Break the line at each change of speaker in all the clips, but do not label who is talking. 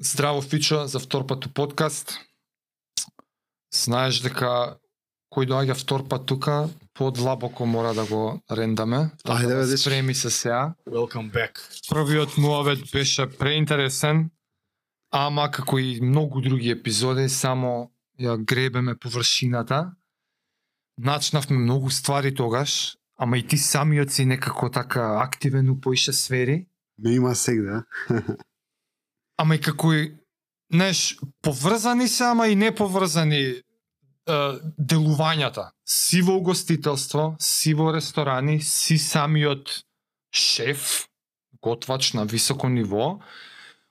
Здраво Фичо за втор пат у подкаст. Знаеш дека кој доаѓа втор пат тука, подлабоко мора да го рендаме. Така
Ајде,
да
бе, дечки.
спреми се сега.
Welcome back.
Првиот муавет беше преинтересен, ама како и многу други епизоди, само ја гребеме површината. Начнавме многу ствари тогаш, ама и ти самиот си некако така активен у поише сфери.
Ме има сегда.
ама и како и, знаеш, поврзани се, ама и не поврзани е, делувањата. Си во гостителство, си во ресторани, си самиот шеф, готвач на високо ниво.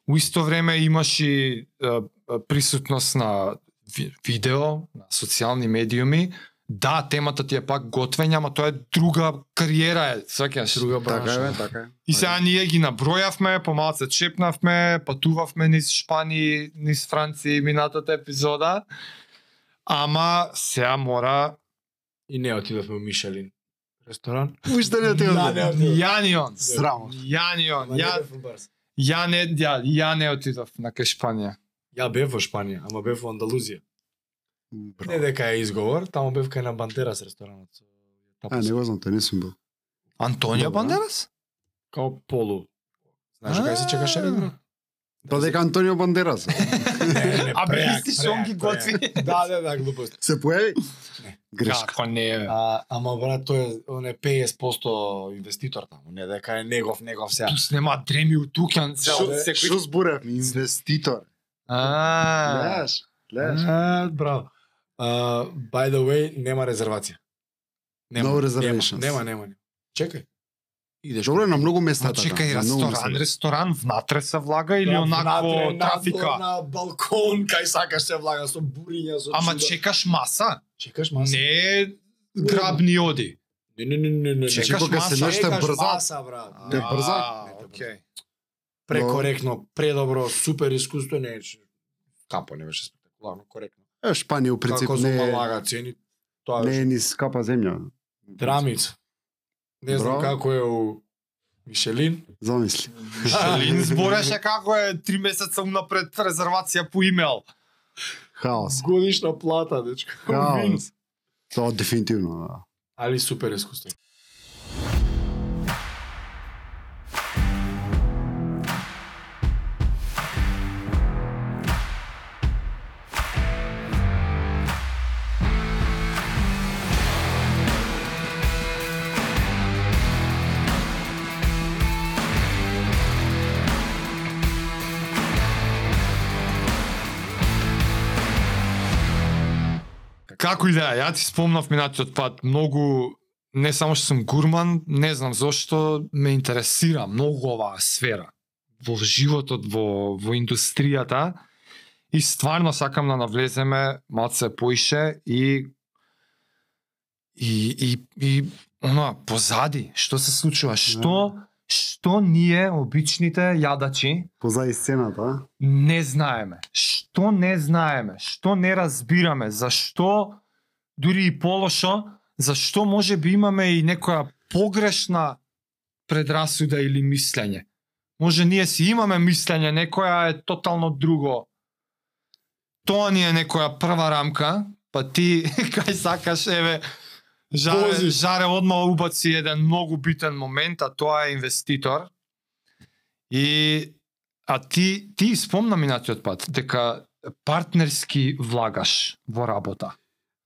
У исто време имаш и е, е, присутност на ви- видео, на социјални медиуми. Да, темата ти е пак готвење, ама тоа е друга кариера е, сваќаш.
Друга
бранша.
така е.
И сега ние ги набројавме, помалку се чепнавме, патувавме низ Шпани, низ Франција минатата епизода. Ама сега мора
И не отидовме у Мишелин. Ресторан?
Уште не те
Да, не, не.
Јанион.
Здраво. Па,
Јанион.
Ја...
Ја ја не ја, ја не отидов на кај Шпанија.
Ја бев во Шпанија, ама бев во Андалузија. Не
Браво.
дека е изговор, таму бев кај на Бандерас ресторанот. со
А,
тапас.
не го знам, тој не сум бил.
Антонио
Добра.
Бандерас?
Као полу. Знаеш кај се чекаше ред? Да
Па дека Антонио Бандерас.
А бе, исти што он ги готви.
Да, да, да, глупост.
Се појави?
Не.
Грешка.
Како па не? бе?
А, ама брат, тој е, он е 50% инвеститор таму, не дека е негов, негов сега.
Тус нема дреми у туќан.
Да. Шо-
се- секој-
Што зборев? Инвеститор.
А.
Гледаш? Гледаш?
А, браво. А, by the way, нема резервација.
No reservations.
Нема, нема, нема. Чекај. Идеш.
Добро е на многу места
Та,
така.
чекај,
на многу
Значи, ресторан,
места.
ресторан, внатре се влага или
Да, внатре,
онакво
надвор,
трафика?
На балкон, кај сакаш се влага со буриња, со
Ама
чудо.
чекаш маса,
чекаш маса.
не е грабни оди.
Не, не, не, не, не.
Чекаш
Значи, кога
маса,
се нешто
чекаш
брза,
маса, брат.
Те
Да.
брза?
А,
Не те
окей.
Прекоректно, предобро, супер искуство, не е. че- Капо не беше спектакуларно, коректно.
е, Шпанија у принцип
Како
не
зума
е-
лага цени, тоа
не
е
е ни скапа земја.
драмица. Не знам
Браво.
како е у Мишелин.
Замисли.
Желин збореше како е три месеца унапред резервација по имејл.
Хаос.
Годишна плата, дечко. Вин.
Хаос. Тоа дефинитивно, да.
Али супер искуство.
Како и да е, ја ти спомнав минатиот пат, многу не само што сум гурман, не знам зошто ме интересира многу оваа сфера во животот, во, во индустријата и стварно сакам да навлеземе малце поише и и и, и она позади што се случува, што што ние обичните јадачи
Позади сцената, а?
не знаеме. Што не знаеме, што не разбираме, зашто дури и полошо, зашто може би имаме и некоја погрешна предрасуда или мислење. Може ние си имаме мислење, некоја е тотално друго. Тоа ни е некоја прва рамка, па ти кај сакаш, еве, жаре,
Пози.
жаре одма убаци еден многу битен момент, а тоа е инвеститор. И А ти ти спомна минатиот пат дека партнерски влагаш во работа.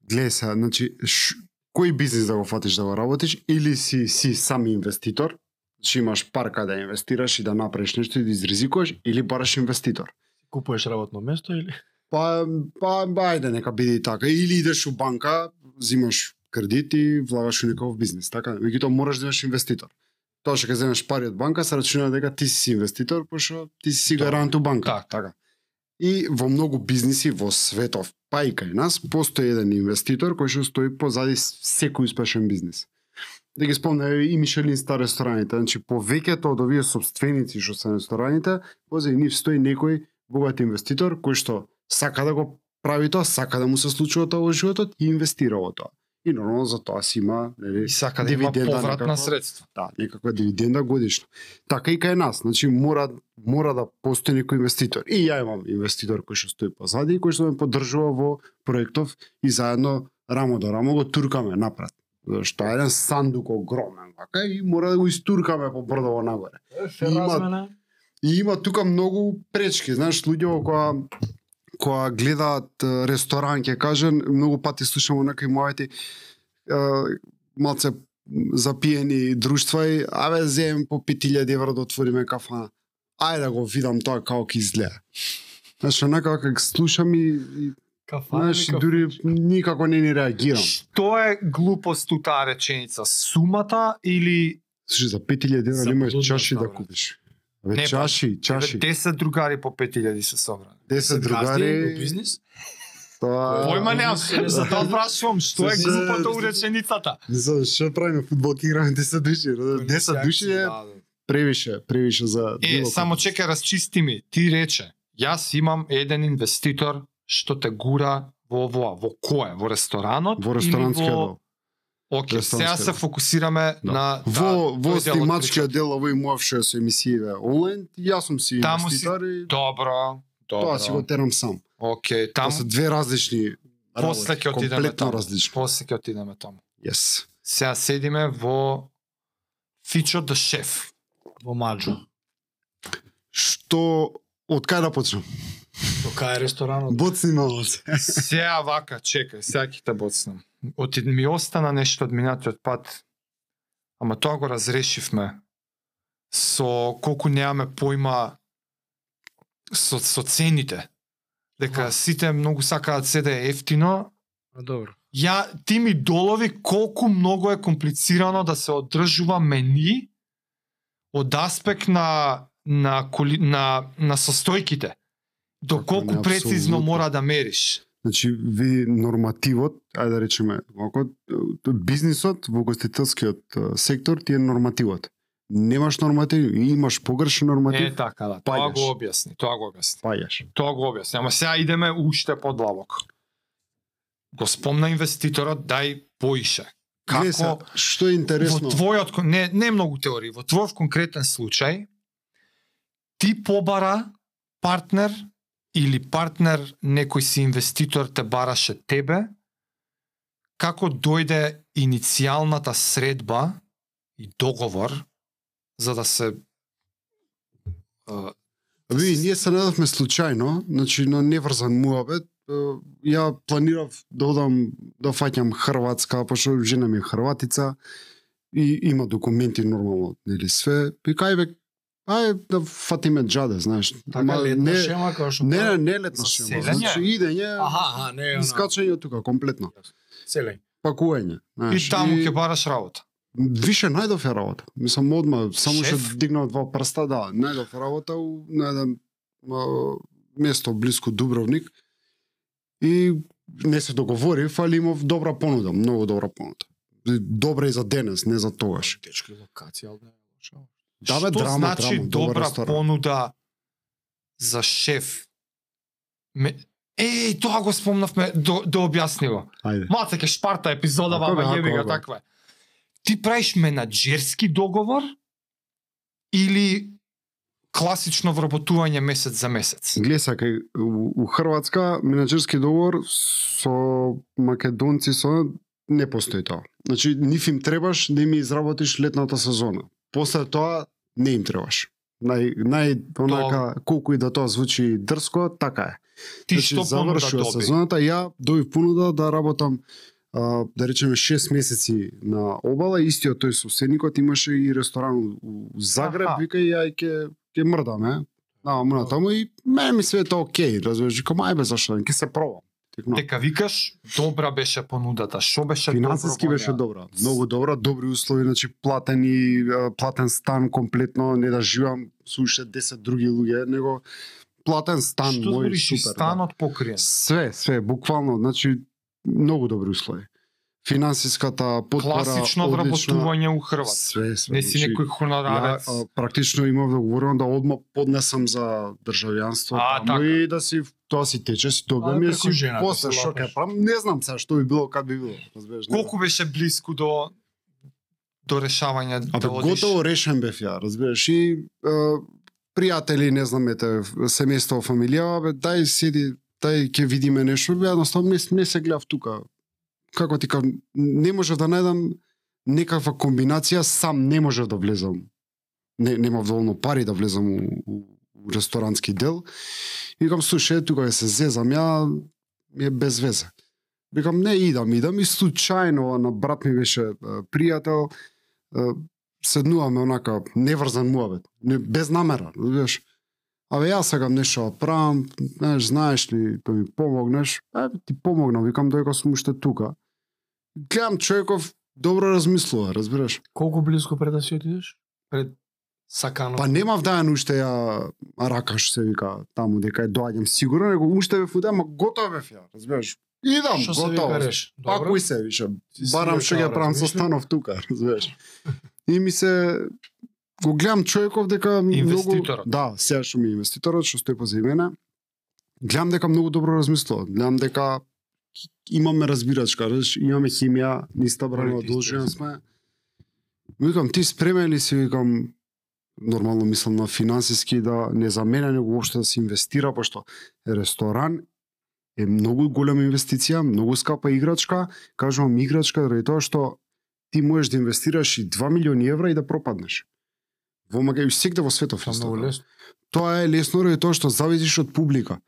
Гледај сега, значи, ш... кој бизнис да го фатиш да го работиш, или си, си сам инвеститор, значи имаш парка да инвестираш и да направиш нешто и да изризикуваш, или бараш инвеститор.
Купуваш работно место или?
Па, па, ба, ајде, нека биде и така. Или идеш у банка, взимаш кредит и влагаш у некаков бизнис, така? Меѓутоа мораш да имаш инвеститор. Тоа што ќе земеш пари од банка, се рачуна дека ти си инвеститор, пошто ти си
Да.
гарант у банка.
Така, така.
И во многу бизниси во светов, па и кај нас, постои еден инвеститор кој што стои позади секој успешен бизнис. Да ги спомнам и Мишелин стар рестораните, значи повеќето од овие собственици што се на рестораните, позади нив стои некој богат инвеститор кој што сака да го прави тоа, сака да му се случува тоа во животот и инвестира во тоа. И нормално за тоа си има нели,
И сака да има
дивиденда
повратна
некаква.
средства.
Да, некаква дивиденда годишно. Така и кај нас, значи мора мора да постои некој инвеститор. И ја имам инвеститор кој што стои позади и кој што ме поддржува во проектов и заедно рамо до рамо го туркаме напред. Зашто е еден сандук огромен вака и мора да го истуркаме по брдово нагоре.
Се
Има-
размена.
И има тука многу пречки, знаеш, луѓе која која гледаат е, ресторан, ќе кажам, многу пати слушам онакви мојати малце запиени друштва и аве земем по 5000 евра да отвориме кафана. Ајде да го видам тоа како ќе изгледа. Знаеш, онака како слушам и, и
Кафана.
знаеш, дури никако не ни реагирам.
Што е глупост у таа реченица? Сумата или
Слушай, за 5000 евра
За
немаш
блудна
чаши да
ставра.
купиш. Абе,
Не, па,
чаши, чаши.
10 другари по 5000 се собрани?
10 другари,
бизнис.
тоа...
Појма немам, за тоа прашувам, Да што е
Да. Се-
глупото у реченицата?
Не знам што правиме фудбалки играме 10 души.
Кој не
10
сеак
души
си,
е
да, да.
превише, превише за
Е,
било
само
кој.
чека, расчисти ми. Ти рече, јас имам еден инвеститор што те гура во овоа, во кое? Во ресторанот?
во ресторански
или
дел.
во... Океј, сега
Ресторански
се
дел.
фокусираме
Да.
на
Во
да,
во
тој дел од
снимачкиот дел овој муав што се емисиве онлайн, јас сум си
Таму
инвеститор и
прича. Добро, добро.
тоа си го терам сам.
Океј,
Тоа
таму
се две различни
после
работи,
ќе отидеме
комплетно
таму.
различно.
После ќе да отидеме таму.
Yes.
Сега седиме во Фичо да шеф.
Во Маджо.
Што од кај да почнам?
До кај е ресторанот?
Боцни малце.
Сега вака, чекај, сега ќе те боцнам. Оти ми остана нешто од минатиот пат. Ама тоа го разрешивме. Со колку немаме појма со, со цените. Дека
Аха.
сите многу сакаат се да е ефтино.
А, Добро.
Ја, ти ми долови колку многу е комплицирано да се одржува мени од аспект на на коли, на на состојките. До
Така,
колку
не,
прецизно
апсолутно.
мора да мериш.
Значи, ви нормативот, ајде да речеме, ако бизнисот во гостителскиот е, сектор ти е нормативот. Немаш норматив, имаш погрешен
Е
норматив,
така, да. Тоа
паѓаш.
го објасни, тоа го објасни.
паѓаш.
Тоа го објасни. Ама сега идеме уште подлабоко. Го спомна инвеститорот дај поише. Како
Гледа се, што е интересно?
во твојот кон- не не многу теории, во твојот конкретен случај ти побара партнер или партнер некој си инвеститор те бараше тебе како дојде иницијалната средба и договор за да се е,
Ви, ние се најдовме случајно, значи на неврзан муабет, е, ја планирав да одам да фаќам Хрватска, пошто жена ми е хрватица и има документи нормално, нели све. И кај бе, ај да фатиме джаде, знаеш.
Така
Ма,
летна
не-
шема како што
Не,
кажа?
не, не летна
За
шема.
селење?
Значи идење,
Аха, аха, не, она.
искачање од тука комплетно.
Селење.
Пакување, знаеш.
И таму ќе па- бараш работа.
више најдов ја работа. Мислам одма само што
Шеф?
дигнав два прста, да, најдов работа у на еден а, место близко Дубровник. И не се договорив, али имав добра понуда, многу добра понуда. Добра и за денес, не за тогаш.
Течка локација, ал не е лоша.
Да, бе,
Што
драма,
значи
драма, добар
добра
ресторан.
понуда за шеф? Ме... Еј, тоа го спомнавме, до, да до објасни го.
Ајде.
Малце ке шпарта епизода,
Ако бе,
вама
ако,
јеби го
ако.
таква. е. Ти правиш менаџерски договор или класично вработување месец за месец?
Глеса, кај, у, у Хрватска менеджерски договор со македонци со не постои тоа. Значи, ниф им требаш да им изработиш летната сезона. После тоа не им требаш. Нај, нај, онака, колку и да тоа звучи дрско, така е.
Ти
значи,
што понуда
завршува
доби?
сезоната, ја доби понуда да работам а, да речеме 6 месеци на обала, истиот тој соседникот имаше и ресторан у у Загреб,
Аха.
вика и ај ќе ќе мрдаме. Да, мна таму и мене ми света окей, разбираш, кам ајбе зашто, не, ќе се пробам. Текно.
Дека викаш, добра беше понудата. Што беше
Финансиски
добро во
беше
неа?
добра, многу добра, добри услови, значи платен и а, платен стан комплетно, не да живам со уште 10 други луѓе, него платен стан
Што
мој
збориш и
супер. да.
станот покриен?
Све, све, буквално, значи многу добри услови. финансиската подпора,
класично
одлична.
вработување у Хрватска.
Све, све,
Не си
значи,
некој
Ја,
хонорарец.
а, практично имав договорено да одма поднесам за државјанство
А,
таму
така.
и да си тоа си тече, си
А,
добам и
преку
си
да
жената
после
се
што ќе
лапаш.
правам, не знам сега што би било кад би било, разбираш. не
Колку беше близко до до решавања
Абе,
да одиш?
готово решен бев ја, разбираш, и е, пријатели, не знам, ете, семејство, фамилија, абе, дај седи, дај ќе видиме нешто, бе, едноставно не, не се гледав тука. Како ти кажам, не можев да најдам некаква комбинација, сам не можев да влезам. Не, немав доволно пари да влезам у, у, у ресторански дел. И викам, слушај, тука ќе се зезам, ја ми е без везе. Викам, не идам, идам и случајно на брат ми беше е, пријател, е, седнуваме онака неврзан муавет, не, без намера, знаеш. Абе јас сакам нешто да правам, знаеш, знаеш ли, да ми помогнеш? Е, ти помогнам, викам доека сум уште тука. Гледам човеков добро размислува, разбираш?
Колку близко пред да си отидеш? Пред сакано.
Па немав дајан уште ја ракаш се вика таму дека ја доаѓам сигурно, него уште бев удам, ама готов бев ја, разбираш? Идам,
што се
готов.
вика реш? Добро.
Пакуј се више,
Си си
барам
ја
што ќе
таа,
правам со
размисли.
станов тука, разбираш. И ми се го гледам човеков дека многу
Инвеститорот.
да, сега што ми е инвеститорот што стои позади мене. Гледам дека многу добро размислува, гледам дека имаме разбирачка, разбираш, имаме химија, ни стабрано
Политички.
должен сме. Му Викам, ти спремен ли си, викам, нормално мислам на финансиски да не за мене него уопште да се инвестира, пошто ресторан е многу голема инвестиција, многу скапа играчка, кажувам играчка заради тоа што ти можеш да инвестираш и 2 милиони евра и да пропаднеш. Во мага и секде во светов
Па
е
многу
така.
лесно.
Тоа е лесно ради тоа што зависиш од публика.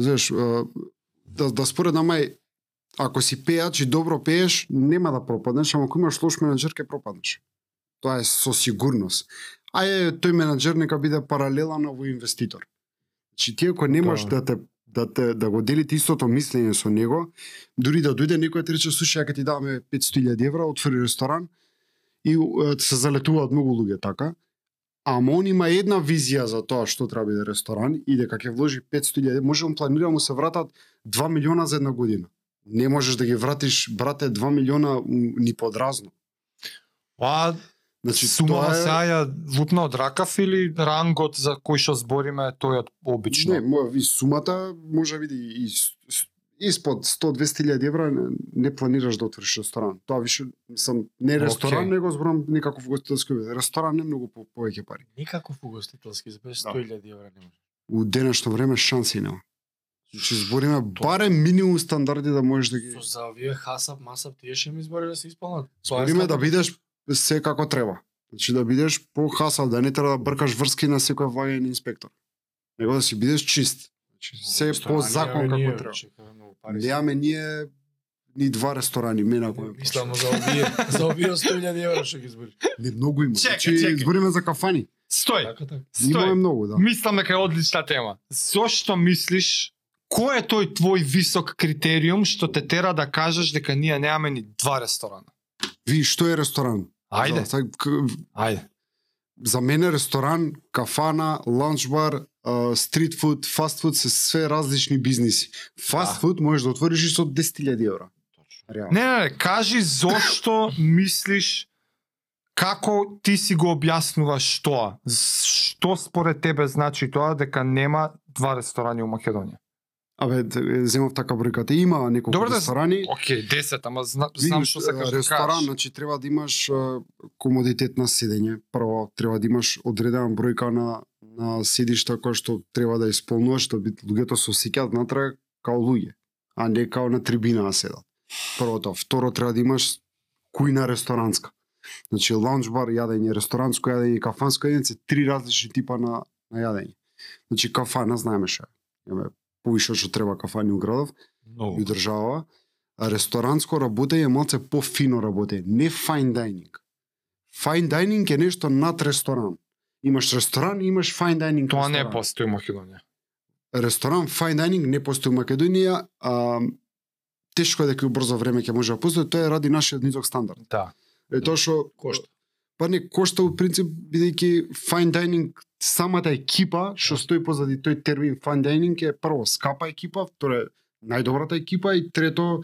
Знаеш, е, да, да според на мај, ако си пејач и добро пееш, нема да пропаднеш, ама ако имаш лош менеджер, ќе пропаднеш. Тоа е со сигурност. А е, тој менеджер нека биде паралелен во инвеститор. Значи ти ако немаш
Да.
да, те да те да го делите истото мислење со него, дури да дојде некој да ти рече слушај, ја ќе ти даваме 500.000 евра, отвори ресторан и е, се залетуваат многу луѓе така. Ама он има една визија за тоа што треба да биде ресторан и дека ќе вложи 500.000, може он планира да му се вратат 2 милиона за една година. Не можеш да ги вратиш, брате, 2 милиона у- ни подразно.
Па,
Значи,
сумава
тоа е-
сега ја лупна од ракав или рангот за кој што збориме тој од
Не,
обично?
моја ви сумата може биде и с- с- испод 100-200 илјади евра не, не планираш да отвориш ресторан. Тоа више сам не ресторан,
Океј.
него зборам никаков гостителски обид. Ресторан не многу по повеќе пари.
Никаков угостителски за без
Да.
100.000 евра не може.
У денешно време шанси нема. Значи збориме барем минимум стандарди да можеш да ги
Со за овие хасап, масап, тие ше ми избори да се исполнат. Тоа е
Збориме да
слабо.
бидеш се како треба. Значи да бидеш по хасал, да не треба да бркаш врски на секој ваген инспектор. Него да си бидеш чист. Значи се по закон како треба. да Неаме ние ни два ресторани, мене ако ме
Мислам за овие, за овие 100.000 евра што ги избори.
Не многу има.
Чека,
значи,
чека.
збориме за кафани.
Стој,
Така така.
Има е
стој.
многу, да.
Мислам дека е одлична тема. Зошто мислиш Кој е тој твој висок критериум што те тера да кажеш дека ние немаме ни два ресторана?
Ви што е ресторан? За,
Ајде,
сега, к-
ајде.
за мене ресторан, кафана, ланч бар, а, стрит фуд, фаст фуд се све различни бизниси. Фаст
Да.
фуд можеш да отвориш и со 10.000 евра. Реално.
Не, не, не, кажи зошто мислиш како ти си го објаснуваш тоа? Што според тебе значи тоа дека нема два ресторани у Македонија?
Абе, д- е, земав така бројката. Има неколку
Добро да-
ресторани.
Океј, 10, ама зна, знам
Видиш,
што сакаш да
ресторан,
кажеш.
значи треба да имаш а, комодитет на седење. Прво треба да имаш одредена бројка на на седишта која што треба да исполнуваш да бит луѓето се осеќаат натре као луѓе, а не као на трибина да седат. Првото, второ треба да имаш кујна ресторанска. Значи лаунж бар, јадење ресторанско, јадење кафанско, јадење се три различни типа на на јадење. Значи кафана знаеме што е. Имаме повише што треба кафани у градов и у држава, а ресторанско работење е малце пофино работење, не fine dining. Fine dining е нешто над ресторан. Имаш ресторан, и имаш fine dining.
Тоа не
ресторан.
постои у Македонија.
Ресторан fine dining не постои у Македонија, а тешко е дека и у брзо време ќе може да постои, тоа е ради нашиот низок стандард.
Да.
Е тоа што
Кошта.
па не кошта у принцип бидејќи fine dining самата екипа
Да.
што стои позади тој термин fine dining е прво скапа екипа, второ е најдобрата екипа и трето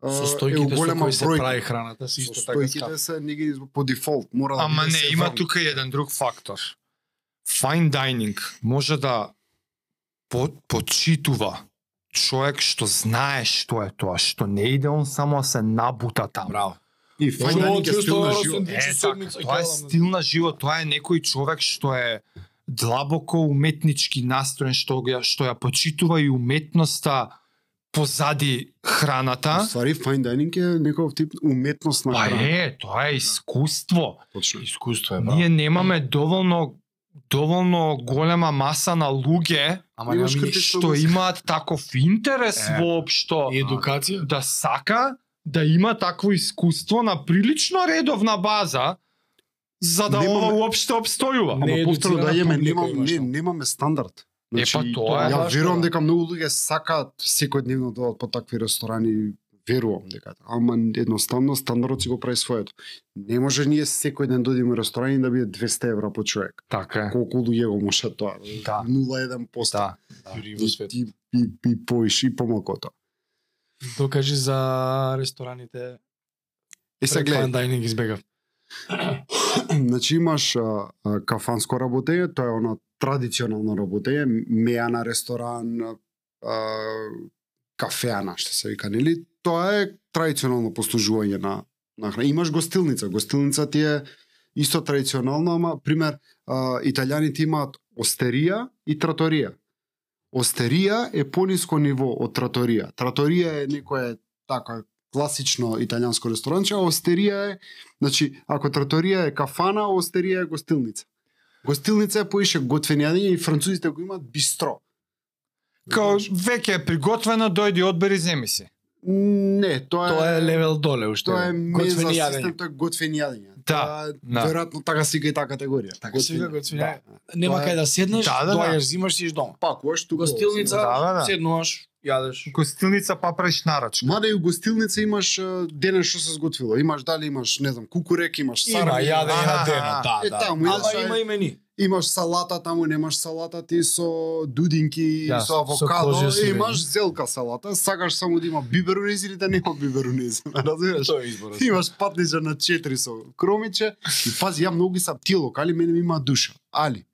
а,
Со
е у
стојките со
голема
кои се
бројка.
прави храната се
Со
исто така
стојките
скапа.
се негде по дефолт, мора да
Ама
биде
не,
се
има
варно.
тука еден друг фактор. Fine dining може да по, почитува човек што знае што е тоа, што не иде он само да се набута таму.
Браво.
И
Што
фајн да ќе стил
чувствувам,
на живот.
Е,
Вече
така,
седмица
тоа е
гледам.
стил на живот, тоа е некој човек што е длабоко уметнички настроен, што ја, што ја почитува и уметноста позади храната.
Ствари фајн дајнинг е некој тип уметност на
Па
храна.
е, тоа е искуство.
Точно.
Искуство е, браво.
Ние немаме доволно доволно голема маса на луѓе
Ама
Имаш
немам
критично
што
мислење.
имаат таков интерес
да Е.
воопшто
ни- и едукација.
да сака да има такво искуство на прилично редовна база за да
Немаме-
ова уопште обстојува.
Не
Ама повторно
едуцирана
да јеме
публика
немам
имаш,
не,
ама.
немаме стандард.
Е, па тоа е да.
ја
баш
верувам
тоа.
дека многу луѓе сакаат секојдневно да одат по такви ресторани, верувам дека. Ама едноставно стандардот си го прави своето. Не може ние секој ден да одиме во ресторан и да биде 200 евра по човек.
Така е.
Колку луѓе го може тоа?
Да.
0,1%.
Да.
Јури во
И,
свет.
и, и, и поиш, и помалку од тоа.
Докажи за рестораните.
Е, сега гледај,
Fine dining избегав.
Значи имаш а, а, кафанско работење, тоа е она традиционално работење, меја на ресторан, а, а, кафеана, што се вика, нели? Тоа е традиционално послужување на, на храна. Имаш гостилница, гостилница ти е исто традиционално, ама, пример, а, италијаните имаат остерија и траторија. Остерија е пониско ниво од траторија. Траторија е некое така класично италијанско ресторанче, а остерија е Значи, ако траторија е кафана, а остерија е гостилница. Гостилница е поише готвени јадење и французите го имаат бистро.
Као веќе е приготвено, дојди, одбери, земи си.
Не, тоа е
Тоа е левел доле уште.
Па, тоа е меза
Готвени
систем,
јадење.
тоа е готвени јадење.
Да,
Тоа
да.
е, веројатно така се вика и таа категорија.
Така се вика готвени
Да.
Нема
Тоа е-
кај да седнеш,
Да, да, да.
доаѓаш, зимаш и иш дома.
Пакуваш тука.
Гостилница,
Да, да, да.
седнуваш, јадеш.
Гостилница па правиш нарачка.
Мада и у гостилница имаш а, денен што се сготвило. Имаш дали имаш, не знам, кукурек, имаш
Има
сарање.
а,
јадење на
а,
дено, да,
е,
да.
таму,
Ама
идеш,
има
ај.
и мени.
имаш салата таму, немаш салата ти со дудинки,
Да,
со
со
авокадо,
кожја
и
сирење.
имаш зелка салата, сакаш само да има биберунез или да нема биберунез, разбираш?
Тоа е изборот.
Имаш патнеџа на 4 со кромиче и пази ја многу сам тие локали мене ми има душа, али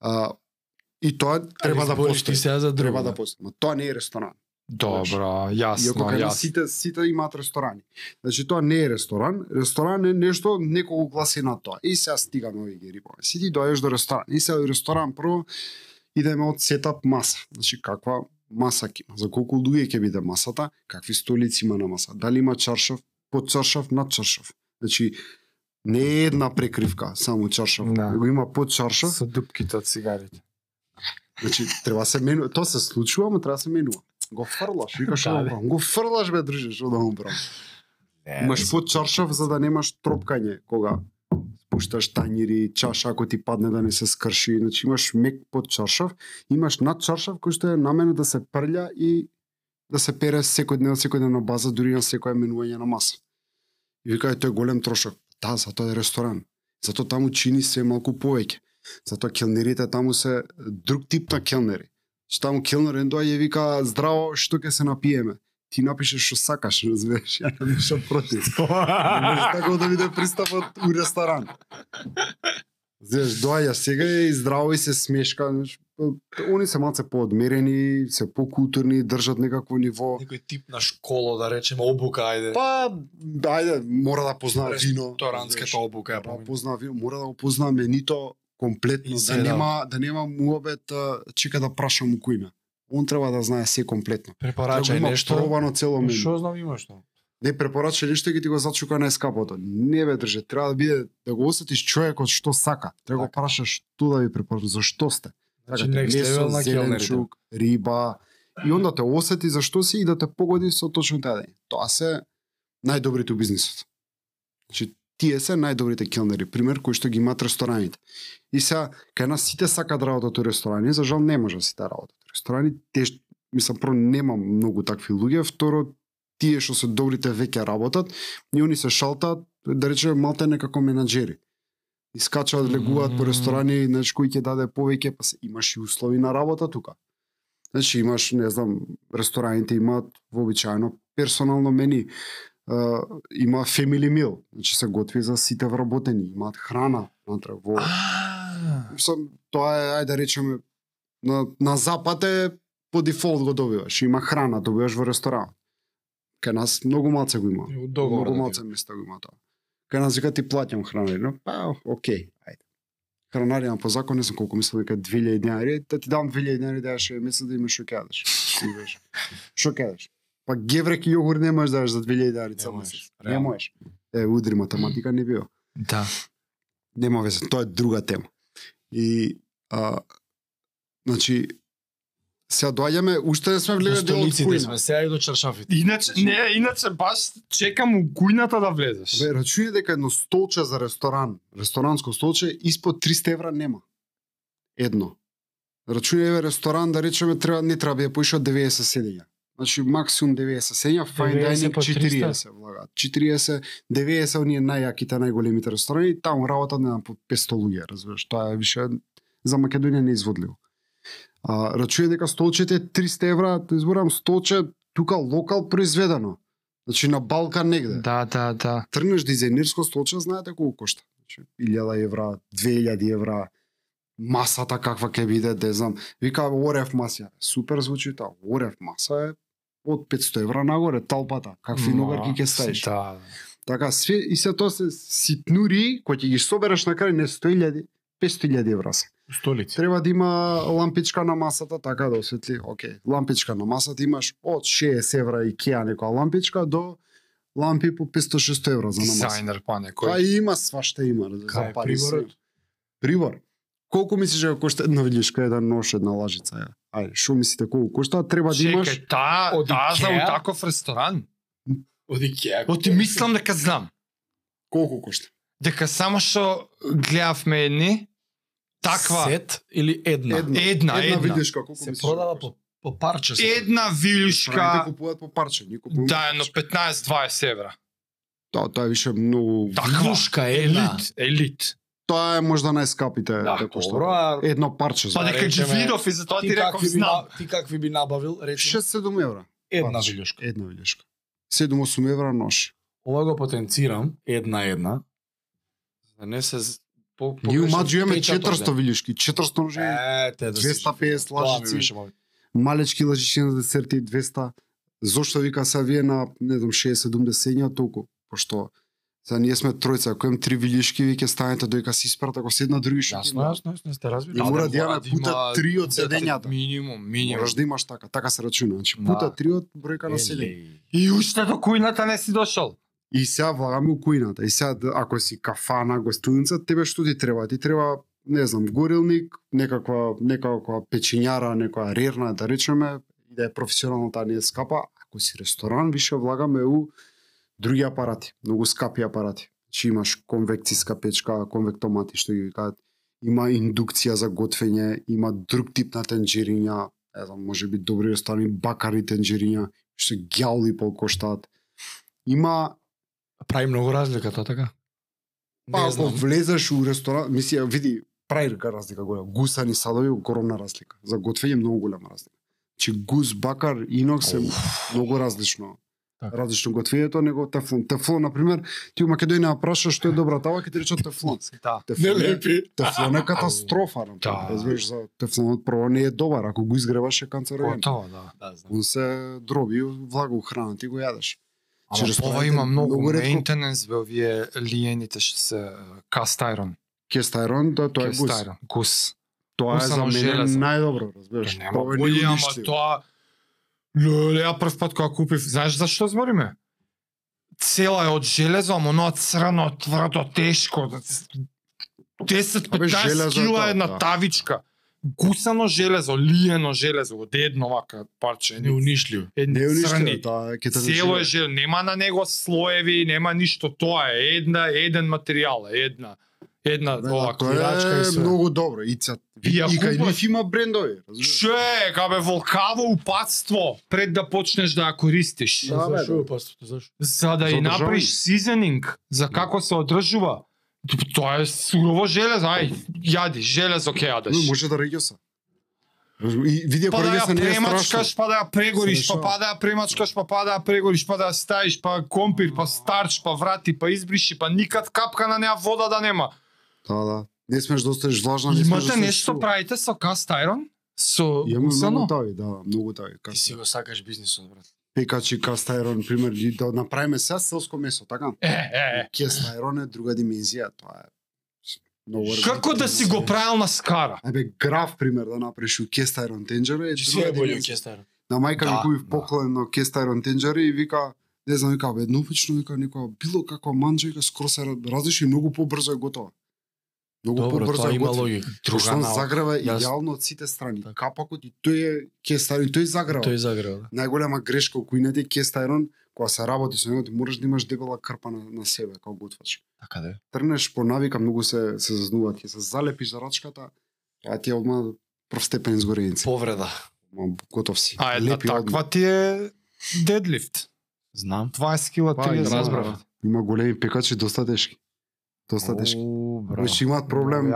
а, и тоа треба да
Избориш
постои.
Ти сега за
Треба
друго.
да постои, ма тоа не е ресторан.
Добра,
Иако
јасно,
кај нас
јасно.
сите, сите имаат ресторани. Значи тоа не е ресторан, ресторан е нешто некој го гласи на тоа. И сега стигаме овие ги рибове. Си ти доаѓаш до ресторан. И сега ресторан прво идеме од сетап маса. Значи каква маса ќе има, за колку луѓе ќе биде масата, какви столици има на маса, дали има чаршав, под чаршав, над чаршав. Значи не е една прекривка, само чаршав,
Да.
да. го има под чаршав.
Со дупките од цигарите.
Значи треба се менува, тоа се случува, ама треба се менува. Го фрлаш, викаш
Да,
да,
бе.
го фрлаш бе друже, што да му правам. Имаш под чаршав за да немаш тропкање кога спушташ тањири, чаша ако ти падне да не се скрши. Значи имаш мек под чаршав, имаш над чаршав кој што е намерен да се прља и да се пере секој ден, секој ден на база, дури на секој менување на маса. И вика, тој е голем трошок. Да, затоа е ресторан. Затоа таму чини се малку повеќе. Затоа келнерите таму се друг тип на келнери. Што таму келнерен доаѓа и вика, здраво, што ќе се напиеме? Ти напишеш што сакаш, разбираш, ја не ништо против. Не може така да биде пристапот у ресторан. Знаеш, доаѓа сега и здраво и се смешка. знаеш. Они се малце поодмерени, се покултурни, држат некакво ниво.
Некој тип на школо, да речеме, обука, ајде.
Па, ајде, мора да познава вино.
Ресторанската обука, ја
Мора да
помнам.
познава вино, мора да го познава
И
менито комплетно,
се,
да
да.
нема, да нема муабет, а, чека да прашам у кој има. Он треба да знае се комплетно. Треба да
Препорачај
има
нешто.
пробано цело мену.
Што знам имаш што?
не препорача ништо ќе ти го зачука најскапото. Не бе држе, треба да биде да го осетиш човекот што сака. Треба да го
Така.
прашаш што да ви препорача, за што сте.
Значи
Сакате
next level на келнерите.
зеленчук, риба и онда те осети за што си и да те погоди со точно тоа ден. Тоа се најдобрите у бизнисот. Значи тие се најдобрите келнери, пример кои што ги имаат рестораните. И сега кај нас сите сакаат работат у ресторани, за жал не може да сите работат у ресторани. Те ш- мислам прво нема многу такви луѓе, второ тие што се добрите веќе работат и они се шалтаат да речеме малте некако менаџери. Искачаат, легуваат по
Мм.
ресторани, значи кој ќе даде повеќе, па се, имаш и услови на работа тука. Значи имаш, не знам, рестораните имаат вообичаено персонално мени а, има family meal, значи се готви за сите вработени, имаат храна натре во
А,
сам тоа е ајде да речеме на, на запад е по дефолт го добиваш, има храна, добиваш во ресторан. Кај нас многу малце го има.
Од
Договор,
договор.
многу
да
малце места го има тоа. Кај нас вика ти платам храна, но па окей, ајде. Хранаријам по закон, не знам колку мислам дека 2000 денари, да ти дам 2000 денари да јаш месец да имаш што ќе јадеш. Ти викаш, Што ќе јадеш? Па геврек и јогурт не можеш да јадеш за 2000 денари
Не
цел
можеш,
месец. Не
реално.
можеш. Е, удри математика не бива
да.
нема везе, тоа е друга тема. И а, значи сега доаѓаме, уште не сме да
До
влегле дел од
столиците
кујна.
сме, сега и до чаршафите.
Иначе, не, иначе баш чекам у кујната да влезеш.
Бе, рачуни дека едно столче за ресторан, ресторанско столче, испод 300 евра нема. Едно. Рачуни еве ресторан, да речеме, треба, не треба да ја поиша 90 седења. Значи максимум 90 седења, fine
90
dining
по 300.
40 влагаат. 40, 90 оние најјаките, најголемите ресторани, таму работа не знам, по 500 луѓе, разбираш, тоа е више за Македонија неизводливо. А, рачуни дека столчете е 300 евра, да изборам столче тука локал произведено. Значи на Балкан негде
Да, да, да.
тргнеш дизајнерско столче, знаете колку кошта. Значи, 1000 евра, 2000 евра, масата каква ќе биде, не знам. Вика Орев маса. Супер звучи тоа. Орев маса е од 500 евра нагоре талпата. Какви ногарки ќе ставиш?
Да.
Така све и се тоа се ситнури кои ќе ги собереш на крај не 100.000, 500.000 евра се.
Столици.
Треба да има лампичка на масата, така да осветли. Океј, лампичка на масата имаш од 60 евра Икеа некоја лампичка до лампи по 500-600 евра за на маса.
Дизајнер па
Кој? Па
некој.
има свашта има,
Кај
за
е
пари се.
приборот?
Прибор. Колку мислиш дека кошта една вилишка, една нож, една лажица? е? Ајде, што мислите колку кошта? Треба да имаш
Чекај, та,
Од
та за у
Икеа?
таков ресторан.
Од Икеа.
Оти мислам дека знам.
колку кошта?
Дека само што гледавме едни, таква,
Сет или една?
Една.
една,
една
една.
вилишка колку
Се
мислиш?
продава по, по парче. се
Една
Шка...
вилишка,
купуваат по парче, ни купуваат.
да, едно 15-20 евра.
Тоа, тоа е више многу.
Да.
Таква.
Вилушка една.
елит, елит.
Тоа е можда најскапите
Да,
да кошта.
добро, а
Едно парче
Па
за
Да
дека ги
речеме,
видов и затоа ти реков
какви би,
знам.
на- ти какви би набавил, речи
6-7 евра.
една
парче.
вилушка.
Една вилишка. 7-8 евра нож.
Ова го потенцирам една една. За не се з- по
Ние у
погрешен
Маджу имаме
печат
400
овде.
вилишки, 400 ножи,
Е, те да се
250
Тоа ми
лажици.
беше мој.
малечки лажичи на десерти 200. Зошто вика са вие на не знам 60-70 ења толку, пошто за ние сме тројца, ако имам три вилишки, вие ќе станете доека се испрат, ако седна други што
Јасно, јасно, јасно, сте разбили.
И мора
Да,
да ја
мора да
пута
има-
три од
да, да,
седењата.
Минимум, минимум.
Можеш да имаш така, така се рачуна, значи
Да.
пута три од бројка на седења.
Еле.
И уште до кујната не си дошол.
И сега влагаме у кујната, и сега д- ако си кафана, гостилница, тебе што ти треба? Ти треба не знам, горилник, некаква, некаква печињара, некоја рерна, да речеме, и да е професионално таа не е скапа. Ако си ресторан, више влагаме у други апарати, многу скапи апарати. Чи имаш конвекциска печка, конвектомати, што ги викаат, има индукција за готвење, има друг тип на тенџериња, не знам, може би добри ресторани, бакари тенџериња, што гјаули полкоштаат. Има
Прави многу разлика тоа така.
Па
Не
ако
знам.
влезеш у ресторан, мисли, ја види, прави река разлика голема. Гусани садови, огромна разлика. За готвење многу голема разлика. Чи гус, бакар, инокс е многу различно.
Така.
Различно готвењето него тефлон. Тефлон, например, ти у Македонија праша што е добра тава, ќе ти речат тефлон.
Да.
Тефлон е,
лепи.
тефлон е катастрофа.
Да.
Да. Разбираш, за тефлонот прво не е добар. Ако го изгреваш е канцероген.
Готово, да.
Да, знам.
Он се дроби, влага у храна, ти го јадеш. Че
Ама ова
рестораните
има многу
многу ретко-
мејнтененс бе овие лиените што се кастајрон.
Кестајрон, да, тоа е гус.
Гус.
Тоа е
Гуса
за
на
мене
железо.
најдобро, разбираш.
Тоа Нема
е
боли, ама
неуништиво.
тоа... Леле, ја прв пат кога купив, знаеш зашто збориме? Цела е од железо, ама оноа црно, тврдо, тешко. 10-15
железо е
кила
тоа,
една
да.
тавичка. Гусано железо, лиено железо, од едно вака парче. едни
Неунишлив.
едни
Не е
црни.
униште, тоа ќе те
Цело е
доживе.
жел, нема на него слоеви, нема ништо, тоа е една, еден материјал, е, една, една
Да,
ова
тоа
кирачка и
е
све.
многу добро. И, ца,
И ја
и кај
купуваш.
нив има брендови. разбираш?
Ше, кабе волкаво упадство пред да почнеш да ја користиш.
Да, бе,
Зашо
да.
е пастото, зашо?
За да
За
ја
одржавање.
направиш сизенинг, за
Да.
како се одржува. Т- Тоа е сурово железо, ај, јади, железо ќе
Но
јадеш.
може да реѓоса. И види
па да
кореге
ја
се не е страшно.
премачкаш, па да ја прегориш, па
Слушам.
па да ја премачкаш, па па да ја прегориш, па да ја ставиш, па ја компир, па старч, па врати, па избриши, па никад капка на неа вода да нема.
Да, да. Не смеш да останеш влажна, не смеш да
Имате
се
нешто правите со каст ајрон? Со
Имаме
гусано?
многу тави, да, многу тави.
Ти си го сакаш бизнисот, брат.
Пекачи, кастајрон, пример, и да направиме сега селско месо, така?
Е, е, е.
Кестајрон е друга димензија, тоа е многу
Како
различно.
да си го правил на скара?
Ајбе, граф пример да направиш у кестајрон тенџера е
Ти си е
друга
бољо
димензија.
кестар.
На мајка ми
Да,
купив
да.
поклон на кестајрон тенџера и вика, не знам, вика, бе, еднофично, вика, некоја било каква манџа, вика, скоро се разреши, многу побрзо е готова. Многу
Добро,
побрзо
тоа
е
има
готова.
логика.
Друга
Друга наука.
загрева
Јас-
идеално од сите страни.
Така.
Капакот и тој е кестајрон, и тој загрева.
Тој загрева. да.
најголема грешка у кој е кестајрон, кога се работи со него, ти мораш да имаш дебела крпа на, на себе, кога го отвараш.
Така да. е.
Трнеш по навика, многу се, се зазнуваат, ќе се залепиш за рачката, а ти е одма прв степен изгореници.
Повреда.
Ма, готов си.
А
да,
една
така.
Лепи одма.
таква така, ти е дедлифт.
Знам.
20 кила,
Па,
30
да,
разбрав.
Има големи пекачи, доста тешки. Доста тешки. Значи имаат проблем,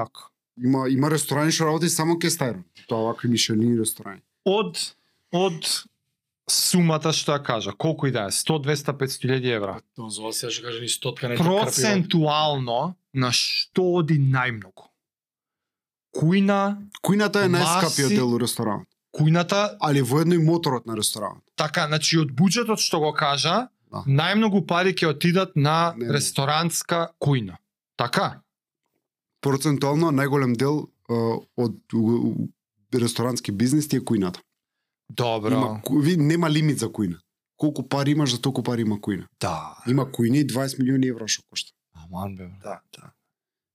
има, има ресторани што работи само кестајрон. Тоа овакви мишелини ресторани.
Од, од сумата што ја кажа, колку и да е, 100, 200, 500 илјади
Па,
евра.
Донзова се што каже ни стотка нека
Процентуално на што оди најмногу? Кујна,
Кујната е најскапиот
Маси-
дел у ресторанот,
кујната,
али воедно и моторот на ресторанот.
така, значи од буџетот што го кажа,
Да.
најмногу пари ќе отидат на
Не, не.
ресторанска кујна. Така?
процентуално најголем дел е, од у- у- ресторански бизнис ти е кујната.
Добро.
Има, ку- ви, нема лимит за кујна. Колку пари имаш, за толку пари има кујна.
да.
Има кујни 20 милиони евра што кошта.
Аман бе. брат.
Да, да.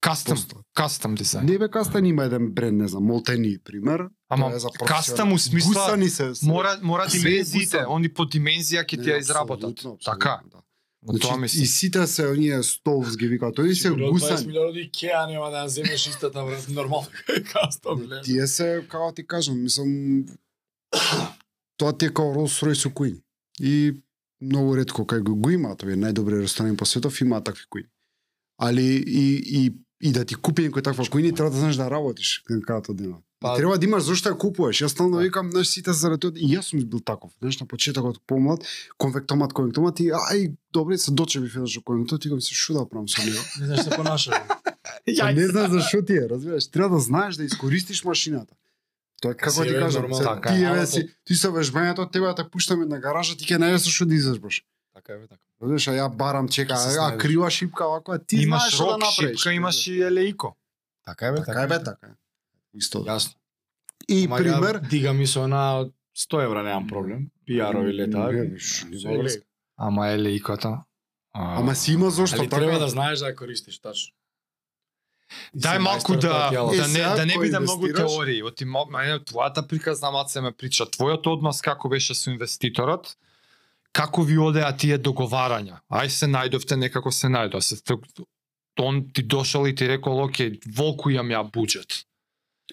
Кастом,
Поста.
кастом дизајн.
Не бе кастан има еден бренд, не знам, Молтени пример.
Ама
тоа е за професионал.
кастам у смисла
Гусани се. се-
мора мора
Се
димензиите,
гуса.
они по димензија ќе
Не,
ти ја
апсолутно,
изработат.
апсолутно,
Така.
да.
Значи,
Значи,
тоа
и
мислам.
сите се оние столс ги викаат, тој се
Сигурно 20
гусани.
милиона од Икеа нема да ја земеш истата брат нормално кастом ле.
Тие се, како ти кажам, мислам, тоа ти е као Rolls Royce со кујни. И многу ретко кај го, го имаат овие најдобри ресторани по светов имаат такви кујни. Али и, и, и да ти купи некој таква кујни, треба да знаеш да работиш кај кајато дена.
Па-
Па, треба да имаш зошто ја купуваш. Јас стално
Да.
викам, знаеш, сите заради тоа. И јас сум бил таков. Знаеш, на почетокот помлад, конвектомат, конвектомат и ај, добре, се дочепив еднаш до конвектомат, и викам се шуда правам со него.
Не знаеш се понашаш.
Па не знаеш зашо ти е, разбираш, треба да знаеш да искористиш машината. Тоа е како
Си
ти
е
кажам,
нормално.
се,
Така
ти
е.
еве си, ти со вежбањето, тебе ја те пуштаме на гаража, ти ќе најдеш со што да изежбаш.
Така е бе така.
Разбираш, а ја барам, чека,
Се
а, а
знаеш.
крива шипка овако, а ти знаеш
Имаш
што да
рок,
направиш.
шипка, имаш и елеико.
Така е бе
Така е бе, така е. Исто. да.
Јасно.
И
Ама
пример,
ја дига ми со на 100 евра немам проблем. Пиарови лета.
Не, виш, нема
Се
врска.
Ама елеикото.
ама си има зошто
Али треба да
така.
знаеш да ја користиш, тачно. И
Дај
си
малку
мајстор
да,
тоа
Е,
тјало.
да не,
сега
да не
ако
биде многу
инвестираш-
теории. Оти, мо- мајне, твојата приказна маце ме прича. Твојот однос како беше со инвеститорот, како ви одеа тие договарања? Ај се најдовте, некако се најдо. Се, т- он ти дошол и ти рекол, окей, волку имам ја буџет.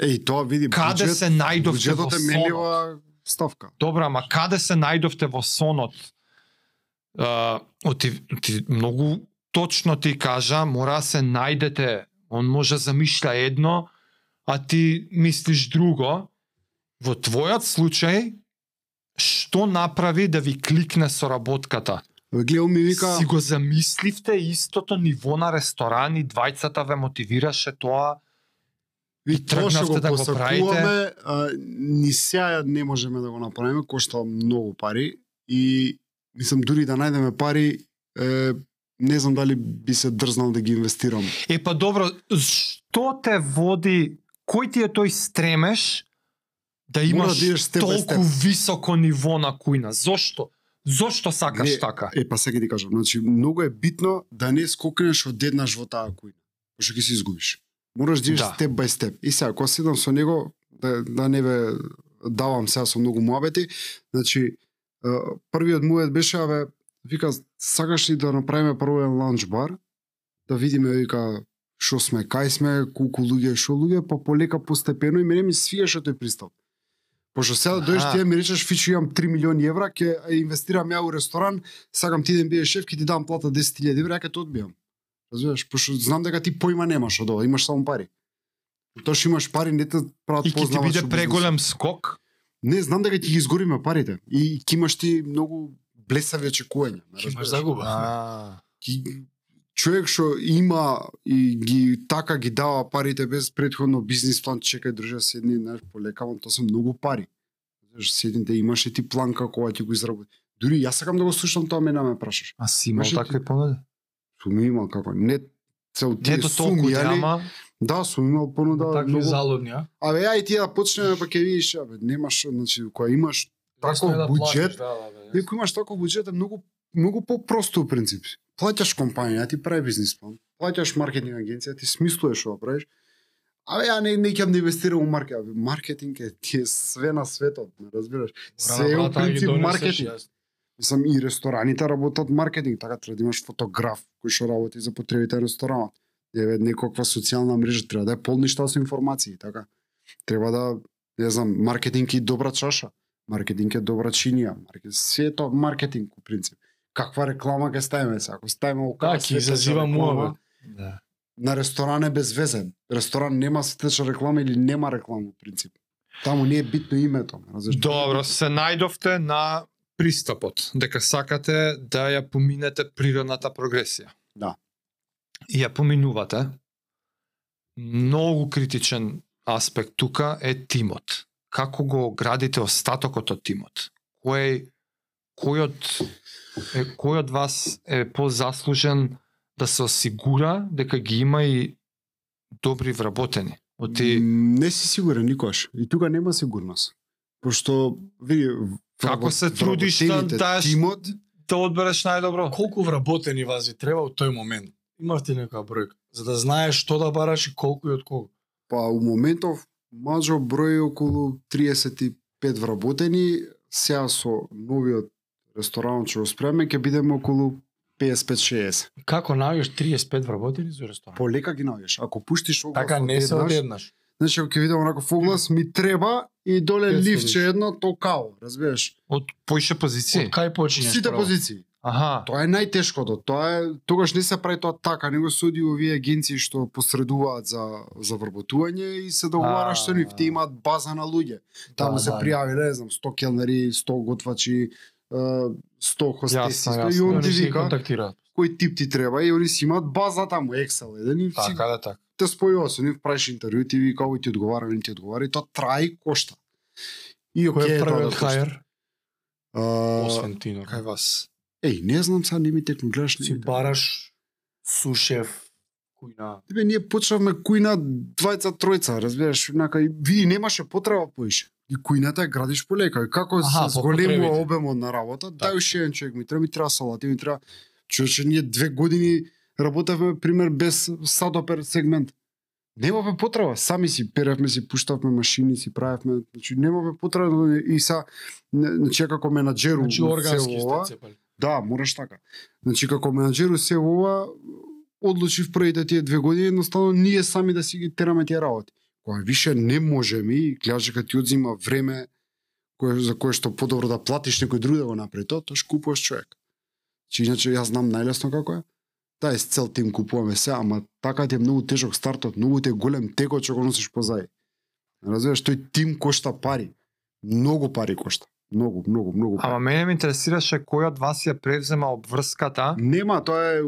Еј, тоа види,
Каде
буџет,
се најдовте во
буџетот е
сонот?
менлива ставка.
Добра, ама каде се најдовте во сонот? А, оти, ти многу точно ти кажа, мора да се најдете. Он може да замишля едно, а ти мислиш друго. Во твојот случај, што направи да ви кликне соработката?
Глео ми вика,
Вика... Си го замисливте истото ниво на ресторани, двајцата ве мотивираше тоа.
Ви
И
тоа што го
тргнавте да го
посакуваме, а, ни сега не можеме да го направиме, кошта многу пари и мислам дури да најдеме пари, е, не знам дали би се дрзнал да ги инвестирам.
Е па добро, што те води, кој ти е тој стремеш да
Мора
имаш
да идеш степ бај степ.
толку високо ниво на кујна? Зошто? Зошто сакаш
Не.
така?
Е па сега ти кажам, значи многу е битно да не скокнеш одеднаш во таа кујна, пошто ќе се изгубиш. Мораш да идеш
Да.
степ бај степ. И сега кога седам со него да, да не ве давам сега со многу муабети, значи е, првиот муабет беше абе вика сакаш ли да направиме прво еден лаунч бар да видиме вика што сме, кај сме, колку луѓе, што луѓе, па полека постепено и мене ми свиеше тој пристап. Пошто сега да дојдеш
Аха.
ти да ми речеш фичо имам 3 милиони евра, ќе инвестирам ја у ресторан, сакам ти да ми бидеш шеф, ќе ти дам плата 10.000 евра, ќе те одбијам. Разбираш, пошто знам дека ти поима немаш од ова, имаш само пари. Тоа што имаш пари не те прават
И ќе ти
познавач
биде
во бизнисот.
преголем скок,
Не, знам дека ќе ги изгориме парите. И ќе имаш ти многу блесави очекувања. ме
Имаш
разбираш?
загуба.
Ќе- Човек што има и ги така ги дава парите без предходно бизнис план, чекај држа седни, знаеш, полекавам, тоа се многу пари. Знаеш, седни да имаш и ти план како ќе го изработи. Дури јас сакам да го слушам тоа, мене ме прашаш.
А си имал
Може
такви понуди?
Суми имал како, не цел тие
Ето толку
суми, али...
драма,
Да, сум имал понуда.
Такви
многу-
залудни, а?
Абе, ај ти да почнеме, па ќе видиш, абе, немаш, значи, кога имаш таков
да
буџет, И ако имаш таков буџет е многу многу по-просто у принцип. Плаќаш компанија, ти прави бизнис план, плаќаш маркетинг агенција, ти смислуваш што да правиш. Абе ја не не ќе инвестирам у маркетинг, Абе, маркетинг е ти е све на светот, не разбираш. Се е у принцип маркетинг. Мислам и рестораните работат маркетинг, така треба да имаш фотограф кој што работи за потребите на ресторанот. Еве некаква социјална мрежа треба да е полништа со информации, така. Треба да не знам, маркетинг е добра чаша, маркетинг е добра чинија, маркетинг се е тоа маркетинг во принцип. Каква реклама ќе ставиме се? Ако ставиме
Да,
околу
ќе изазива муабет.
Да.
на ресторан е без везе. Ресторан нема сетеча реклама или нема реклама во принцип. Таму не е битно името, разбираш?
Да,
Добро, се најдовте на пристапот, дека сакате да ја поминете природната прогресија.
Да.
И ја поминувате. Многу критичен аспект тука е тимот. Како го градите остатокот од тимот? Кој кој од е, кој од вас е позаслужен да се осигура дека ги има и добри вработени? Од Па
М,
ти
Не си сигурен никош. И тука нема сигурност. Пошто види в-
Како се
вработ-
трудиш да
вработените
даш-
тимот,
да одбереш најдобро.
Колку вработени вас ви треба у тој момент? Имавте некоја бројка за да знаеш што да бараш и колку и од колку.
па у моментов мажо број околу 35 вработени, сега со новиот ресторан што го спреме ќе бидеме околу 55-60.
Како наоѓаш 35 вработени за ресторан?
Полека ги наоѓаш. Ако пуштиш оглас,
Така не се одеднаш.
Значи ако ќе видам онаков оглас, ми треба и доле
Пет
ливче
седиш.
едно токао, разбираш?
Од поише позиции?
Од кај почињеш?
Сите
прво?
позиции.
Аха.
Тоа е најтешкото. Тоа е тогаш не се прави тоа така, него се оди овие агенции што посредуваат за за вработување и се
А.
договараш со нив, те имаат база на луѓе. Таму
Да,
се
да.
пријавиле, не знам, 100 келнери, 100 готвачи, е, 100 хостеси,
Јасно,
сто- и
јасно.
он
Они
ти
се
вика
контактираат.
кој тип ти треба и они си имаат база таму Excel еден и си
Така да така.
те спојува со нив, правиш интервју, ти вика овој ти одговара, овој не ти одговара и тоа трае и кошта. И
Кој
окей,
е
тоа
првиот
да кошта.
хајер?
А,
Освен Тинор.
Кај вас.
Еј, не знам сега, не ми текну, гледаш, не
Си
ми текну.
бараш сушеф, кујна.
Тебе ние почнавме кујна двајца тројца, разбираш, унака и ви немаше потреба поише. И кујната ја градиш полека, и како
Аха,
се
по Така.
зголемува
потребите.
обемот на работа, дај уште еден човек ми треба, ми треба салата, ми треба човече ние две години работевме пример без садопер сегмент. Немавме потреба, сами си перевме, си пуштавме машини, си правевме, значи немавме потреба и са не- значи ја како менаџеру
Значи
у
органски
село,
сте цепали.
Да, мораш така. Значи како менаџер у се ова одлучив првите тие две години едноставно ние сами да си ги тераме тие работи. Кога више не можеме и гледаш дека ти одзима време кое за кое што подобро да платиш некој друг да го направи тоа, тош купуваш човек. Чи иначе јас знам најлесно како е. Да, с цел тим купуваме се, ама така ти е многу тежок стартот, многу ти е голем текот што го носиш позади. Разбираш, тој тим кошта пари. Многу пари кошта. Многу, многу, многу. Пари.
Ама мене ме интересираше кој од вас ја превзема обврската
Нема, тоа е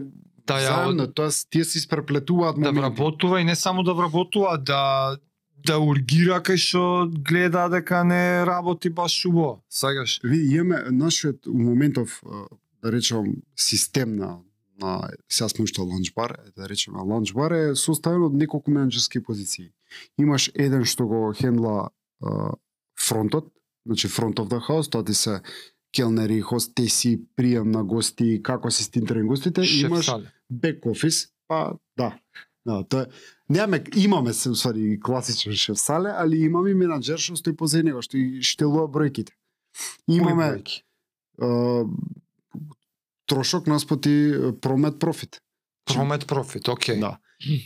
да ја
заедно,
од,
тоа с- тие се испреплетуваат
да
моменти.
вработува и не само да вработува, да да ургира кај што гледа дека не работи баш убаво. Сагаш.
Види, имаме нашиот у моментов а, да речем систем на на сега сме уште ланч бар, е, да речеме ланч бар е составен од неколку менеджерски позиции. Имаш еден што го хендла а, фронтот, значи фронт of the house, тоа ти се келнери, хостеси, прием на гости, како си стинтерен гостите, и имаш
Шеф-сале.
бек офис, па да. Да, тоа е. Немаме, имаме се усвари и класичен шеф сале, али имаме и менаџер што стои позади него, што и штелува бројките.
Кои
Имаме
бројки?
а, трошок наспоти е, промет профит.
Промет профит, окей.
Да.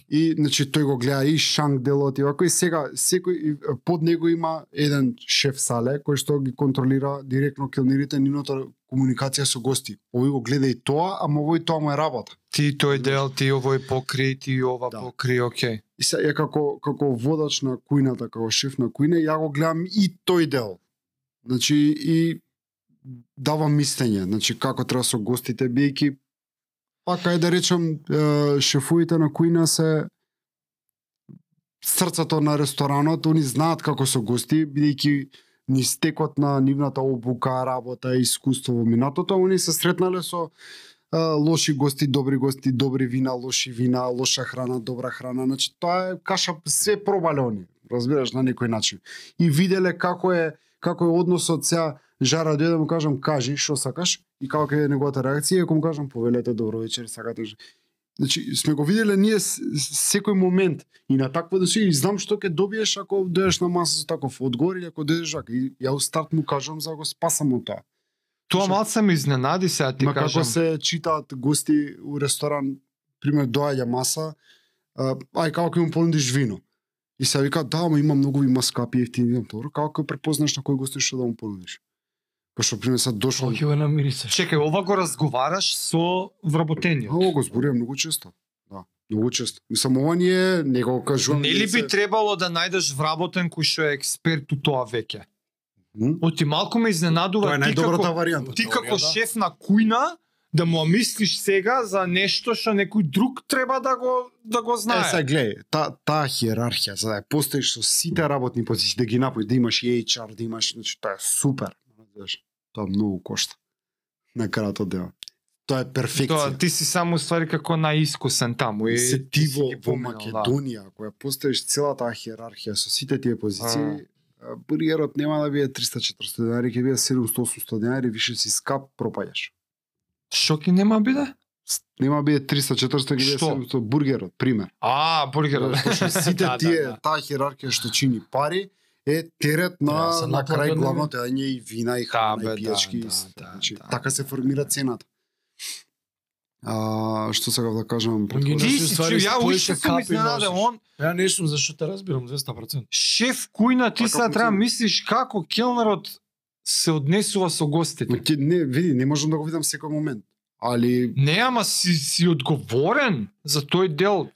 И значи тој го гледа и шанг делот и вако и сега секој и, е, под него има еден шеф сале кој што ги контролира директно келнирите, нивното комуникација со гости. Овој го гледа и тоа, ама овој тоа му е работа.
Ти тој дел, ти овој покри, ти ова
Да.
покри, окей.
И се ја како како водач на кујната, како шеф на кујна, ја го гледам и тој дел. Значи и давам мислење, значи како треба со гостите бидејќи пак ајде да речам е, шефуите на кујна се срцето на ресторанот, они знаат како со гости, бидејќи ни стекот на нивната обука, работа, искуство во минатото, они се сретнале со а, лоши гости, добри гости, добри вина, лоши вина, лоша храна, добра храна. Значи тоа е каша се пробале они, разбираш на некој начин. И виделе како е како е односот сега жара дојде да му кажам кажи што сакаш и каква е неговата реакција, и ако му кажам повелете добро вечер, сакате ж-». Значи, сме го виделе ние с- с- секој момент и на такво да си и знам што ќе добиеш ако дојдеш на маса со таков одговор или ако дојдеш вака. И ја у старт му кажам за да го спасам од тоа.
Тоа
Слушай.
малце ме изненади сега ти
Ма
кажам.
како се читаат гости у ресторан, пример доаѓа маса, а, ај како ќе му понудиш вино. И се вика, да, ама има многу има скапи ефтини вино. Добро, како ќе препознаеш на кој гостин што да му понудиш? Кај што пример сад дошол.
Ќе го намирисаш.
Чекај, ова го разговараш со вработениот.
Ало го зборувам многу често. Да, многу често. Мислам ова ни е, не го кажувам.
Нели
ние се-
би требало да најдеш вработен кој што е експерт у тоа веќе?
М?
Оти малку ме изненадува
Тоа е
ти како
најдобрата варијанта.
ти како
Теорија, да.
шеф на кујна да му мислиш сега за нешто што некој друг треба да го да го
Е,
знае.
сега гледај, та, таа хиерархија, за да ја постоиш со сите работни позиции, да ги напоиш, да имаш и HR, да имаш, значи, тоа е супер. Знаеш, тоа многу кошта. На крајот од денот. Тоа е
Тоа,
перфекција.
ти си само ствари како наискусен таму и
се ти во,
си ги
во
поминал, да.
Македонија, ако ја постоиш цела таа хиерархија со сите тие позиции, а, бургерот нема да биде 300-400 денари, ќе биде 700-800 денари, више си скап, пропаѓаш.
Што ќе нема биде?
С- Нема да биде 300-400, ќе биде
Што?
700 бургерот, пример.
А, бургерот.
Зашто сите
Да, да,
тие
да.
таа хиерархија што чини пари е терет
Треба
на
да се
на
наплати
крај
од него.
главното ење и вина и
Да,
храна
бе,
и пијачки.
да,
и се.
да,
Значи,
да,
така се
да,
формира цената. А, што сакав да кажам?
ги
претходно?
носи
Ти
Значи,
си
ствари,
чу, ја
спои
уште
се
сум
капи
изненаден,
носиш.
он
Ја не сум зашто те разбирам 200%.
шеф кујна ти
А
сега
Па како
треба
ти?
мислиш како келнерот се однесува со
Ма
гостите.
ќе- не, види, не можам да го видам секој момент. Али
Не, ама си, си одговорен за тој дел.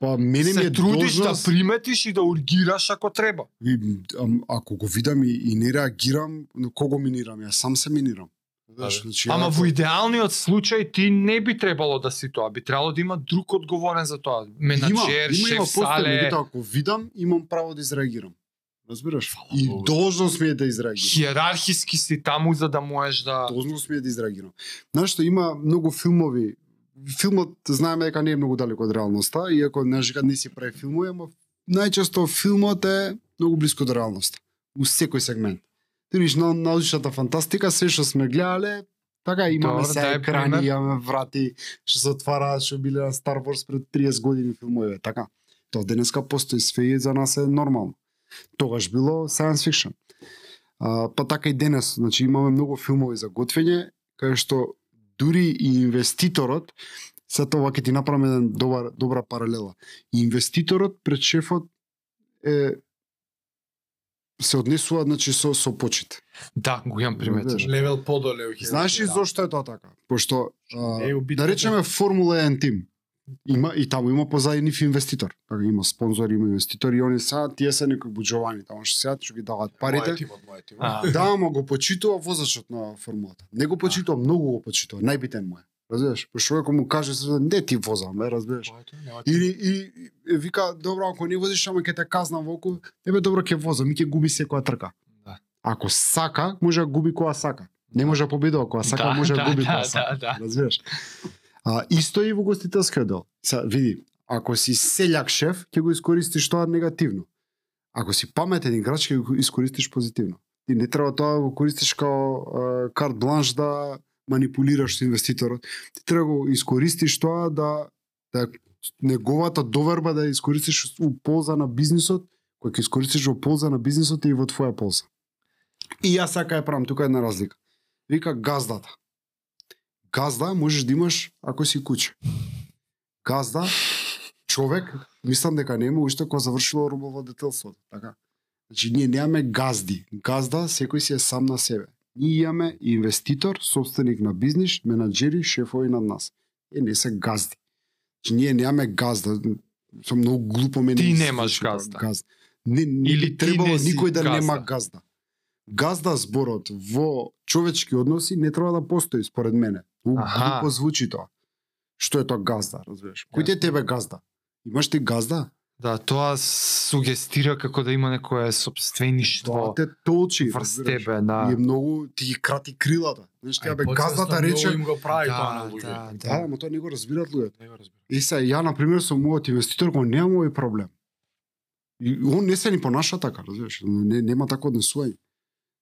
па мене ми
се
е
трудиш
должност,
да приметиш и да ургираш ако треба.
Ви- ам, ако го видам и, и не реагирам, на кого минирам? Јас сам се минирам. Знаеш, значи,
Ама
ако-
во идеалниот случај ти не би требало да си тоа, би требало да има друг одговорен за тоа. Менаџер, шеф
постојано,
сале,
меѓутоа, ако видам, имам право да изреагирам. Разбираш?
Фала
И
Богу.
должност ми е да изреагирам.
хиерархиски си таму за да можеш да
Должност ми е да изреагирам. Знаеш што има многу филмови Филмот знаеме дека не е многу далеко од реалноста, иако не кажа не си прави филмови, ама најчесто филмот е многу близко до реалноста у секој сегмент. Ти видиш на научната фантастика, се што сме гледале, така имаме
Добро,
се
дај
екрани,
пример.
имаме врати, што се отвара, што биле на Star Wars пред 30 години филмове, така. Тоа денеска постои све и за нас е нормално. Тогаш било science fiction. А, па така и денес, значи имаме многу филмови за готвење, кај што дури и инвеститорот, се тоа ќе ти направам еден добар, добра паралела. Инвеститорот пред шефот е се однесува значи со со почит.
да го имам
Разбираш?
приметен.
Левел подоле.
Знаеш
да.
ли зошто е тоа така? Пошто а,
Е, убитно,
да речеме Формула 1 тим. Има и таму има позајнив инвеститор. Така има спонзори, има инвеститори и они сега тие се некои буџовани таму што сега што ги даваат парите.
Мојот тимот, мојот тимот.
А,
Да, ама го почитува возачот на формулата. Не го почитува, многу го почитува, најбитен му е. Разбираш? Пошто ако му каже се не ти возам, бе, разбираш?
Мојот тимот, нема
Или и, и вика добро ако не возиш ама ќе те казна во око, ебе добро ќе возам и ќе губи секоја трка.
Да.
Ако сака, може да губи која сака. Не може да победува која сака,
да,
може да,
да,
губи која
да,
сака.
да, да.
Разбираш? А, исто и во гостителскиот дел. Са, види, ако си селјак шеф, ќе го искористиш тоа негативно. Ако си паметен играч, ќе го искористиш позитивно. Ти не треба тоа да го користиш као е, карт бланш да манипулираш со инвеститорот. Ти треба да го искористиш тоа да, да неговата доверба да ја искористиш у полза на бизнисот, кој ќе искористиш во полза на бизнисот и во твоја полза. И јас сака ја правам тука една разлика. Вика газдата. Газда можеш да имаш ако си куче. Газда, човек, мислам дека нема уште кога завршило рубовладетелството, така? Значи ние немаме газди. Газда секој си е сам на себе. Ние имаме инвеститор, собственик на бизнес, менаджери, шефови над нас. Е, не се газди. Значи, ние нямаме газда. Сам многу глупо мене.
Ти
ми се
немаш
случи тоа,
газда.
газда. Не,
Или
не Или
ти
би требало
не си
никој да
газда.
нема газда. Газда зборот во човечки односи не треба да постои, според мене. У-
Аха.
Глупо звучи тоа. Што е тоа газда, разбираш? Кој ти е тебе газда? Имаш ти газда?
Да, тоа сугестира како да има некое
Тоа
собствеништво
те толчи,
врз
разбираш?
тебе, да.
И е многу ти ги крати крилата. Знаеш, ти бе газдата рече,
им го прави тоа на
Да,
луѓе.
да,
Да,
да.
ама тоа не го разбираат луѓето.
Не го разбирам.
И се, ја, на пример, со мојот инвеститор го немам овој проблем. И он не се ни понаша така, разбираш? Не, нема тако однесување.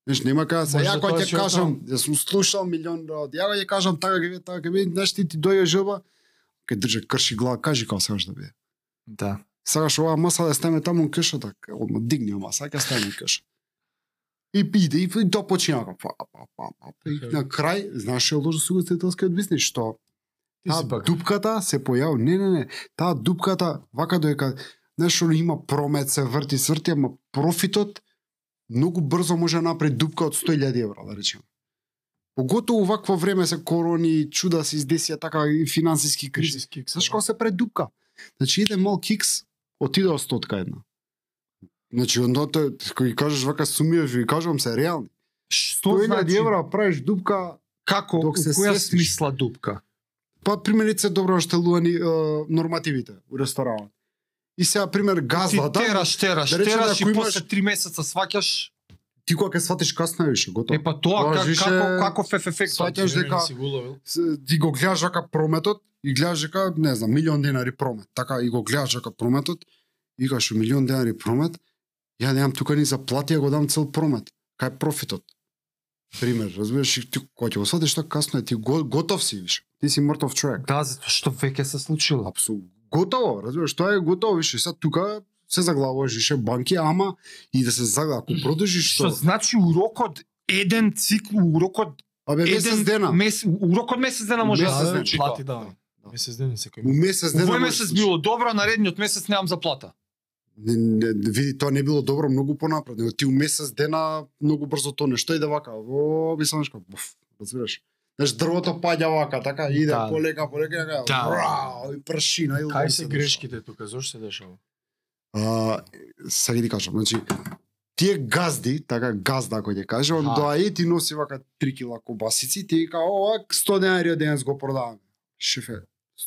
Знаеш, нема кај да се,
Може
ја
да
кој
тоа
ќе
си
кажам, ја сум слушал милион работи, ја кој ќе кажам така, ќе биде, така, ќе биде, знаеш, ти ти дојде жълба, ке држе крши глава, кажи како сакаш да биде.
Да.
Сакаш оваа маса да стане таму на кешата, ке- одма дигни ја маса, ќе стане на кеша. И иде, и, и тоа почина. па, па, па, па, па. И на крај, знаеш, ја лошо сугестителскиот бизнес, што
Ти
Таа
си пак.
дупката се појави. Не, не, не. Таа дупката, вака доека, знаеш, оно има промет, се врти, сврти, ама профитот многу брзо може да направи дупка од 100.000 евра, да речем. Поготово вакво време се корони, чуда се издесија така и финансиски кризи.
Кризис кик.
Знаеш кога се предупка? Значи иде мал кикс, отиде од стотка една. Значи, ондо те, кој кажеш вака сумијаш, ви кажувам се, реални.
Што
100.000
значи,
евра правиш дупка,
како, у
док се
која
сетиш.
смисла дупка?
Па примерице добро наштелувани е, нормативите у ресторанот. И сега пример
Ти
газдата, ти,
тераш, тераш,
да речем,
тераш и
ако имаш-
после три месеца сваќаш,
ти кога ќе сватиш касно е више, готово.
е па тоа
Тоа
ка-
жише-
како каков еф ефект
Сваќаш
доаѓа?
дека-
Си го уловил.
С- Ти го гледаш вака прометот и гледаш дека не знам милион денари промет, така и го гледаш вака прометот и кажеш милион денари промет, ја немам тука ни за плати, ја го дам цел промет. Кај е профитот? Пример, разбираш, и ти кога ќе го сватиш така касно е, ти го, готов си више. Ти си мртов човек.
Да, затоа што веќе се случило.
Апсу, готово, разбираш, тоа е готово више. Сега тука се заглавуваш више банки, ама и да се заглава, ако продолжиш
Што
што,
значи урокот еден цикл, урокот
абе месец
еден
дена,
мес, урокот месец дена може да се
Месец ден.
случи.
Плати,
тоа.
да. Месец ден секој
у месец дена.
Овој
може да
месец
се случи.
било добро, наредниот месец немам заплата.
Не, не, види, тоа не било добро многу понапред, него ти у месец дена многу брзо тонеш. Што иде вака? Во бисаншко. Буф, разбираш? Знаеш, дрвото паѓа вака, така иде
Да.
полека, полека, така,
Да.
врау, и пршина и лосе
Кај се
дешава.
грешките тука, зошто се дешава?
А, сега ги ти кажам, значи, тие газди, така газда кој ќе каже, он
Аха.
доаѓа и ти носи вака 3 кила кубасици, ти вика, ова 100 денари денес го продавам. Шефе,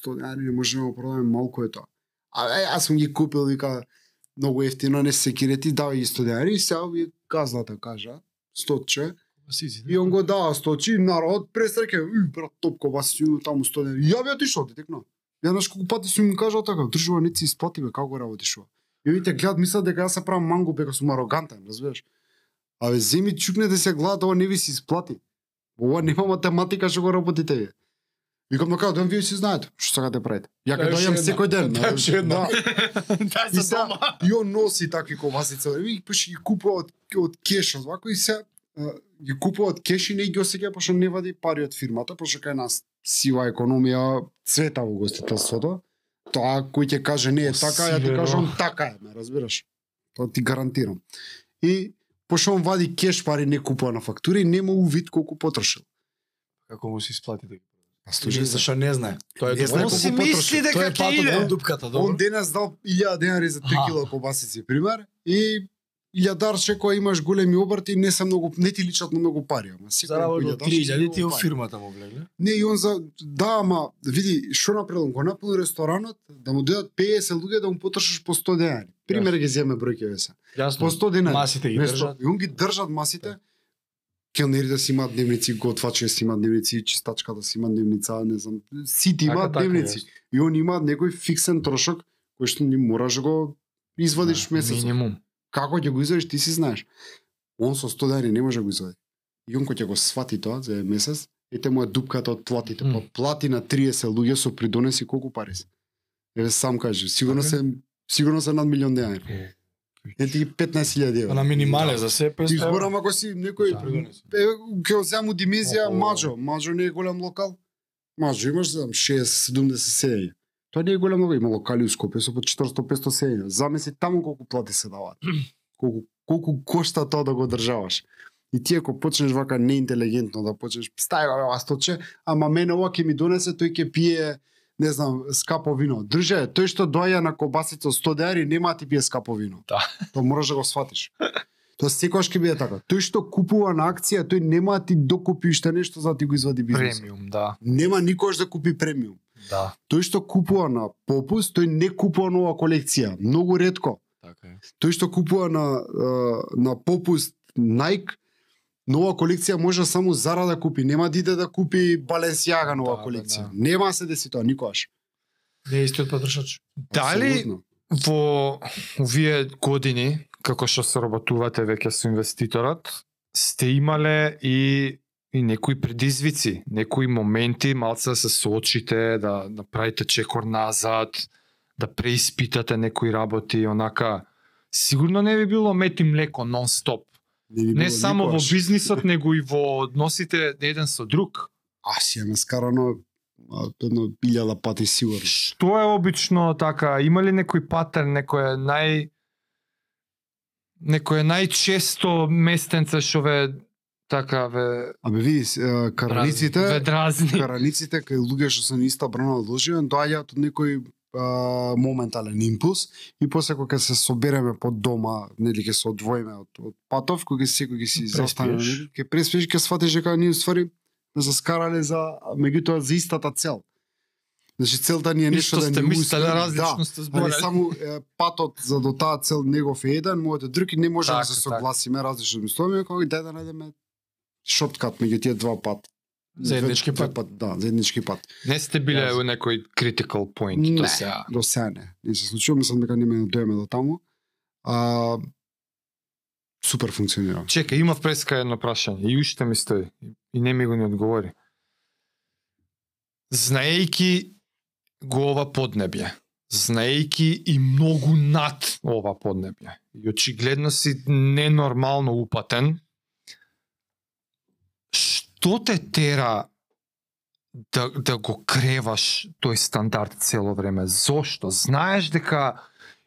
100 денари не можеме да го продаваме, малку е тоа. А е, јас сум ги купил, вика, многу ефтино, не се кирете, давај ги 100 денари, и сега ви газдата кажа, 100 че,
Сизи.
и он го дава 100 че, и народ пресреке, и брат, топ кубаси, таму 100 денари. Ја би отишол, детекно. Ја знаеш колку пати сум им кажал така, држава не ти исплати бе, како го работиш ова. И овите гледат мислат дека јас се правам мангу дека сум арогантен, разбираш? Абе земи чукнете се гледат, ова не ви се исплати. Ова нема математика што го работите вие. Викам на кажа, вие си знаете што сакате правите. Ја
Дај
кај
уште
дојам
една,
секој ден.
дај
знаеш,
уште една.
да.
Да,
И се и он носи такви ковасици, и пеше ги купува од од кеш, од вако и се а, ги купува од кеш и не ги осеќа пошто не вади пари од фирмата, пошто кај нас сива економија цвета во гостителството. Тоа кој ќе каже не е така, ја ти
Осивено.
кажам така е, ме разбираш. Тоа ти гарантирам. И пошто он вади кеш пари не купува на фактури, нема увид колку потрошил. Па,
Како му се исплати да ги
А слушај се.
Зашто не знае. Тоа е
Не знае
тоа.
Он си
колку
мисли
Тоа
дека
е
ќе
платот
иде.
од дупката,
Он
добро?
денес дал 1000 денари за 3
Аха.
кило кобасици, пример, и илјадарче која имаш големи обрти, не се многу, не ти личат на многу пари, ама секој
Заработил
илјадарче си
3000 ти
многу
во
пари.
фирмата му влегле.
Не, и он за да, ама види, што направил, го напуни ресторанот, да му дојдат 50 луѓе да му потрошиш по 100 денари. Пример ги земе бројке се. По
Јасно.
100 денари.
Масите ги
Нешто.
држат. Да.
И он ги држат масите. Келнерите си имаат дневници, готвачите си имаат дневници, чистачката си има дневница, не знам, сите
Така,
имаат
така,
дневници.
јасно.
И он има некој фиксен трошок кој што не мораш да го извадиш
Да,
месецот.
Минимум.
Како ќе го извадиш ти си знаеш. Он со 100 денари не може да го извади. И он кој ќе го свати тоа за еден месец, ете му е дупката од платите.
Мм.
Па плати на 30 луѓе со придонеси колку пари се. Еве сам кажи, сигурно
Така
се сигурно се над милион денари.
Е. Па
Ете ги 15.000 евра.
На минимале за се
Ти
500 евра.
зборам ако си некој
Да, придонеси.
е, ќе го земам у димезија
О, о.
Маджо. Маджо не е голем локал. Маджо имаш за 60-70 сеја. Тоа не е голем локал. Има локали у Скопје со по 400-500 сеја. Замисли таму колку плати се даваат. Колку, колку кошта тоа да го одржаваш. И ти ако почнеш вака неинтелигентно да почнеш, стај бе, ова сточе, ама мене ова ќе ми донесе, тој ќе пие, не знам, скапо вино. Друже, тој што доаѓа на кобасица од 100 деари, нема да ти пие скапо вино.
Да.
Тоа мораш да го сватиш. Тоа секогаш ќе биде така. Тој што купува на акција, тој нема да ти докупи уште нешто за да ти го извади бизнес.
Премиум, да,
Нема никогаш да купи премиум
да.
тој што купува на попуст, тој не купува нова колекција, многу ретко.
Така е.
Тој што купува на а, на попуст Nike, нова колекција може само Zara да купи, нема да иде да купи Balenciaga нова
Па,
Да,
да,
да,
колекција.
да.
Нема да се деси тоа никогаш.
Не е истиот потрошач.
Дали
Абсолютно.
во овие години, како што се работувате веќе со инвеститорот, сте имале и и некои предизвици, некои моменти, малце да се соочите, да направите чекор назад, да преиспитате некои работи, онака. Сигурно не би било мет и млеко нон-стоп.
не, би било
Не само во
никогаш.
бизнисот, него и во односите еден со друг.
А си е наскарано а, едно илјада пати сигурно.
Што е обично така? Има ли некој патерн, некој нај некој најчесто местенце што ве така ве
Абе види, с- а,
ве
караниците,
дразни.
караниците кај луѓе што се на иста брана одложивен, доаѓаат од некој а, моментален импулс и после кога се собереме под дома, нели ќе се одвоиме од, од патов, кога секој ќе си
Преспиеш.
застане, нели, ќе преспиеш, ќе сфатиш дека ние ствари ме заскарале за меѓутоа за истата цел. Значи целта ни е нешто
Ништо
да
сте
ни
мислеле
успее,
различно сте
Да, али
зборали.
само е, патот за до таа цел негов е еден, мојот е друг и не можеме да
Така,
се
така.
согласиме различно мислуваме, кога дај да најдеме шорткат меѓу тие два пат.
Заеднички
Две- две
пат.
Да, заеднички пат.
Не сте биле у некој critical point
Не.
до сега.
До сега не. Не се случува, мислам дека нема да доеме до таму. А, супер функционира.
Чека, имав преска едно прашање и уште ми стои и не ми го ни одговори. Знаејки го ова поднебје, знаејки и многу над ова поднебје, и очигледно си ненормално упатен, што те тера да, да го креваш тој стандард цело време? Зошто? Знаеш дека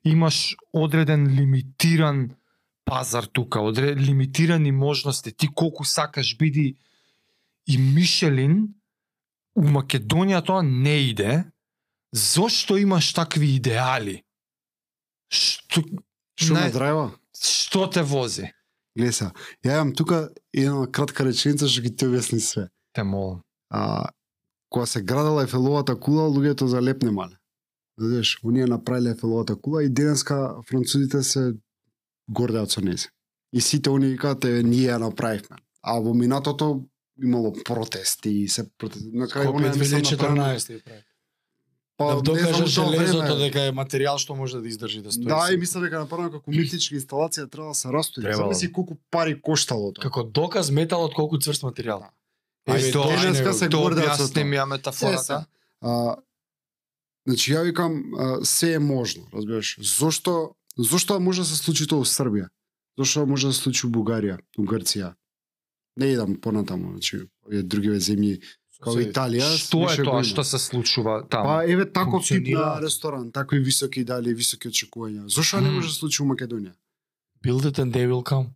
имаш одреден лимитиран пазар тука, одре, лимитирани можности, ти колку сакаш биди и Мишелин у Македонија тоа не иде. Зошто имаш такви идеали? Што,
Што
Не.
ме драйва?
што те вози?
Леса, ја имам тука една кратка реченица што ќе ти објасни све.
Те молам.
а, кога се градела Ефеловата кула, луѓето залепнемале. Знаеш, оние направиле Ефеловата кула и денеска французите се гордеат со нејзе. И сите они викаат, е, ние ја направивме. А во минатото имало протести и се протести. На крај
Копе
оние не
2014 ја
се Па, направено.
прави. Да докажа железото дека е материјал што може да издржи да стои.
Да,
се.
и мислам дека направено како митичка инсталација треба да се растои.
Требало.
Замисли колку пари коштало тоа.
како доказ металот колку цврст материјал.
Ај,
Еве,
тоа, ај,
Да. денеска
него,
се
тоа
гордеат со
објасни
тоа.
ми ја
Се, се.
метафората.
А, значи, ја викам, а, се е можно, разбираш. Зошто, зошто може да се случи тоа у Србија? Зошто може да се случи у Бугарија, у Грција? Не идам понатаму, значи, овие другиве земји, како
Соседи.
Италија.
Што е
беше
тоа
го има.
што се случува таму?
Па, еве, таков тип
функционира.
на ресторан, такви високи дали, високи очекувања. Зошто не
Мм.
може да се случи у Македонија?
Build it and they will come.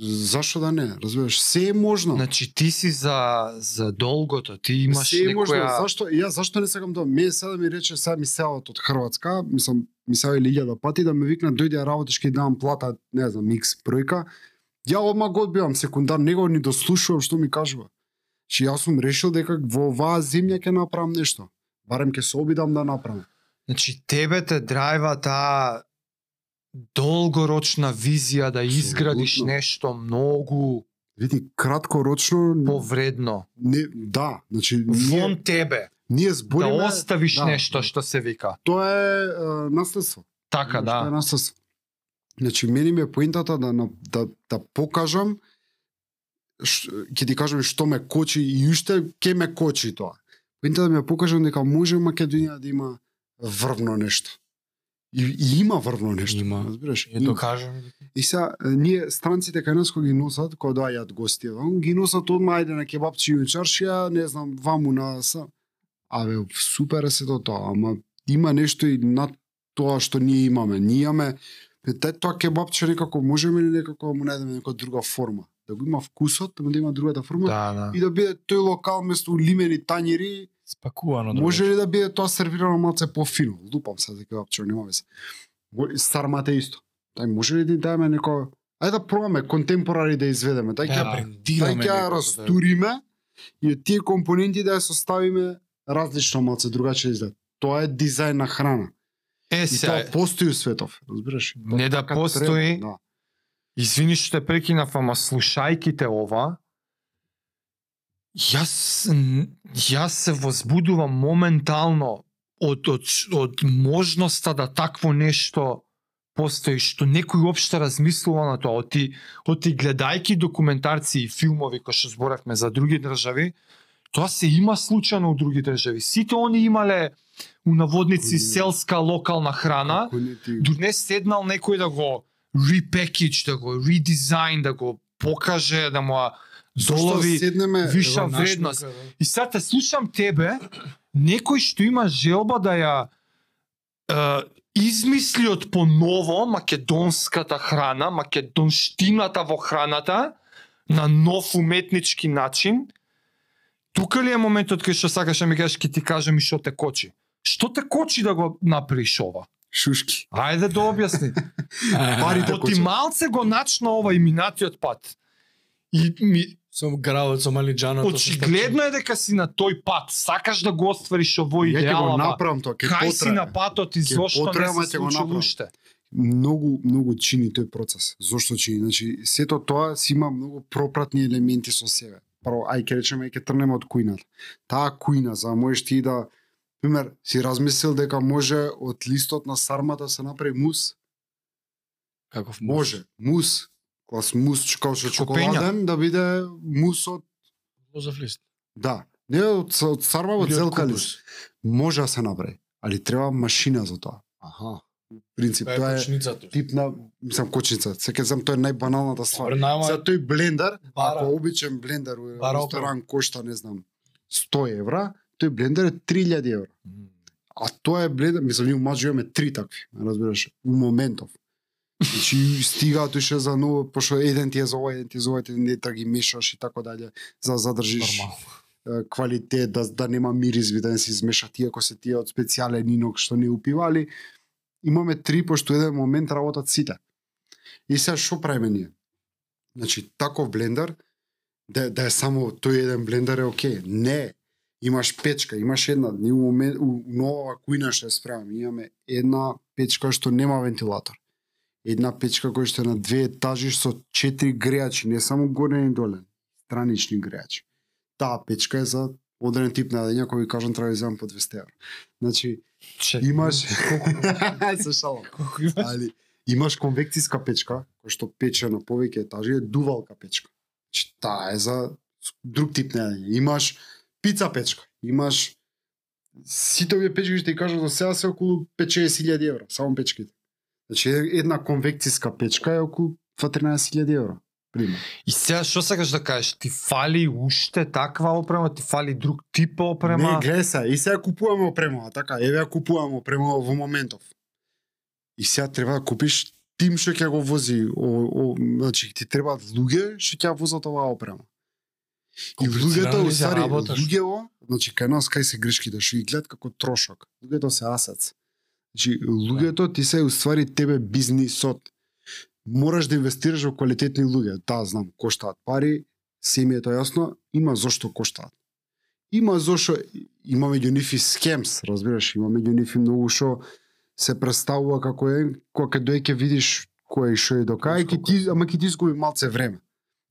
Зашо да не, разбираш? Се е можно.
Значи ти си за за долгото, ти имаш
се е можно,
некоја
зашто ја зашто не сакам да ме сега да ми рече сега ми селат од Хрватска, мислам ми се или илјада пати да ме викна дојде работиш ќе дам плата, не знам, X бројка. Ја одма го одбивам секундар, него ни дослушувам што ми кажува. Чи јас сум решил дека во оваа земја ќе направам нешто. Барем ќе се обидам да направам.
Значи тебе те драйва таа долгорочна визија да изградиш
Апсолутно.
нешто многу
Види, краткорочно
повредно
не, да, значи ние,
вон тебе,
ние
да
збориме
оставиш
да.
нешто што се вика.
тоа е, е наследство.
Така
Што е
да.
наследство. Значи, мене ми е поентата да, на- да, да покажам, ш- ќе ти кажам што ме кочи и уште ќе ме кочи тоа. Поентата ми е да покажам дека може Македонија да има врвно нешто. И, и има врвно нешто.
Има.
Разбираш?
Е
Има.
докажам.
И сега, е, ние странците кај нас кога ги носат, кога доаѓаат гости, вон, ги носат одма ајде на кебапчи и чаршија, не знам, ваму на са. Абе, супер е сето тоа, ама има нешто и над тоа што ние имаме. Ние имаме, бе, тај тоа кебапче некако можеме ли некако да му најдеме некоја друга форма. да го има вкусот, ама да има другата форма
Да, да.
и да биде тој локал место у лимени тањери,
Па,
Спакувано.
може ли да биде тоа сервирано малце пофино? Лупам се за кебапчо, нема веќе. Сармата е исто. Тај може ли да ни дадеме некој Ајде да пробаме контемпорари да изведеме, тај ќе
да,
ја
брендираме
Тај ќе ја
некото,
растуриме и од тие компоненти да ја составиме различно малце другачен изглед. Тоа е дизајн на храна.
Е,
И
сега,
тоа постои у светов, разбираш? Тоа
Не да
така
постои.
треба, Да.
Извини што те прекинав, ама слушајки те ова, јас, н- јас се возбудувам моментално од, од, од можноста да такво нешто постои, што некој уопште размислува на тоа. Оти, оти гледајки документарци и филмови кои што зборавме за други држави, тоа се има случајно у други држави. Сите они имале у наводници
Мгм.
селска локална храна,
Како не ти-
донес седнал некој да го репекидж, да го редизайн, да го покаже, да му ја
Зошто
долови
седнеме,
виш-
Ева, наш
вредност.
тука, да.
И сега те слушам тебе, некој што има желба да ја е, измисли од поново македонската храна, македонштината во храната, на нов уметнички начин, тука ли е моментот кај што сакаш да ми кажеш, ке ти кажам и што те кочи? Што те кочи да го направиш ова?
шушки.
Ајде да објасни.
Парите
Ако ти малце го начна ова и минатиот пат. И ми,
Сум гравот со Малиджаното.
очигледно е дека си на тој пат. Сакаш да го оствариш овој
Ја ќе
идеал,
го
ама
направам тоа, ќе
кај си на
потрае.
патот и
Ќе
зошто
потрае,
не
ама
се
ќе го
случи
направам.
уште?
Многу многу чини тој процес. Зошто чини? Значи сето тоа си има многу пропратни елементи со себе. Прво, ај ќе речеме ќе тргнеме од кујната. Таа кујна за да можеш ти да пример си размислил дека може од листот на сармата се направи мус?
Каков
Може, мус. Клас мус ч- како што
Како пења.
чоколаден да биде мус од
Лозов лист.
да, не од, с- од сарма, од
Или од
зелка
купус.
лист. Може да се направи, али треба машина за тоа.
Аха.
Принцип
Тоа е
тоа е
кочницата.
тип на мислам кочница. Секогаш знам тоа е најбаналната ствар. За
Врнава
тој блендар,
Бара.
ако обичен блендар во
Бара
ресторан кошта, не знам, 100 евра, тој блендар е 3000 евра. А тоа е бледен, мислам, ние у Маџо имаме три такви, разбираш, у моментов. Значи, стигаат уште за ново, пошто еден ти е за ова, еден ти е за ова, еден ти е да ги мешаш и така дале, за да задржиш
нормално.
е, квалитет, да, да нема миризви, да не се измешат, иако се тие од специјален инок што не упивали. Имаме три, пошто еден момент работат сите. И сега што правиме ние? Значи, таков блендер, да, да е само тој еден блендер е окей. Не, имаш печка, имаш една, ние у, момент, у нова кујна што ја справам, имаме една печка што нема вентилатор. Една печка која што е на две етажи со четири грејачи, не само горен и долен, странични грејачи. Таа печка е за одреден тип на јадење, кој ви кажам треба да ја земам по 200 евра. Значи,
Чекай,
имаш... Се шалам.
колку има?
Али имаш конвекцијска печка, која што пече на повеќе етажи, е дувалка печка. Значи, таа е за друг тип на јадење. Имаш пица печка, имаш сите овие печки што ти кажам за сега се околу 50.000 евра, само печките. Значи е- една конвекцијска печка е околу 14.000 евра. Пример.
И сега што сакаш да кажеш? Ти фали уште таква опрема, ти фали друг тип опрема?
Не, гледай се, и сега купуваме опрема, а така, еве ја купуваме опрема во моментов. И сега треба да купиш тим што ќе го вози, о, о, значи ти требаат луѓе што ќе ја возат оваа опрема. И луѓето,
Комплицирано
у
ли се
стари,
работа, што?
луѓево, значи кај нас кај се грешките, што ги гледат како трошок. Луѓето се асец. Значи, луѓето ти се уствари тебе бизнисот. Мораш да инвестираш во квалитетни луѓе. Да, знам, коштаат пари, се ми е тоа јасно, има зошто коштаат. Има зошто, има меѓу нив и скемс, разбираш, има меѓу нив и многу што се представува како е, кога ќе дојде ќе видиш кој е и што е до кај, ќе ти, ама ќе ти изгуби малце време.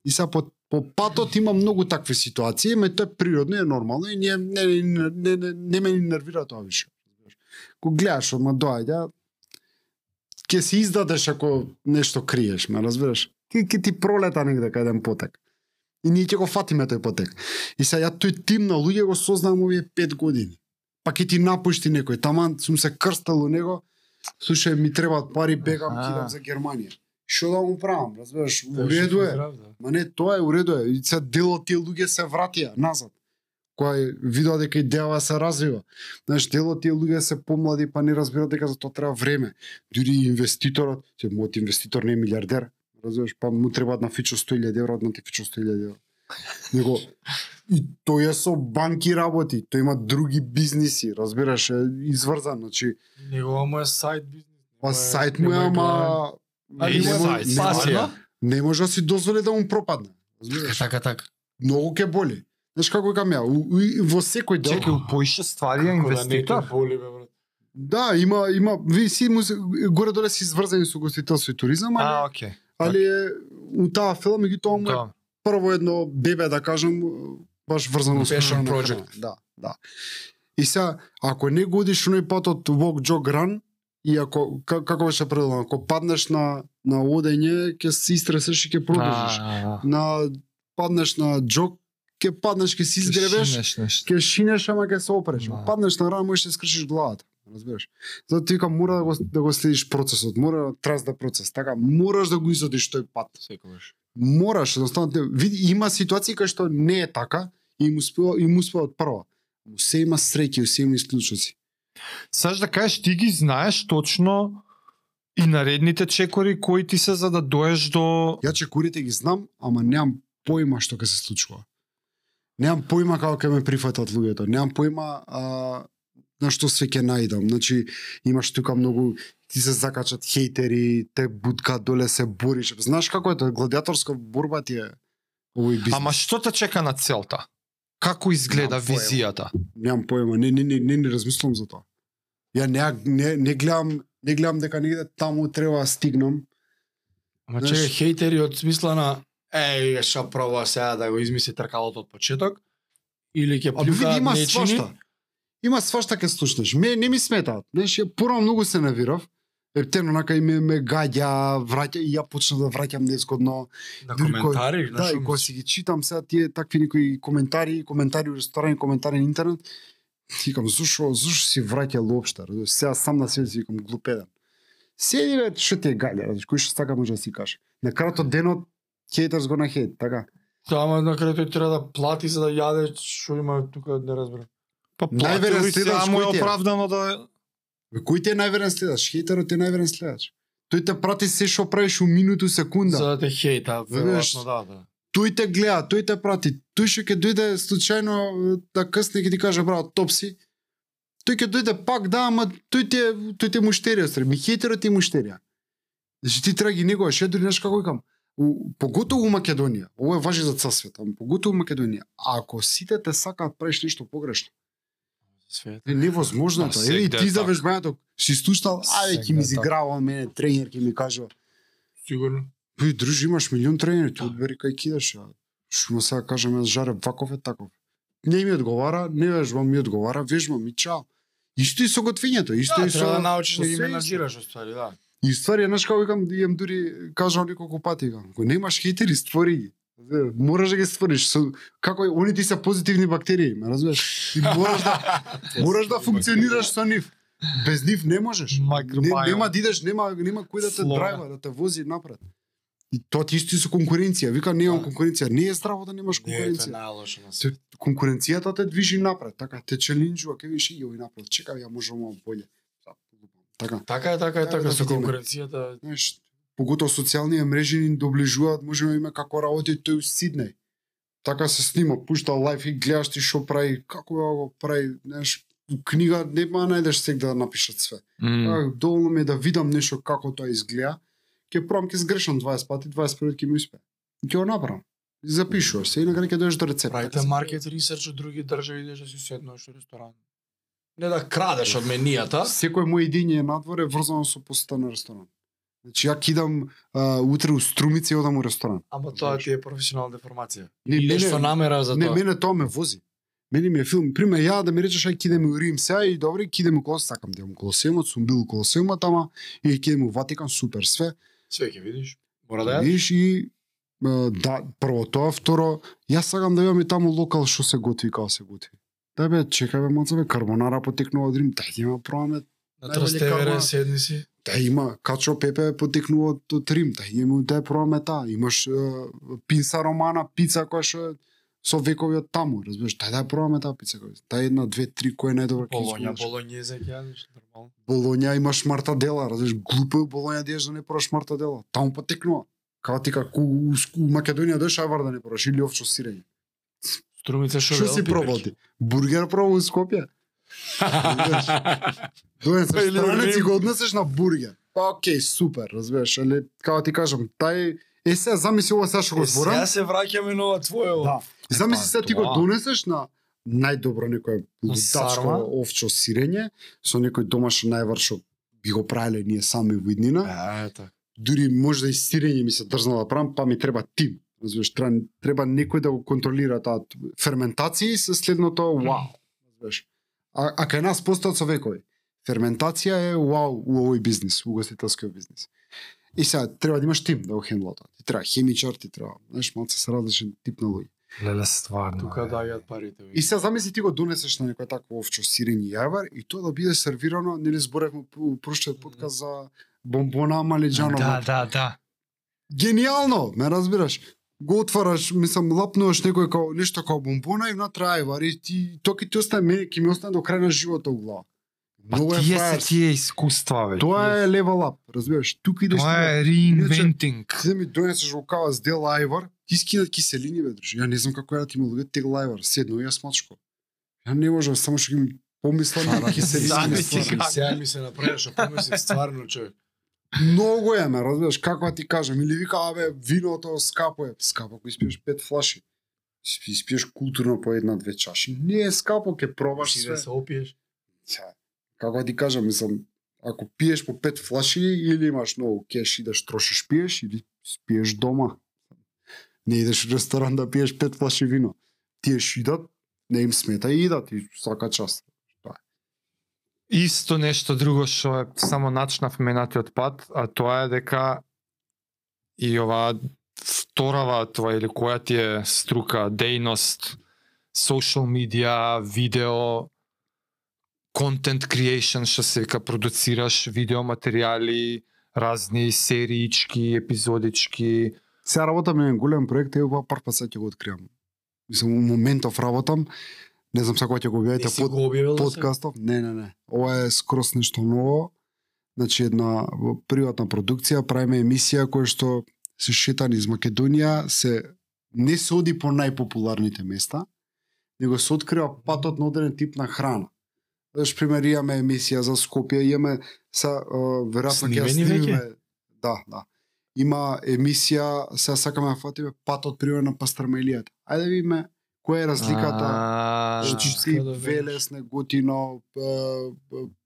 И сега по, по патот има многу такви ситуации, ме тоа е природно и е нормално и не, не, не, не, не, не ме ни нервира тоа више. разбираш. Кога гледаш, ама доаѓа, ќе се издадеш ако нешто криеш, ме разбираш? Ке, ке ти пролета негде кај еден потек. И ние ќе го фатиме тој потек. И сега ја тој тим на луѓе го сознавам овие пет години. Па ќе ти напушти некој, таман сум се крстал у него, слушај, ми требаат пари, бегам,
Аха.
кидам за Германија. Што да му правам, разбираш? У реду е. Ма не, тоа е уредо е. И се дел од тие луѓе се вратија назад. Кој видоа дека идејава се развива. Знаеш, дел од тие луѓе се помлади, па не разбираат дека за тоа треба време. Дури и инвеститорот, ќе мојот инвеститор не е милиардер, Разбираш, па му требаат на фичо 100.000 евра, на ти фичо 100.000 евра. Него, и тој е со банки работи, тој има други бизниси, разбираш, е изврзан, значи,
Негова му е сайт бизнес.
па
Е,
сайт му е,
него е
ама
А
И
и
нема-
сайт,
нема-
пасија.
не може да си дозволи да му пропадне.
Така,
Разбираш,
така, така.
многу ке боли. Знаеш како кам ја, у- у- во секој дел,
Чекај, поише ствари е
Како да не
инвеститор.
те боли, бе, брат.
да, има, има, ви си му, горе доле си изврзани со гостителство и туризам, али,
А, окей.
али е, у таа филм, меѓутоа му е
Да.
прво едно бебе, да кажам, баш врзано со
Passion
храна.
project.
Да, да. И сега, ако не го одиш оној пат од Walk Jog Run, и ако, ка- како беше предано, ако паднеш на, на одење, ќе се истресеш и ќе продолжиш.
А,
На, паднеш на джог, ќе паднеш, ќе се изгребеш,
Шинеш нешто.
ќе шинеш, ама ќе се опреш.
Да.
Паднеш на рана, можеш да скршиш главата. Разбираш? Затоа ти викам, мора да го, да го следиш процесот, мора да трас да процес, така, мораш да го изодиш тој пат
Секогаш.
мораш едноставно те види има ситуации кај што не е така и му успеа и му успеа од прва. Му се има среќи, се има исклучоци.
Саш да кажеш, ти ги знаеш точно и наредните чекори кои ти се за да доеш до...
Ја чекурите ги знам, ама немам поима што ќе се случува. Немам поима како ќе ме прифатат луѓето, немам поима а, на што све ќе наидам. Значи имаш тука многу ти се закачат хейтери, те бутка доле се бориш. Знаеш како е тоа гладиаторска борба ти е овој бизнес.
Ама што те чека на целта? Како изгледа
Нямам појма.
визијата?
немам појма, не не не не, не размислувам за тоа. Ја не ја- не не гледам, не гледам дека негде таму треба да стигнам.
Ама
Знаеш-
чека, хейтери од смисла на еј, ша проба сега да го измисли тркалото од почеток, или ќе
А би види
плюка
има
нечини,
свашта. Има свашта ке слушнеш. Ме не ми сметаат. Знаеш, ја порано многу се навирав. Ептено нака и ме, ме гадја, враќа и ја почнав да враќам незгодно.
на
дури кој-
коментари, на
да, и
шум.
кога си ги читам сега тие такви некои коментари, коментари у ресторани, коментари на интернет, ти викам, зушо, зушо си враќа лопшта, разбираш? сега сам на себе си викам, глупеден. Седи бе, што ти е гаља, разбираш, кој што така може да си каже. На крајот од денот, хейтърс го на хейт, така.
Тоа ама на крај тој треба да плати за да јаде, што има тука не разбирам.
Па
Најверојатно
платил и сега
следаш
му е
кој ти е.
оправдано да...
Бе, Кој ти е најверен следач? Хејтерот е најверен следач. Тој те прати се што правиш у минуту, секунда.
За да те хејта,
Веднаш-
веројатно да, да.
Тој те гледа, тој те прати. Тој што ќе дојде случајно е, да късне ќе ти каже брат, топ си. Тој ќе дојде пак, да, ама тој те тој те муштерија сред. Ми хејтерот е муштерија. Значи ти траги него, ше дури знаеш како викам. У, поготово у Македонија, ово е важи за цел свет, ама поготово у Македонија, ако сите те сакаат правиш нешто погрешно,
Свет.
е невозможно
Да,
е тоа.
секогаш
Еве и
е
ти за
така.
вежбањето си слушнал, ајде ќе
Секогаш е така.
ми изиграва он мене тренер ќе ми кажува,
Сигурно.
Пи, дружи, имаш милион тренери,
Да.
ти одбери кај кидаш, а што му сега кажам, јас жаре ваков е таков. Не ми одговара, не вежбам, ми одговара, вежбам и чао. Исто и со готвењето, исто
Да,
и со...
треба да научиш да ги
со се
менаџираш оствари, да.
И ствари, еднаш како викам, имам дури, кажам неколку пати, викам, ако немаш хейтери, створи ги. Разбираш, Мораш да ги створиш. Со, како е, они ти се позитивни бактерии, ме разбираш? Ти мораш да, мораш да функционираш со нив. Без нив не можеш.
Па
Не,
Микробиом.
нема да идеш, нема, нема кој да те
Флора.
драйва, да те вози напред. И тоа ти исто и со конкуренција. Вика, немам
Да.
конкуренција. Не е здраво да немаш
Не, тоа е
конкуренција
најлошо на
се конкуренцијата те движи напред, така те челинџува, ќе видиш и овој напред. Чекај, ја можам ова боле. Така.
Така е, така е,
Така
така
да
со
видиме.
конкуренцијата.
Знаеш, поготоа социјални мрежи ни доближуваат, можеме име како работи тој у Сиднеј. Така се снима, пушта лайф и гледаш ти што прави, како ја го прави, знаеш, у книга нема да најдеш сега да напишат све.
М,
Mm. Доволно ми е да видам нешто како тоа изгледа, ќе пробам ќе сгрешам 20 пати, 21 ќе ми успее. И Ќе го направам. И Запишуваш се и на крај ќе дојдеш до рецепта.
Правите маркет ресерч од други држави, идеш да си седнеш у ресторан. Не да крадеш од менијата.
Секој мој едиње надвор е врзано со посета на ресторан. Значи ја кидам а, утре у струмица и одам у ресторан.
Ама тоа ти е професионална деформација.
Не,
Идеш
мене-
со намера за
не,
тоа.
мене тоа ме вози. Мене ми е филм. Пример, ја да ми речеш, ај кидеме у Рим сега и добре, кидеме около, сакам да имам Колосеумот, сум бил у Колосеумот, ама и кидеме у Ватикан, супер, све.
Све ќе видиш. Мора да
Да,
е.
Виж и а, да, прво тоа, второ, јас сакам да имам и таму локал што се готви како се готви. Да бе, чекај бе, моца бе, карбонара потекнува од Рим, дај ја пробаме
На
најболе
Трастевере
кава.
седни си.
Да има Качо Пепе потекнува од- од Рим, да има да пробаме таа. Имаш е, пинса романа, пица која што е со векови од таму, разбираш? Тај да ја пробаме таа пица која. Тај една, две, три кој е најдобра
Болонја,
Болоња,
болонјезе ќе јадеш нормално.
Болоња имаш мартадела, разбираш? Глупо е у Болоња да еш да не пробаш мартадела. Таму потекнува. Као ти како у, у Македонија дојш авар да не пораш или овчо сирење.
Струмица шо,
Што
велел,
си
пиперче?
пробал ти? Бургер пробал у Скопје? Дојдеш
Па Или
странец
Рим.
и го однесеш на бургер. Па окей, супер, разбираш, але као ти кажам, тај Е, сега замисли ова сега што го
Е,
зборам.
Сега се враќаме на ова твое.
Да. Замисли
Па,
се ти го
тоа.
донесеш на најдобро некое лутачко
сарма.
овчо сирење со некој домашен највар што би го правеле ние сами во иднина.
А, е, така.
Дури може да и сирење ми се дрзнало да правам, па ми треба тим. Разбираш, треба, треба некој да го контролира таа т- ферментација и се следното вау. Разбираш. А, а кај нас постојат со векови. Ферментација е вау у овој бизнис, у гостителскиот бизнис. И сега треба да имаш тим да го хендлува тоа. Ти треба хемичар, ти треба, знаеш, малце се различен тип на луѓе.
Леле, стварно.
Тука
е.
да јат парите.
И се замисли ти го донесеш на некој такво овчо сирење јавар и тоа да биде сервирано, нели зборевме у прошлиот подкаст за бомбона малиджано.
Да, да, да.
Гениално, ме разбираш. Го отвараш, мислам, лапнуваш некој како нешто како бомбона и внатре ајвар и ти тоа ќе ти остане мене ќе ми остане до крај на живота у глава.
Па
Многу е
тие се
фаер.
тие искуства, бе.
Тоа е level up, разбираш? Тука идеш
Тоа
на-
е reinventing.
ти да ми донесеш во кавас дел ајвар, ти скидаат киселини бе, друже. Ја не знам како ја да ти му луѓе тегла ајвар, седно ја смачко. Ја не можам, само што ги ми помислам на
Замисли
киселини.
Замисли
стварно.
како.
Сега ми се направи што помисли стварно човек.
Многу е, ме разбираш, како да ти кажам, или вика абе виното скапо е, скапо ако испиеш пет флаши. Испи- Испиеш културно по една две чаши. Не е скапо, ќе пробаш
Ти
све.
да се опиеш.
Ца, Како да ти кажам, мислам, ако пиеш по пет флаши или имаш многу кеш, идеш трошиш пиеш или спиеш дома. Не идеш у ресторан да пиеш пет флаши вино. Тие шо идат, не им смета и идат и сака час.
Исто нешто друго што е само начнав минатиот пат, а тоа е дека и оваа вторава тоа или која ти е струка, дејност, social media, видео, контент creation, што се вика продуцираш видео материјали, разни сериички, епизодички,
Сега работам на еден голем проект, ево па пар пат сега ќе го откривам. Мислам, у моментов работам, не знам сега кога ќе го
Ти
објавите
си го објавил да се?
подкастов. Не, не, не. Ова е скрос нешто ново. Значи една приватна продукција, правиме емисија која што се шетани из Македонија, се не се оди по најпопуларните места, него се открива патот на одреден тип на храна. Знаеш, пример, имаме емисија за Скопје, имаме са, е, веројатно ќе ја
Снимени веќе?
снимиме. Да, да. Има емисија, сега сакаме да фатиме патот пример на пастрмелијата. Ајде да видиме која е разликата
А,
Значи
Така
ти
да видиш.
Велес, Неготино, е,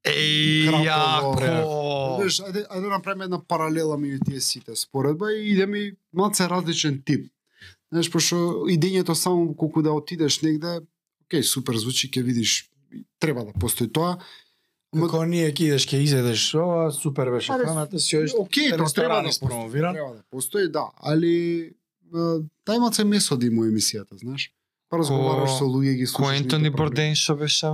е,
Еј,
Крапово.
јако!
па, знаеш, ајде, ајде направиме една паралела меѓу тие сите споредба и идеме малце различен тип. Знаеш, пошто идењето само колку да отидеш негде, окей, супер звучи, ќе видиш, треба да постои тоа. Ма-
Како ние ќе идеш, ќе изедеш, ова супер беше
Аре,
храната, си одиш.
Океј, тоа треба
ресторан
да постои,
испромовиран.
треба да постои, да, али тај малце месо да има у емисијата, знаеш. Па разговараш со луѓе ги слушаш.
Кој
нивните
Ентони
проблеми.
Борден што беше?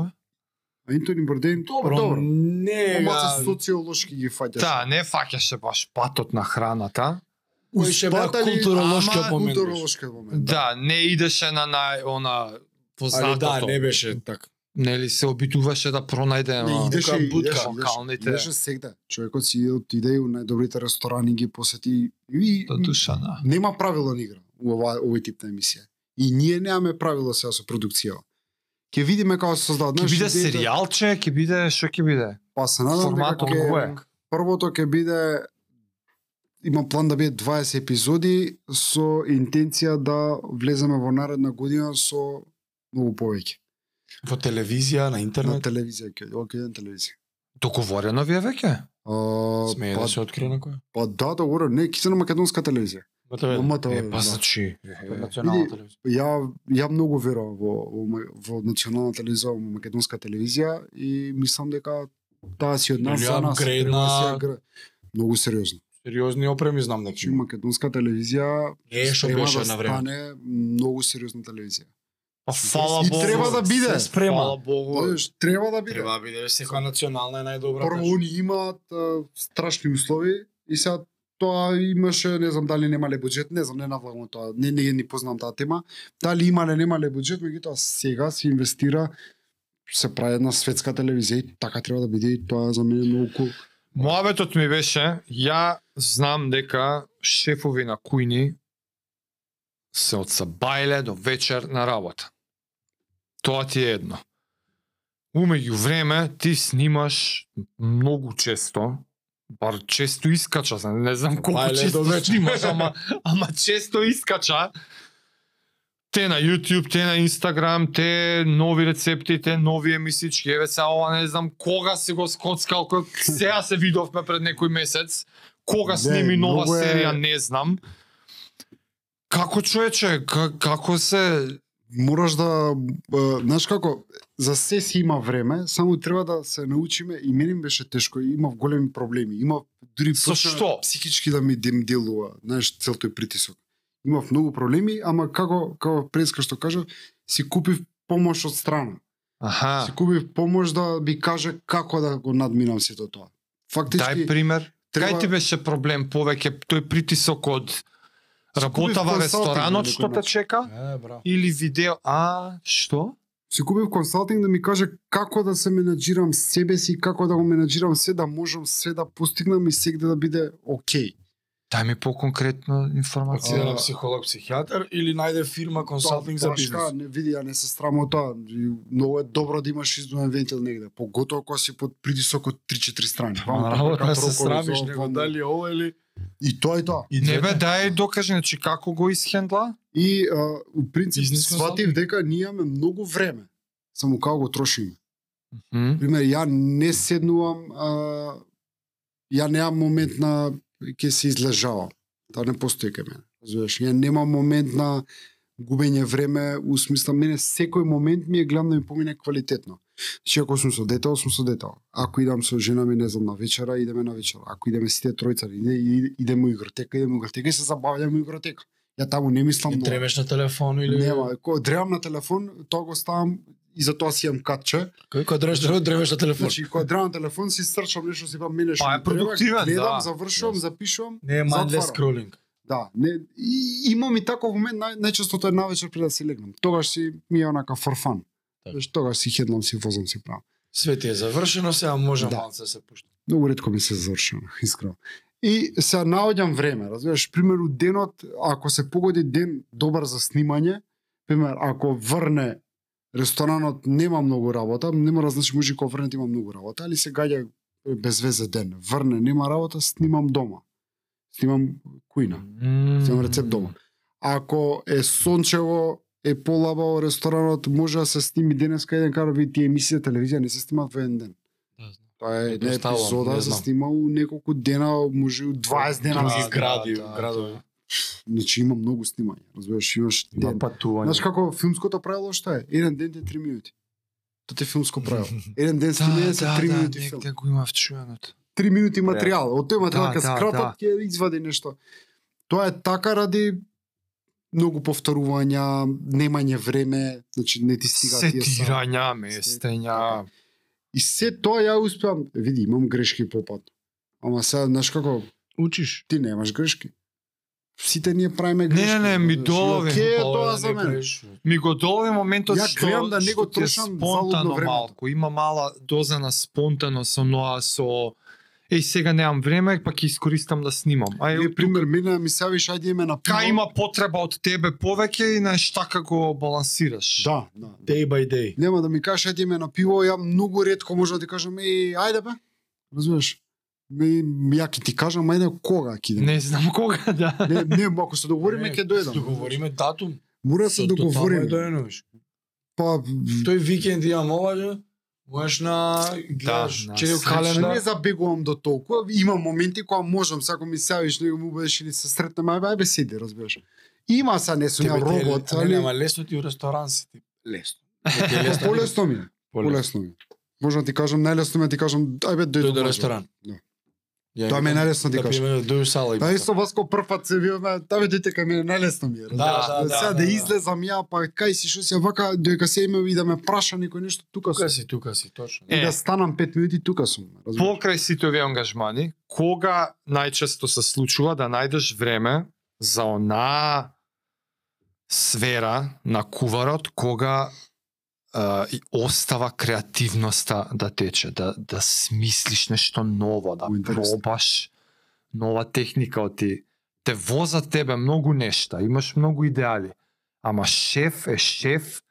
бе?
Ентони Борден, добро, добро.
Не,
Малце
га,
социолошки ги фаќаш.
Да, не фаќаше баш патот на храната.
кој ще беа
успатали-
културолошка
Ама,
помент. беше.
Културолошка момент.
Да, не идеше на нај она
Али
познатото.
да, не беше така.
Нели се обидуваше да пронајде
Не,
а,
идеше,
тука
и
будка,
идеше, идеше.
локалните.
Идеше сегде. Човекот си иде- отиде и у најдобрите ресторани ги посети. И,
До душа, да.
нема правило на игра у ова, овој тип на емисија. И ние немаме правило сега со продукцијава. Ќе видиме како се создава.
Ќе биде серијалче, ќе биде што ќе биде?
Па се надам дека
Форматот
ќе-
кој е?
Првото ќе биде има план да биде 20 епизоди со интенција да влеземе во наредна година со многу повеќе.
Во телевизија, на
На
интернет,
телевизија ќе ќе одиде на телевизија.
Договорено ви е веќе?
А,
смее
па
да се открие на кој?
Па да, да, ура, не, кисе на македонска телевизија.
МТВ.
Ама тоа,
Е,
да.
па значи,
Национална телевизија.
Ја, ја многу верувам во, во, ма- во национална телевизија, во македонска телевизија и мислам дека таа си од нас
Или
за нас.
апгрейд
треба да
на-
си ја гра- Многу сериозно.
Сериозни опреми знам дека
Значи,
има.
македонска телевизија
Не е што
треба
беше
да
на време.
стане многу сериозна телевизија.
Па фала
И
Богу.
треба да
Се
биде.
спрема. Фала Богу.
Знаеш, Треба да биде.
Треба да биде секоја национална е најдобра.
Прво, они имаат а, страшни услови и сега тоа имаше, не знам дали немале буџет, не знам, не навлагам во тоа, не, не, не познам таа тема, дали имале, немале буџет, меѓутоа сега се инвестира, се прави една светска телевизија и така треба да биде и тоа за мене многу кул.
Моабетот ми беше, ја знам дека шефови на кујни се одсабајле до вечер на работа. Тоа ти е едно. Умеѓу време ти снимаш многу често, бар често искача, за- не знам колку
Бајле
често
до вечер.
снимаш, ама, ама често искача. Те на YouTube, те на Instagram, те нови рецепти, те нови емисички, еве сега ова не знам кога си го скоцкал, кој сега се видовме пред некој месец, кога
Не,
сними нова
многу е-
серија, не знам. Како човече, ка- како се
мораш да е, знаеш како за се си има време, само треба да се научиме и мене ми беше тешко, имав големи проблеми, имав дури
Со
почна
што?
психички да ми дем делува, знаеш, цел тој притисок. Имав многу проблеми, ама како како преска што кажав, си купив помош од страна.
Аха.
Си купив помош да би каже како да го надминам сето тоа. Фактички
Дај пример.
треба-
Кај ти беше проблем повеќе тој притисок од работа во
консалтинг на
ресторанот
некој
што те
начин.
чека
Е, браво.
или видео а што?
си купив консалтинг да ми каже како да се менаџирам себе си, како да го менаџирам се, да можам се да постигнам и сегде да биде окей.
Дај ми поконкретна информација.
Отиде на психолог, психијатар или најде фирма консалтинг за
Тоа,
бизнес.
Башка, не види, ја не се срам од тоа. И Многу е добро да имаш издумен вентил негде, поготово кога си под притисок од 3-4 страни. Ваму,
Ма работа
така,
се
трокол,
срамиш,
зо,
него
ваму.
дали ова или...
И тоа и тоа.
И
Не бе, дај докажи, значи како го исхендла?
И а, у принцип
Бизнес
сватив дека ние имаме многу време, само како го трошиме.
М?
Пример, ја не седнувам, а, ја немам момент на ќе се излежавам. Тоа не постои кај мене. Разбираш, ја немам момент на губење време, у смисла мене секој момент ми е гледам да ми помине квалитетно. Значи ако сум со детел, сум со детел. Ако идам со жена ми, не знам, на вечера, идеме на вечера. Ако идеме сите тројца, иде, иде- идеме у игротека, идеме у игротека и се забавljаме у игротека. Ја таму не мислам
И
многу.
тремеш на телефон или...
Нема, ко древам на телефон, тоа го ставам и за тоа си имам катче.
Кој кој дреш дрво, дремеш на телефон.
Значи кога древам на телефон си срчам нешто си па мене што
Па е
ми треба,
продуктивен,
гледам,
да.
завршувам, запишувам.
Не е mindless
затварам.
scrolling.
Да, не и имам и таков момент нај, најчесто тоа е навечер пред да си легнам. Тогаш си ми е онака for fun.
Така.
Значи тогаш си хедлам си возам си правам.
Све ти е завршено, сега може
Да.
малце да се пушти.
Многу ретко ми се завршува, искрено. И се наоѓам време, разбираш, примеру денот, ако се погоди ден добар за снимање, пример, ако врне ресторанот нема многу работа, не мора да значи може и кога врнет има многу работа, али се гаѓа без везе ден. Врне, нема работа, снимам дома. Снимам кујна.
М.
Снимам рецепт дома. Ако е сончево, е полабаво ресторанот, може да се сними денеска еден кара види тие емисија телевизија не се снимаат во еден ден.
Да, знам.
Тоа е една
Едноставно,
епизода
не
се
знам.
снима у неколку дена, може и у 20 дена.
Други
Да.
гради,
да, да.
градови.
Значи има многу снимања, разбираш, имаш
Има
ден. Знаеш
патување.
како филмското правило што е? Еден ден ти е 3 минути. Тоа ти е филмско правило. Еден ден снимање се 3 минути филм.
Да, негде го имав чуеното.
3 минути материјал. Од тој материјал
Да, да,
ќе скратат ќе извади нешто. Тоа е така ради многу повторувања, немање време, значи не ти стига тие са.
Сетирања, местења.
И се тоа ја успеам, види, имам грешки попат. Ама сега, знаеш како,
Учиш.
ти немаш грешки. Сите ние правиме грешки.
не, не, ми
знаеш, и
долови.
Окей е тоа за мене.
Ми го долови моментот
Ја
што
гледам да не го
што ти е
трошам залудно
спонтано
времето.
малку, има мала доза на спонтаност со ноа со еј сега немам време, па ќе искористам да снимам. А
Или,
е
пример, мене ми савиш, ајде име на пиво.
кај има потреба од тебе повеќе и знаеш така го балансираш.
Да, да.
Day by day.
Нема да ми кажеш, ајде име на пиво, ја многу ретко можам да ти кажам, еј, ајде бе. Разбираш? Ми, ја ќе ти кажам, ајде кога ќе идем.
Не знам кога да.
Не, не, ако се договориме,
Не, да
ќе дојдам.
Се договориме датум.
Мора да се
Со- до таму е
договориме.
дојдено, виш.
Па,
Тој викенд имам ова, да, можеш на гледаш
Да,
на
чеј
среќа.
Калена. Не
календар.
забегувам до толку, има моменти кога можам, сако ми савиш, него му беше или се сретнеме, ајде ајде, седи, разбираш. Има са не сум ја
Тебе ти е-
робот,
не,
али
Нема лесно ти у ресторан си ти. Лесно.
полесно ми е. Полесно ми. е. Можам да ти кажам, најлесно ми е да ти кажам, ајде дојди
Тој до ресторан.
Да.
Ја
Тоа ми е
викам,
најлесно да ти
Да
кажам.
пиеме на дуј сала. и
Да, и со вас кој прв пат се видовме, таве дојдете кај мене, најлесно ми е. разбираш.
да, да,
Сега
да,
да
да.
излезам ја, па кај си, што си, а вака, доека се име и да ме праша некој нешто, тука сум.
Тука си, тука си, точно.
И
Е.
да станам 5 минути, тука сум. разбираш.
Покрај сите овие ангажмани, кога најчесто се случува да најдеш време за онаа сфера на куварот кога е, и остава креативноста да тече, да, да смислиш нешто ново, да
О, интересно.
пробаш нова техника од ти те воза тебе многу нешта, имаш многу идеали. Ама шеф е шеф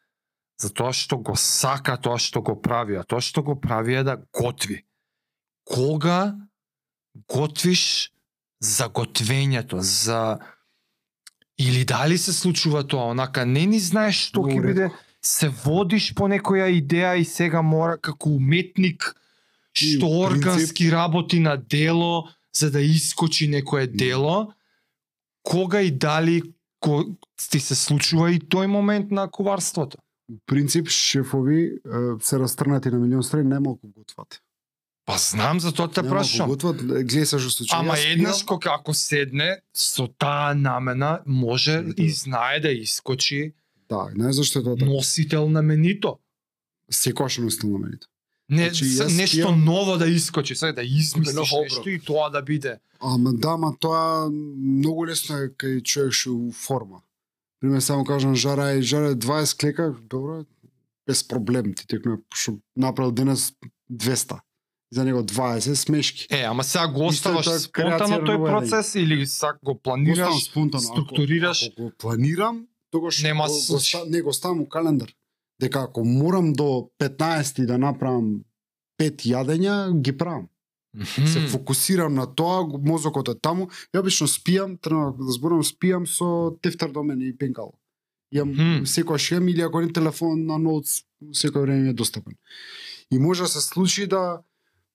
за тоа што го сака, тоа што го прави, а тоа што го прави е да готви. Кога готвиш за готвењето, за или дали се случува тоа, онака не ни знаеш што ќе
Добре.
биде, се водиш по некоја идеја и сега мора како уметник
И,
што
в принцип-
органски работи на дело за да искочи некое дело, кога и дали ко, ти се случува и тој момент на куварството.
принцип шефови е, се растрнати на милион страни, најмалку готват.
Па знам, за тоа те
Најмалку
прашам.
Готват, гледај се што се случува.
Ама
Јас
еднаш
пијам,
кога ако седне со таа намена може
Да.
и знае да искочи
Да, знаеш зашто е тоа така?
носител на менито.
Секојаш носител на мените.
Не,
Значи,
с-
јас
нешто
имам-
ново да искочи, сега да измислиш
Нов оброк.
нешто и тоа да биде.
Ама да, ама тоа многу лесно е кај човек што е у форма. Пример само кажам жара е жара е 20 клека, добро, без проблем ти текнува што направил денес 200. За него 20 смешки.
Е, ама сега го
Исто е
оставаш
тоа
спонтано
креација на
тој
Руен.
процес или сак го
Оставам
планираш?
спонтано. Ако-
структурираш.
Ако, го планирам, тогаш
Нема
го, го,
случај.
ста- не го ставам у календар. Дека ако морам до 15 да направам пет јадења, ги правам. Се фокусирам на тоа, го- мозокот е таму. Ја обично спијам, тренирам да зборам, спијам со тефтер до мене и пенкало. Јам
Мгм.
секогаш имам или ако не телефон на ноутс, секој време ми е достапен. И може да се случи да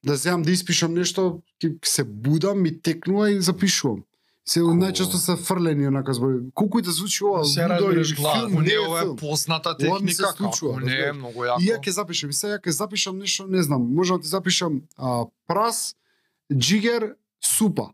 да земам да испишам нешто, ќе ќе се будам, ми текнува и запишувам. Се најчесто се фрлени онака збори. Колку и да звучи ова,
Се
лудо
разбираш
или
глава,
филм,
Ако
не
не,
е
ова е
филм.
позната
Ова ми се
техника, како
случува,
не е
разбираш.
многу
И ја
јако.
ќе запишам, и сега ќе запишам нешто, не знам, може да ти запишам а, прас, џигер, супа.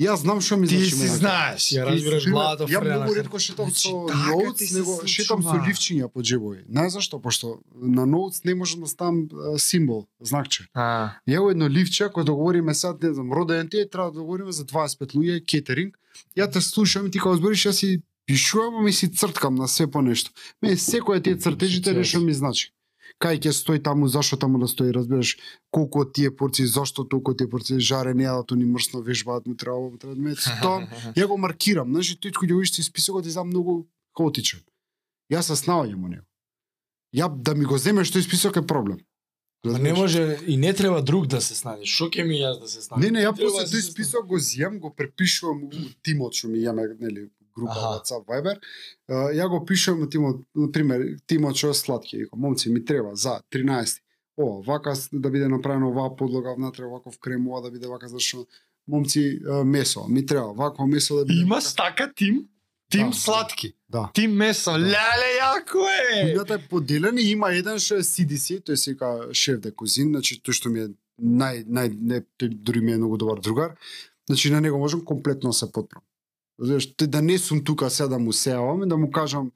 Ја знам што ми
Ти
значи
си
мене.
знаеш.
Ја разбираш
Пример,
главата
Ја многу
френа.
ретко шетам
Значи,
со
така ти
ноутс,
се
него шетам со
случува.
ливчиња по џебови. Знаеш зашто? Пошто на ноутс не можам да ставам а, символ, знакче.
А,
Ја во едно ливче, ако договориме сад, не знам, роден ти е, треба да договориме за 25 луѓе, кетеринг. Ја те слушам и ти као збориш, ја си пишувам, ами си црткам на се по нешто. Мене секоја тие цртежите нешто ми значи. Кај ќе стои таму, зашо таму да стои, разбираш, колку од тие порции, зашто толку од тие порции, жарени јадат, они мрсно вежбаат, му треба, ова, му треба, да ме, тоа, ја го маркирам, значи тој кој го вишти списокот е за многу хаотичен. Јас се снаоѓам во него. Ја да ми го земеш тој список е проблем.
Ма не може и не треба друг да се снади. Шо ќе ми јас да се снади?
Не, не, ја
Треба
после
да се
тој
снади.
список го зијам, го препишувам у тимот што ми имаме, нели, група
Аха.
WhatsApp, Viber. Е, Ја го пишувам на тимот, на пример, тимот што е сладки, ја момци ми треба за 13. О, вака с- да биде направено оваа подлога внатре, ваков крем, ова да биде вака зашо момци е, месо, ми треба вакво месо да биде.
Имаш така тим? Тим
Да.
сладки.
Да.
Тим месо. Леле, јако е!
Кујната е поделен и има еден што е CDC, тој се вика шеф де кузин, значи тој што ми е нај нај не, тој дури ми е многу добар другар. Значи на него можам комплетно да се подпрам. Знаеш, тој да не сум тука сега да му сеавам и да му кажам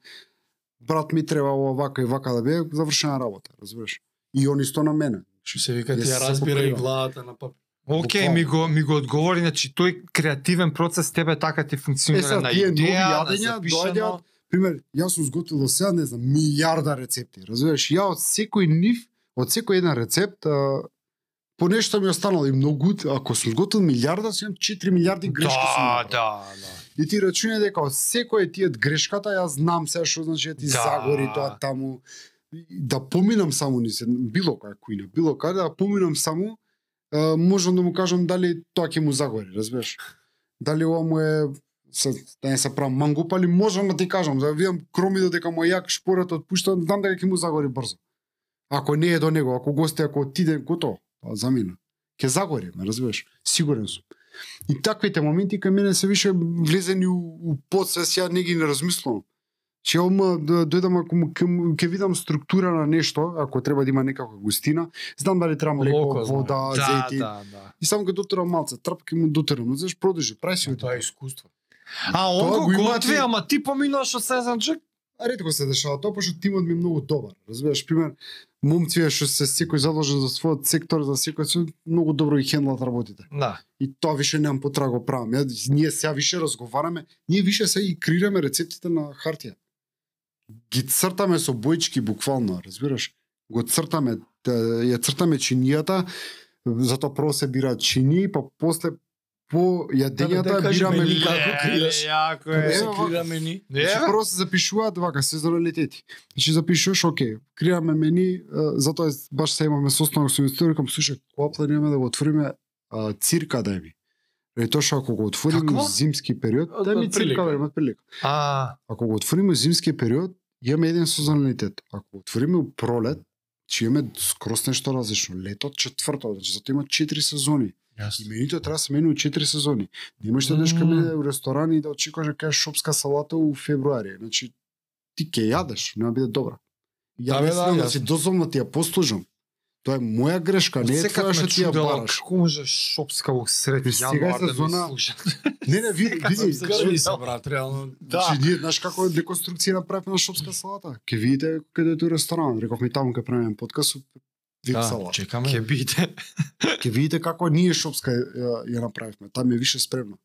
брат ми треба ова вака и вака да биде завршена работа, разбираш? И он исто на мене.
Што се вика,
Јас
ти ја
се
разбира и
покривам.
главата на пап.
Океј,
Буквално.
ми го ми го одговори, значи тој креативен процес тебе така ти
Е,
функционира
сега,
на
тие нови
идеја, на
јадења
запишано.
доаѓаат, пример, јас сум сготвил до сега, не знам, милиарда рецепти, разбираш? Ја од секој нив, од секој еден рецепт, а, по нешто ми останало и многу, ако сум сготвил милиарда, си имам 4 милиарди грешки сум
Да,
направил.
да, да.
И ти рачуне дека од секој тие од грешката јас знам сега што значи да ти
Да.
загори тоа таму И да поминам само низ една- било која кујна, било каде да поминам само е, можам да му кажам дали тоа ќе му загори, разбираш? Дали ова му е се, да не се правам мангуп, али можам да ти кажам, да видам кроми додека му е јак шпорот отпуштан, знам дека ќе му загори брзо. Ако не е до него, ако гости, ако отидем, готово, а, Па, замина. Ќе загори, ме разбираш? Сигурен сум. И таквите моменти кај мене се више влезени у, у подсвес, ја не ги не размислувам. Че ома да дојдам ако му ке, му- ке видам структура на нешто, ако треба да има некаква густина, знам дали треба млеко,
Локо, знам.
вода,
Да,
зејти.
да, да.
И само кога дотерам малце, трапки му дотерам, но знаеш, продолжи, прај си го
Тоа е искуство.
А он
Тоа
го
го има
готви,
ти.
ама ти поминуваш од Сезанчек?
ретко се дешава тоа, пошто тимот ми е многу добар. Разбираш, пример, момците што се секој задолжен за својот сектор, за секој се многу добро ги хендлат работите.
Да.
И тоа више немам потреба да го правам. Ја, ние сега више разговараме, ние више се и креираме рецептите на хартија. Ги цртаме со боички буквално, разбираш? Го цртаме, да, т- ја цртаме чинијата, затоа прво се бира чини, па после по јадењата бираме
Ле,
лика.
како крееш.
Јако
Е,
е.
Ева,
се крираме ни.
Значи,
Е,
прво се запишуваат вака сезоналитети. Значи запишуваш, оке, креираме мени, а, затоа баш се имаме состанок со историком, слушај, кога планираме да го отвориме а, цирка да ми. Е тоа што ако го отвориме
Какво?
во зимски период,
Од-
да ми
од прилика.
цирка да има прилика.
А,
Ако го отвориме во зимски период, имаме еден сезоналитет. Ако го отвориме у пролет, ќе имаме скрос нешто различно. Лето четврто, значи затоа има четири сезони. И менито треба да се мени у четири сезони. Не можеш да одеш кај мене у ресторан и да очекуваш да кажеш шопска салата у февруари. Значи ти ќе јадеш, нема биде добра. Ја
Да,
не
бе, да,
да, да
јасно.
си дозволно ти ја послужам. Тоа е моја грешка, не е
секак
твоја
ме
што ти ја
чудела
бараш.
како може шопска во сред
Виж, сега е
јануар да ми
сезона-
слушат.
Не, не, види, види,
се
значи,
чудел. Да.
Грли се, брат, реално.
Да.
Значи, ние, знаеш како деконструкција направивме на шопска салата? Ке видите каде е тој ресторан. Рековме таму ке правиме подкаст со вип
Да,
салата. Значи,
чекаме.
Ке биде.
Ке видите како ние шопска ја, ја направивме. Таму е више спремно.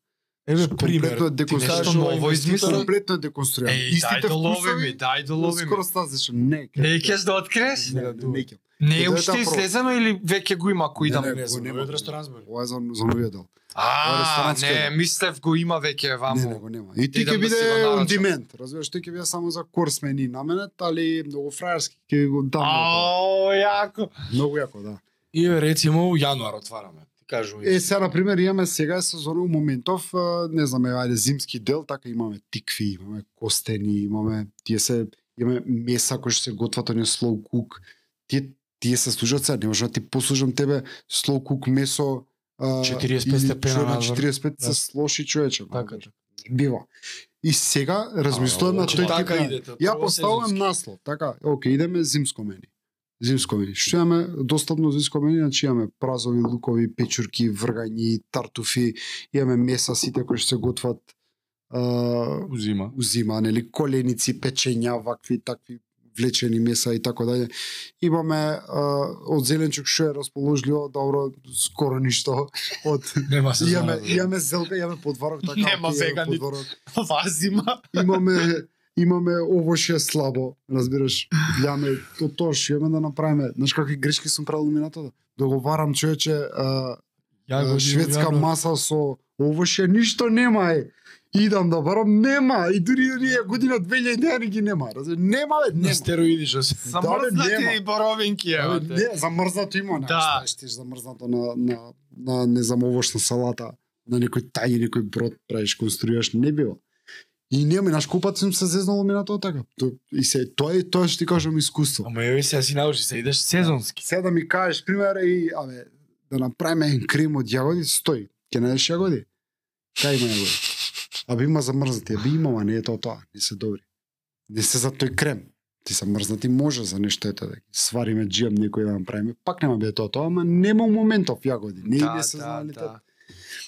Еве
Комплетно е
пример.
Ти
деконструирано.
нешто
кажеш ова
ново измислено.
Комплетно е деконструирано.
Еј, дај да ловиме,
вкусови,
дај да
но
ловиме.
Скоро стазишем. Не, ке-
Не ќеш да откриеш?
не, не, не, ке.
Не е
Тоа е
уште
таа прва.
излезено или веќе го има кој идам?
Не,
Не знам,
нема.
овој од ресторан збори.
Ова е за, за новиот дел. Ова е
А,
ресторанска
не,
игра.
мислев го има веќе
Не, не
ваму.
го нема. И ти
Идам
ќе
да си
биде
го нарачам.
on demand. Разбираш, ти ќе биде само за курс мени наменет, али многу фраерски ќе го дам.
Ао, јако.
Многу јако, да.
И еве, рецимо у јануар отвараме. Ти кажувам.
Е, сега, например, имаме сега сезона у моментов, а, не знам, е, ајде, зимски дел, така имаме тикви, имаме костени, имаме, тие се, имаме меса кои што се готват, они слоу кук, тие, тие се служат сега, не можам да ти послужам тебе слоу кук месо, а,
45
или
степена
човек на
надвор.
45
Да.
се слоши човече.
Така,
Не Бива. И сега размислувам на
Значи,
тој
така
тип на-
идете.
Ја
прво
поставувам
сезонски.
наслов, така, оке, идеме зимско мени. Зимско мени. Што имаме достапно зимско мени, значи имаме празови, лукови, печурки, вргањи, тартуфи, имаме меса сите кои што се готват а,
Узима.
у зима, нели, коленици, печења, вакви, такви влечени меса и така дале. Имаме а, од зеленчук што е расположливо, добро, скоро ништо. Од
Нема се.
имаме имаме зелка, имаме подварок така.
Нема
оке, имаме
вегани.
подварок
Ова зима.
имаме имаме овоше слабо, разбираш, гледаме то тоа што имаме да направиме. Знаеш какви грешки сум правил минатото? Договарам човече а, а, шведска маса со овоше, ништо нема е. Идам да барам, нема. И дури оние година 2000 ги нема. Разбираш, нема бе,
На
нема.
стероиди што се.
нема.
Замрзнати боровинки,
Абе,
ева те.
Не, замрзнато има нешто,
Да.
да. штиш замрзнато на, на, на не знам, овошна салата, на некој тај, некој брод правиш, конструираш, не бива. И нема, и наш купат сум се зезнал минатоа така. То- И се, тоа е тоа што ти кажам искуство.
Ама еве сега си научи, се идеш сезонски.
Се да ми кажеш пример и абе да направиме еден крем од јагоди, стои. Ќе најдеш јагоди? Кај има јагоди? Абе има замрзнати, абе има, ама не е тоа тоа, не се добри. Не се за тој крем. Ти се мрзнати може за нешто ете да ги свариме джиам некој да направиме, пак нема биде тоа тоа, ама нема моментов јагоди, не да,
Да,
не се
да,
знали
да.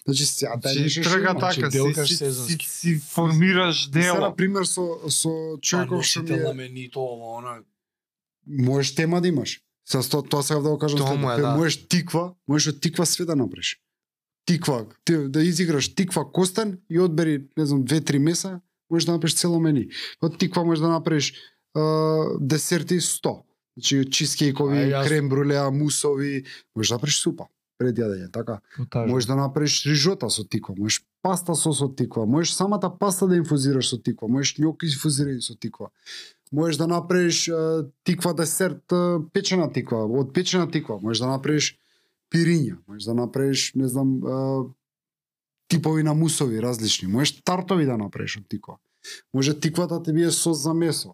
Значи сега да
Значи,
нешто
трга
има.
значи,
така, се
делкаш
си- си,
сезонски.
си формираш
Сега, на
дело.
пример, со, со човеков што
да
ми
Паносител на
е,
мени тоа, ова, она.
можеш тема да имаш. Сега тоа, тоа сега да го кажам,
Тоа
следното.
му е,
Кај
да.
можеш тиква, можеш од тиква све да направиш. Тиква, ти, да изиграш тиква костен и одбери, не знам, 2-3 меса, можеш да направиш цело мени. Од тиква можеш да направиш а, десерти 100. Значи
Ај,
чизкейкови,
јасно.
крем брулеа, мусови, можеш да направиш супа пред јадење, така? Можеш да направиш рижота со тиква, можеш паста сос со тиква, можеш самата паста да инфузираш со тиква, можеш њоки инфузирани со тиква. Можеш да направиш е, тиква десерт, е, печена тиква, од печена тиква, можеш да направиш пириња, можеш да направиш, не знам, е, типови на мусови различни, можеш тартови да направиш од тиква. Може тиквата ти биде сос за месо.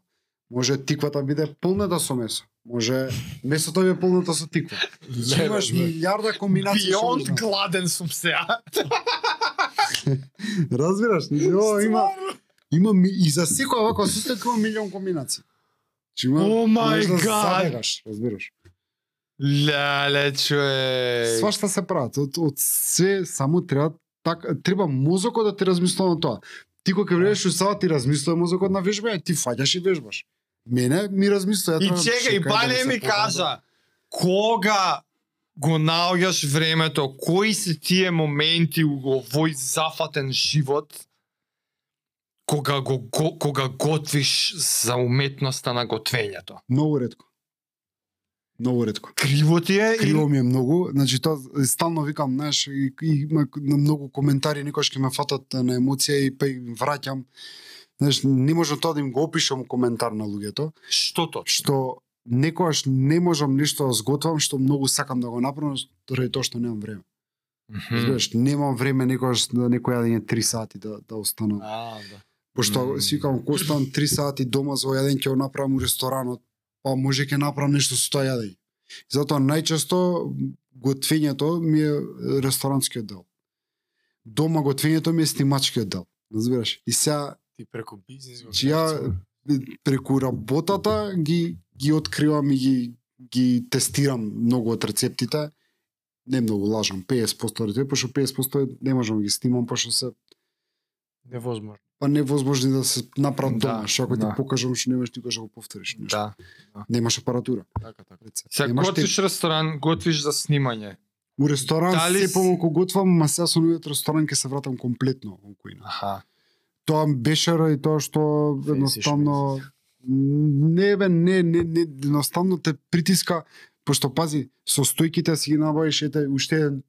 Може тиквата биде пълната со месо. Може месото ви е пълната со тиква. Значи, имаш милиарда комбинации. што можеш да
Бионд гладен сум сега.
Разбираш, ова има има ми, и за секој вака состојка има милион комбинации. Чи има
О, мај
можеш да
гад!
забегаш, разбираш.
Леле, чуе.
Свашта се прават, од, од све само треба така треба мозокот да ти размислува на тоа. Ти кога ќе влезеш у сала ти размислува мозокот на вежбање, ти фаќаш и вежбаш. Мене ми размислува. ја
И
тренирам,
чека, и
чекај да
бане
се
ми
подам, да.
кажа, кога го наоѓаш времето, кои се тие моменти у овој зафатен живот, кога, го, го, кога готвиш за уметноста на готвењето?
Многу ретко. Многу ретко.
Криво ти е и
Криво ми е многу, значи тоа стално викам, знаеш, и, и има на многу коментари некош ќе ме фатат на емоција и па им враќам. Знаеш, не можам тоа да им го опишам коментар на луѓето,
што точно?
што некогаш не можам нешто да сготвам што многу сакам да го направам заради тоа што немам време. Разбираш, немам време некогаш да некој јадење 3 сати да да останам.
А, да.
Пошто си викам, ако оставам 3 сати дома за јаден, ќе го направам у ресторанот, па може ќе направам нешто со тоа јадење. Затоа најчесто готвењето ми е ресторанскиот дел. Дома готвењето ми е снимачкиот дел. Разбираш? И сега
Ти преку бизнис го
Значи, ја преку работата ги ги откривам и ги ги тестирам многу од рецептите. Не многу лажам, 50% рецепти, пошто 50% не можам да ги снимам, пошто се
невозможно.
па невозможни да се направат
Да,
дома, што ако ти
да.
покажам што немаш никош да го повториш, нешто.
Да.
немаш апаратура.
Така, така.
рецепт.
Сега
Немаш
готвиш ресторан, готвиш за снимање.
У ресторан
Дали
се
си-
помалку готвам, ма сега со новиот ресторан ќе се вратам комплетно во кујна.
Аха.
тоа беше ради тоа што едноставно не бе не не не едноставно те притиска пошто пази со стојките си ги набавиш ете уште еден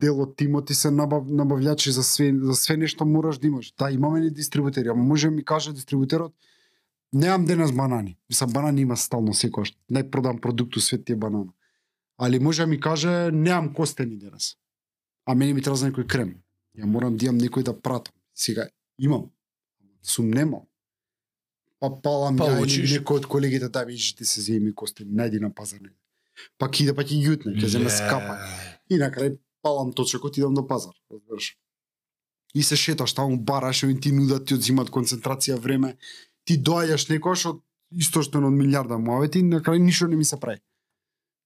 дел од тимот ти се набав, набавлячи за све за све нешто мораш да имаш. Да, имаме ни дистрибутери, ама може ми каже дистрибутерот немам денес банани. Мислам банани има стално секогаш. Најпродан продукт у свет ти е банана. Али може ми каже немам костени денес. А мене ми треба за некој крем. Ја морам да имам некој да пратам. Сега имам. Сум немал. Па палам
Па
па, ја
учиш.
или некој од колегите да ми ти се земи костени, најди на пазар. негде. Па ќе иде, па ќе јутне, ќе земе скапа. И на крај палам точекот, идам до пазар, разбираш. И се шеташ таму, бараш, овие ти нудат, ти одзимат концентрација, време. Ти доаѓаш некош од источно од милиарда муавети и на крај ништо не ми се прави.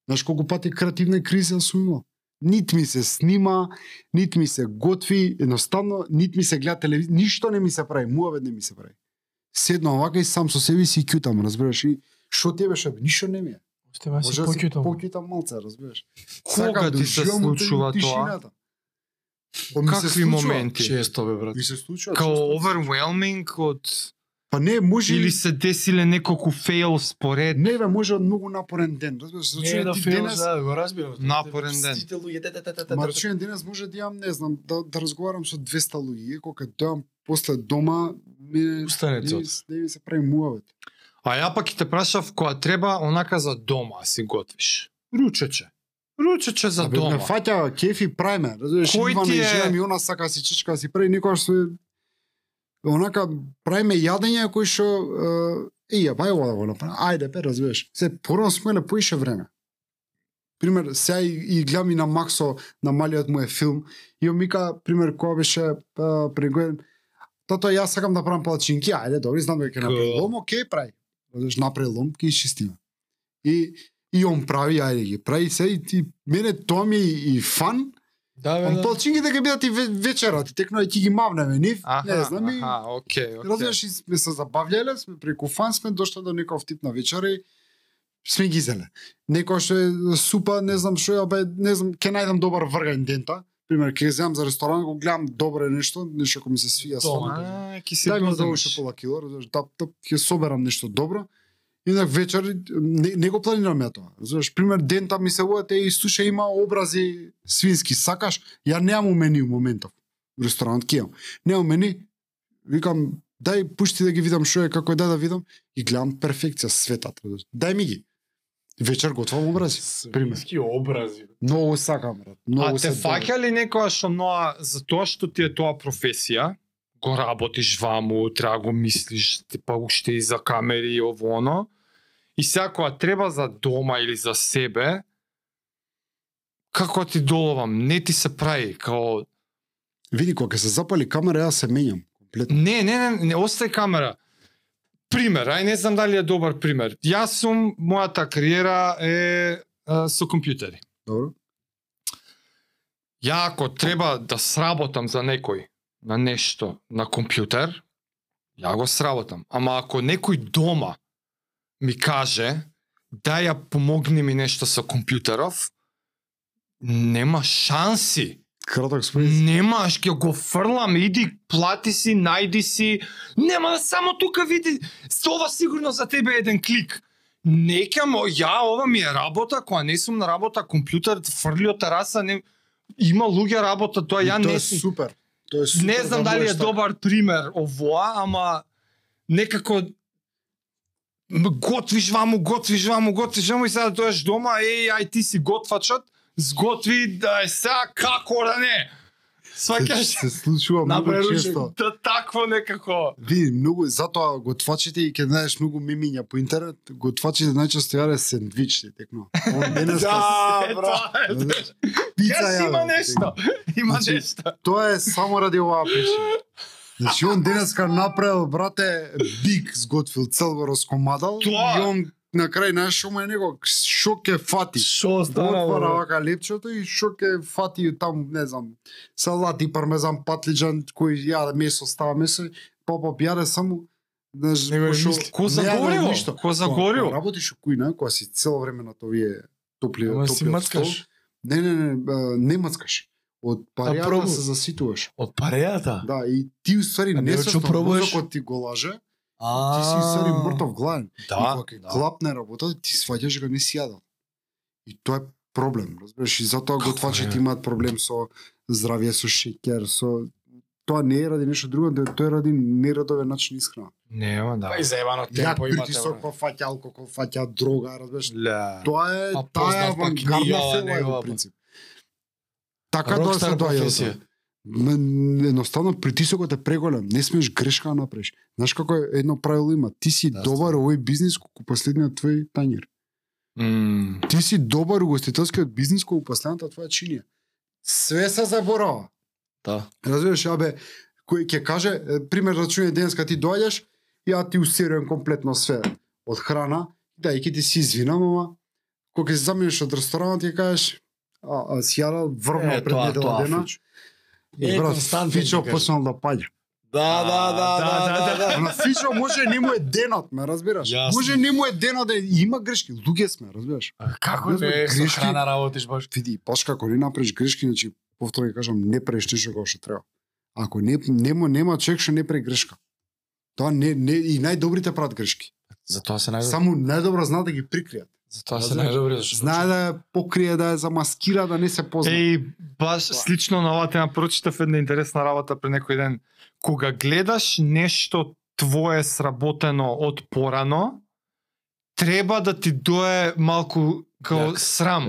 Знаеш колку пати креативна криза сум имал? Нит ми се снима, нит ми се готви, едноставно, нит ми се гледа телевизија, ништо не ми се прави, муавет не ми се прави. Седнам вака и сам со себе си кјутам, разбираш, и што тебе шо, ништо не ми е.
Остави ме си
Може да си
покјутам.
покјутам малце, разбираш.
Кога
Сакам да
ти се
уживам у
случува тоа?
тишината. Па ми се
Какви
случува.
моменти?
Често бе, брат.
Ми се случува.
Као
често.
overwhelming од
Па не, може
или
или
се деsilе неколку фейл според
не бе, може од многу напорен ден. Разбираш, за
Не е
чуен
да
ти
фейлаш,
денес,
да, го разбирам.
Напорен ден.
Стите луѓе, те, те, те, те, те,
ма
те.
за чуен денес може да имам, не знам, да, да разговарам со 200 луѓе, кога дојам после дома, ми
Устане
не,
цот.
ми- не ми се прави муавет.
А ја пак и те прашав која треба онака за дома си готвиш. Ручече. Ручече за
Абе,
дома.
Не фаќа, кефи прај ме. Разбираш,
Кој
Кој
ти
Ивана и
е-
жена ми она сака да си чичка да си прави никогаш се онака прај ме јадење кој што е ја бај да го направи. Ајде пе, разбираш. Се порано сме на поише време. Пример, сега и, и гледам и на Максо, на малиот му е филм, и он мика, пример, која беше пригоден, тато јас сакам да правам палачинки, ајде, добри, знам дека ќе направи
Ко-
лом, окей, прај. Одеш направи лом, ќе исчистиме. И и он прави, ајде ги прави се и ти, мене тоа ми е и фан.
Да, бе,
Ам
да.
палчингите ќе бидат и ве- вечера, ти текно е ќе ги мавнеме, нив, не знам и
аха, окей, окей.
Разбираш, и сме се забавляле, сме преку фан сме дошле до некој тип на вечера и сме ги зеле. Некој што е супа, не знам што е, абе, не знам, ќе најдам добар вргаен дента. Пример, ќе земам за ресторан, го гледам добро е нешто, нешто кој ми се свија
Дома,
со
А, ки си
Дај ми за
доземеш.
уште пола кило, разбираш, да, да, ќе соберам нешто добро. Инак вечер не, не го планирам ја тоа. Знаеш, пример, дента ми се уете и суша има образи свински, сакаш? Ја немам у меню моментов. У ресторанот ќе имам. Немам мени, викам, дај пушти да ги видам што е, како е, дај да видам. И гледам перфекција светат. разбираш. Дај ми ги. Вечер готвам образи. Пример.
Свински образи.
Многу сакам, брат. Многу
А те
се добро.
фаќа ли некоја што многа за тоа што ти е тоа професија, го работиш ваму, треба го мислиш, па уште и за камери и ово оно, и сега кога треба за дома или за себе, како ти доловам, не ти се прави, као
Види кога се запали камера, јас се менјам. Комплетно.
Не, не, не, не остај камера. Пример, ај не знам дали е добар пример. Јас сум, мојата кариера е а, со компјутери.
Добро.
Ја ако треба да сработам за некој на нешто на компјутер, ја го сработам. Ама ако некој дома ми каже да ја помогни ми нешто со компјутеров, нема шанси.
Краток спомен.
Немаш, ќе го фрлам, иди, плати си, најди си. Нема да само тука види, ова сигурно за тебе е еден клик. Нека мо, ја ова ми е работа, кога не сум на работа, компјутер фрли од тераса, не има луѓе работа, тоа ја
тоа
не
е
сум.
супер. Тоа е супер.
не знам
да
дали е
можеш така.
добар пример овоа, ама некако м, готвиш ваму, готвиш ваму, готвиш ваму и сега дојаш дома, еј, ај ти си готвачот, сготви да е сега како да не. Сваќаш
се случува многу
Направи ручек.
често.
да такво некако.
Види, многу, затоа готвачите и ќе знаеш многу мимиња по интернет, готвачите најчесто јаде сендвичи, текно. Он денеска
Да, бра.
Тоа е, знаеш,
пица
Јас
јаде.
има нешто, има
Значи,
нешто.
Тоа е само ради оваа причина. Значи он денеска направил брате биг сготвил цел го раскомадал
Тоа.
и он на крај знаеш што му е него што ќе фати.
Шо да.
Отвара вака лепчето и што ќе фати таму не знам салати пармезан патлиџан кој јаде месо става месо попа јаде само знаеш
Него е
пошо-
мисли.
Ко
не јаде
загорело?
ништо.
Ко
Тоа,
загорело?
кога Работиш у кујна, кога си цело време на овие топли
Ама си
топли стол.
мацкаш.
Не, не, не, а, не мацкаш. Од паријата
пробуј.
се заситуваш.
Од парејата.
Да, и ти уствари
А не, чо
несвесно
пробуваш?
мозокот ти го лаже,
А,
ти си уствари мртов гладен.
Да,
и кога
да.
клапне работа, ти сваќаш дека не си јадал. И тоа е проблем, разбираш? И затоа
Како е?
готвачите имаат проблем со здравје, со шеќер, со тоа не е ради нешто друго, да- тоа е ради нерадовен начин исхрана.
Нема, да.
Па и заебано
Јак
темпо имате.
притисок,
бра.
па фаќа алкохол, фаќа дрога, разбираш?
Ле.
Тоа е
Па
таа
познат па
авангардна
книга,
филма е
негова,
во
па.
принцип. Така да се
Рокстар
доаѓа.
професија.
тоа. М, Едноставно притисокот е преголем, не смеш грешка да направиш. Знаеш како е едно правило има, ти си
Да,
добар у овој бизнис колку последниот твој тањер.
Мм.
Ти си добар у гостителскиот бизнис колку последната твоја чинија. Све се заборава.
Да.
Разбираш, абе, кој ќе каже, е, пример да рачуне денеска ти доаѓаш, ја ти усирувам комплетно све од храна, да, и ќе ти се извинам, ама кога ќе се заминеш од ресторанот ќе кажеш, а, а си јадал врвно
Е,
пред
тоа-
недела
тоа,
дена.
Фичо.
И
Е,
брат,
константен
Фичо
ти кажа.
почнал да паѓа.
Да, да, да, да, да, да.
На Фичо може не му е денот, ме разбираш?
Јасно.
Може не му е денот да има грешки, луѓе сме, разбираш?
А Како
Разбираш,
не е со
грешки-
храна работиш баш?
Види, паш како не направиш грешки, значи повторно ќе кажам, не правиш ништо како што треба. Ако не нема нема човек што не прави грешка. Тоа не, не и најдобрите прават грешки.
Затоа се најдобро.
Само најдобро знаат да ги прикријат.
Затоа се
Разбираш?
најдобро зашто
Знае да ја покрие, да ја замаскира, да не се позна.
Еј, баш слично на оваа тема прочитав една интересна работа пред некој ден. Кога гледаш нешто твое сработено од порано, треба да ти дое малку као
Јак.
срам.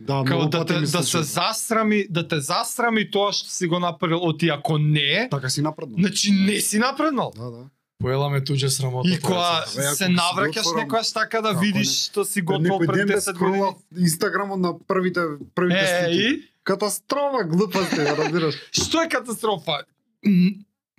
да,
Као
многу
да,
пати
те,
ми
да се
случува.
засрами, да те засрами тоа што си го направил, оти ако не,
Така си напредно.
значи не си напреднал.
Да, да.
Поела ме туѓа срамота.
И кога
Абе, ако
се
си
навраќаш
отворам,
некојаш така да
како
видиш
не.
што си готвил
Некој
пред
ден ме
10 години.
скролав Инстаграмот на првите првите
Е,
слики.
и?
Катастрофа глупа сте, ја разбираш.
Што е катастрофа? М,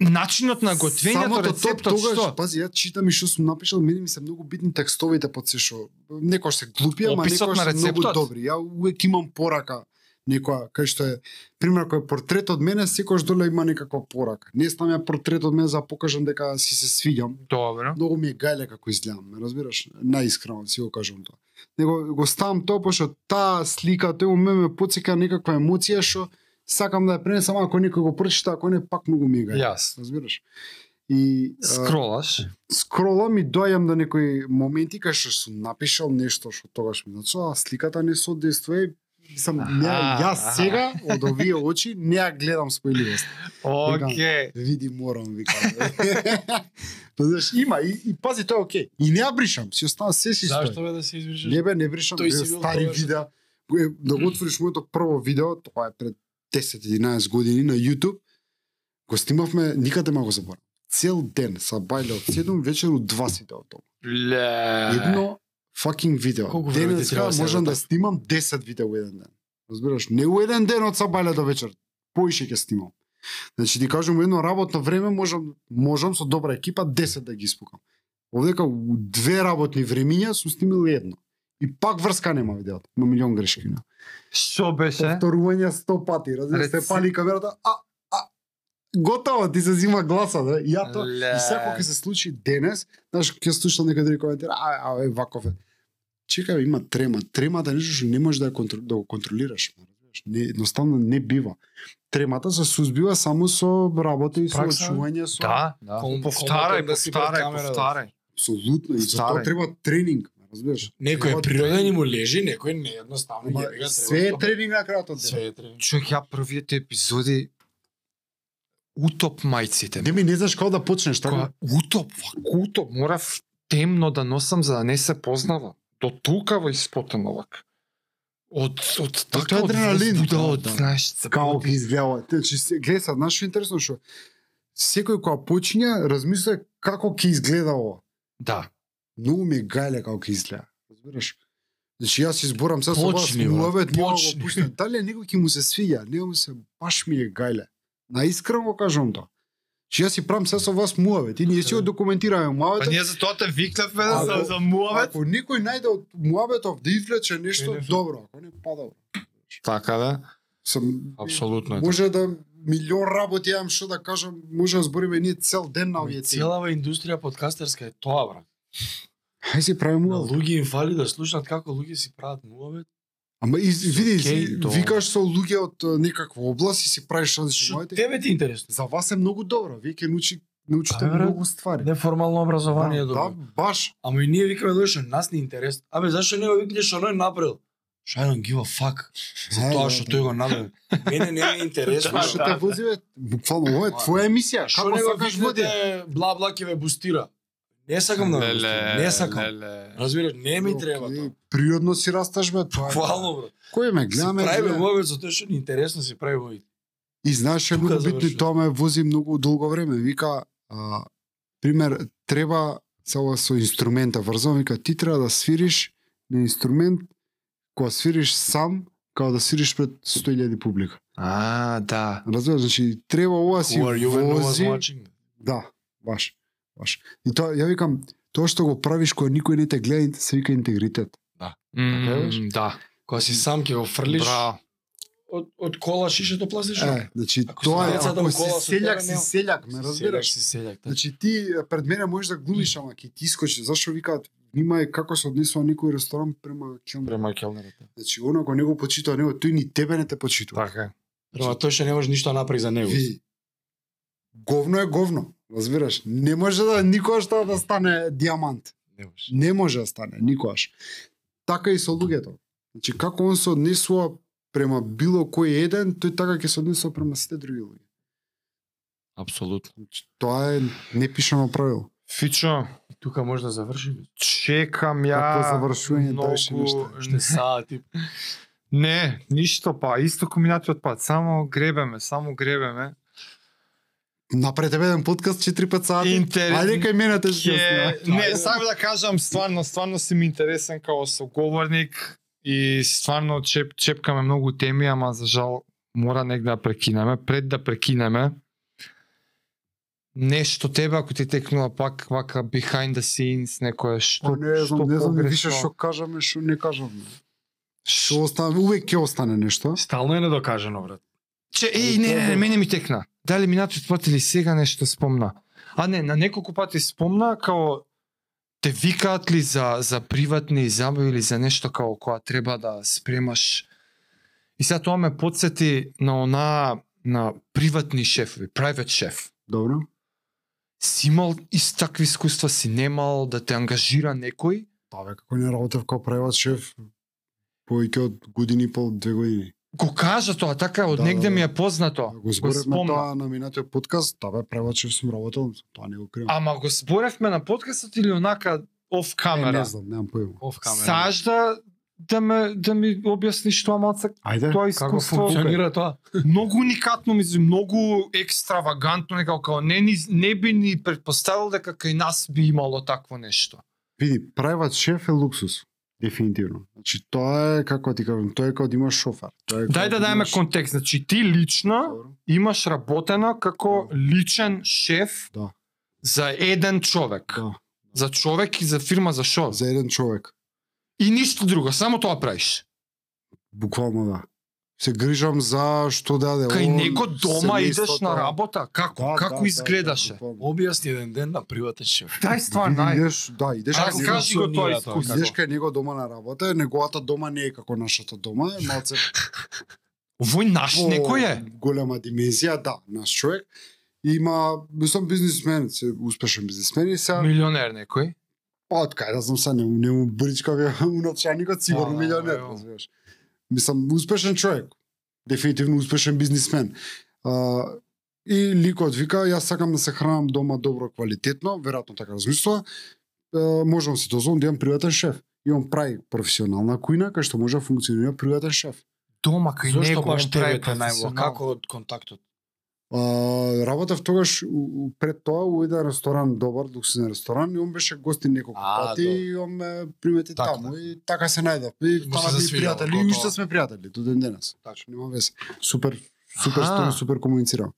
Начинот на готвењето,
Самото
рецептот,
тогаш,
што?
Пази, ја читам и што сум напишал, мене ми се многу битни текстовите под се што некој се глупи, ама
Описот
некој
на
се многу
рецептот?
добри. Ја увек имам порака некоја, кај што е, пример, кој е портрет од мене, секојаш доле има некаква порака. Не ставам ја портрет од мене за да покажам дека си се свиѓам.
Добро.
Многу ми е гајле како изгледам, ме разбираш? Најискрено си го кажам тоа. Него го ставам тоа пошто таа слика тој у мене ме потсека некаква емоција што сакам да ја пренесам, ако некој го прочита, ако не пак многу ми е гајле.
Јас.
Разбираш? И а,
Скролаш.
скролам и доаѓам до некои моменти кај што сум напишал нешто што тогаш ми значува, а сликата не соодействува и сам не, ја-
Аха,
јас сега од овие очи не ја гледам спојливост.
Океј.
Види морам викам. Тоа знаеш, има и, и пази тоа е окей. И не ја бришам, си остава се си стои.
Зашто бе да се избришеш?
Не бе, не бришам
Тој си
бе,
бил
стари
тогаш.
видеа. Го е- Да го отвориш моето прво видео, тоа е пред 10-11 години на YouTube. Го снимавме, никаде ма го заборам. Цел ден са бајле од 7 вечер од 2 си од дома.
Ле.
Едно fucking видео.
Колку време ти
Денеска
треба сега
можам
за
да
тоа?
снимам 10 видеа во еден ден. Разбираш, не у еден ден од сабајле до вечер. Поише ќе снимам. Значи ти кажам во едно работно време можам можам со добра екипа 10 да ги испукам. Овдека у две работни времиња сум снимил едно. И пак врска нема видеото. Има милион грешки. на.
Што беше?
Повторување 100 пати, разбираш, се
Рецеп-
пали камерата, а а готово ти се зима гласа, да? И Ја тоа
Ле.
И секој ќе се случи денес, знаеш, ќе слушам некој други коментар, а, а, е, ваков е. Чекај, бе, има трема. Тремата е нешто што не можеш да, ја контр... да го контролираш. ме разбираш? Не, едноставно не бива. Тремата се сузбива само со работа и со
Пракса?
очување, со...
Да, да.
Ком-
Повтарај,
комотен да си пред
повтарај,
камера, да.
повтарај.
Абсолютно. И за тоа
Старе.
треба тренинг. ме разбираш?
Некој е
Од-
природен и му лежи, некој не едноставно
Ма,
ќе бега
Све е тренинг на крајот од
Све
ден.
е тренинг.
Човек, ја првиот епизоди утоп мајците.
Не ми не знаш како да почнеш така.
Која, утоп, вак, утоп, морав темно да носам за да не се познавам. До тука во испотен овак. Од, од
Тоа е
така од
адреналин,
воздуха,
да,
од,
да.
знаеш,
како
забуди.
ги изгледа. Значи, се- гледај сега, знаеш што е интересно што секој која почиња размисля како ќе изгледа ова.
Да.
Многу ми е гајле како ќе изгледа. Разбираш? Значи јас изборам се со вас
Почни, брат,
муавет, ја
почни.
го пуштам. Дали некој ќе му се свиѓа, не му се баш ми е гајле. Наискрено го кажам тоа. Значи јас си правам се со вас муавет и ние си го документираме муавет.
Па ние за тоа те викнавме
да за- за
муавет.
Ако некој најде од муабетов да извлече нешто
Е, не,
добро, ако не па добро.
Така да.
Сам
Апсолутно е.
може да милион работи имам што да кажам, може да збориме ние цел ден на овие цели.
Целава индустрија подкастерска е тоа, брат.
Хај си правиме
На
муавет.
луѓе им фали да слушнат како луѓе си прават муавет.
Ама и види,
Океј,
си-
тоа.
викаш со луѓе од е, некаква област и си правиш различни
Што
моменти.
тебе ти е интересно?
За вас е многу добро, вие ќе научи научите
Да, брат.
многу ствари.
Неформално образование е
да, да,
добро.
баш.
Ама и ние викаме тоа што нас не е интересно. Абе зашто не го викнеш оној направил? Што I don't give a fuck за
Е,
тоа
да,
што
да.
тој го направил. Мене не ми е интересно.
Тоа што те возиве, буквално ова е твоја емисија.
Што
Како
да. не го
сакаш води?
викнете, бла бла ќе ве бустира. Не сакам да ве бустира. Не сакам. Разбираш, не ми треба
Океј,
тоа.
Природно си расташ бе, тоа. е.
Буквално, брат.
Кој ме
Си
гледаме?
прави
гледаме.
мовец за тоа што ни е интересно си прави мовец.
И знаеш што е
Тука
многу битно и
завршува.
тоа ме вози многу долго време. Вика, а, пример, треба се ова со инструмента врзам, вика, ти треба да свириш на инструмент кога свириш сам, као да свириш пред 100.000 публика.
А, да.
Разбираш, значи треба ова си
Who are you when no one's
вози.
watching?
Да, баш, баш. И тоа ја викам, тоа што го правиш кога никој не те гледа, се вика интегритет. Така е,
М, да.
Кога си сам ќе го фрлиш
Браво.
од од кола шишето пластично.
Е, значи
Ако
тоа
се
е
децата
ако
у
си
кола со
селјак,
тебе,
си
нема-
селјак, ме разбираш.
Си седак, да.
Значи ти е, пред мене можеш да глумиш, ама ќе ти искочи. Зашо викаат, внимај како се однесува некој ресторан према Келнер.
Према келнерата.
Значи, оно ако не го почитува него, тој ни тебе не те почитува.
Така. е.
Према тој што не може ништо да направи за него.
Ви, говно е говно, разбираш. Не може да никогаш тоа да стане диамант.
Не може.
Не може да стане никогаш. Така и со луѓето. Значи, како он се однесува према било кој еден, тој така ќе се однесува према сите други луѓе.
Апсолутно.
Значи, тоа е непишано правило.
Фичо,
Тука може да завршиме.
чекам ја...
Какво завршување
многу-
даваше нешто?
Уште сати.
Не, ништо па, исто комбинатиот пат, само гребеме, само гребеме.
Направете еден подкаст 4-5 сати.
Интерес-
Ајде кај мене те ќе
Ке...
снимам.
Не, сакам да кажам, стварно, стварно си ми интересен као соговорник и стварно чеп, чепкаме многу теми, ама за жал мора негде да прекинеме. Пред да прекинеме, нешто тебе, ако ти текнува пак, вака behind the scenes, некое што,
Па не
што
знам, не знам ни више
погрешно.
што кажаме, што не кажаме. Што остане, увек ќе остане нешто.
Стално е недокажано, брат.
Че, еј, не, не, не, мене ми текна. Дали минатиот пат или сега нешто спомна? А не, на неколку пати спомна као те викаат ли за за приватни забави или за нешто као која треба да спремаш. И сега тоа ме подсети на она на приватни шефови, private шеф.
Добро.
Си имал ист такви искуства, си немал да те ангажира некој?
Па бе, како не работев како превод шеф повеќе од години и пол, две години.
Го кажа тоа, така од
Да, да,
негде
да.
ми е познато.
Да, Го зборевме
спомна.
тоа на минатиот подкаст, да бе, превод шеф сум работел, тоа не го кривам.
Ама го зборевме на подкастот или онака оф
Не,
камера?
не знам, немам појма.
Оф камера.
Сажда да ме да ми објасниш тоа малце
Ајде.
тоа
како
искуство
функционира тоа?
многу уникатно ми зву- многу екстравагантно некако као не ни, не би ни предпоставил дека кај нас би имало такво нешто.
Види, превод шеф е луксус. Дефинитивно. Значи тоа е како ти кажам, тоа е како да имаш шофар. Тоа е како
Дај да даеме
имаш-
контекст, значи ти лично
Добро.
имаш работено како личен шеф
Да.
за еден човек.
Да.
За човек и за фирма за шо?
За еден човек.
И ништо друго, само тоа правиш.
Буквално да. Се грижам за што даде.
Кај
он,
него дома идеш
семејството.
на работа, како
Да,
како
да,
изгледаше?
Да, буквално.
Објасни еден ден на приватен шеф.
Дај стварно, ај.
Идеш, да, идеш
А,
кај него,
кажи го тоа искуство.
идеш кај него дома на работа, неговата дома не е како нашата дома, е малце
Овој наш
по
некој е.
голема димензија, да, наш човек. Има, мислам, бизнисмен, се успешен бизнисмен и сега
Милионер некој.
па од кај да знам са не, му- не му бричка му началникот, сигурно
Да, да,
милионер,
да, да.
разбираш. Мислам, успешен човек. Дефинитивно успешен бизнисмен. А, и ликот вика, јас сакам да се хранам дома добро квалитетно, веројатно така размислува. А, можам си дозволам да имам приватен шеф. И он прави професионална кујна, кај што може да функционира приватен шеф.
Дома кај него.
Зошто
он
баш да
прави
тебе најбо?
професионално.
Како од контактот?
А, работев тогаш у- у- пред тоа у еден ресторан добар, луксузен ресторан, и он беше гости неколку
А,
пати
добро.
и он ме примети
Така,
таму и така се најдов. И
Му
тама
се
ми
засвијало,
пријатели и
готово.
уште сме пријатели до ден денес.
Тачно.
Нема вез. Супер супер
Аха.
строг, супер комуницирал.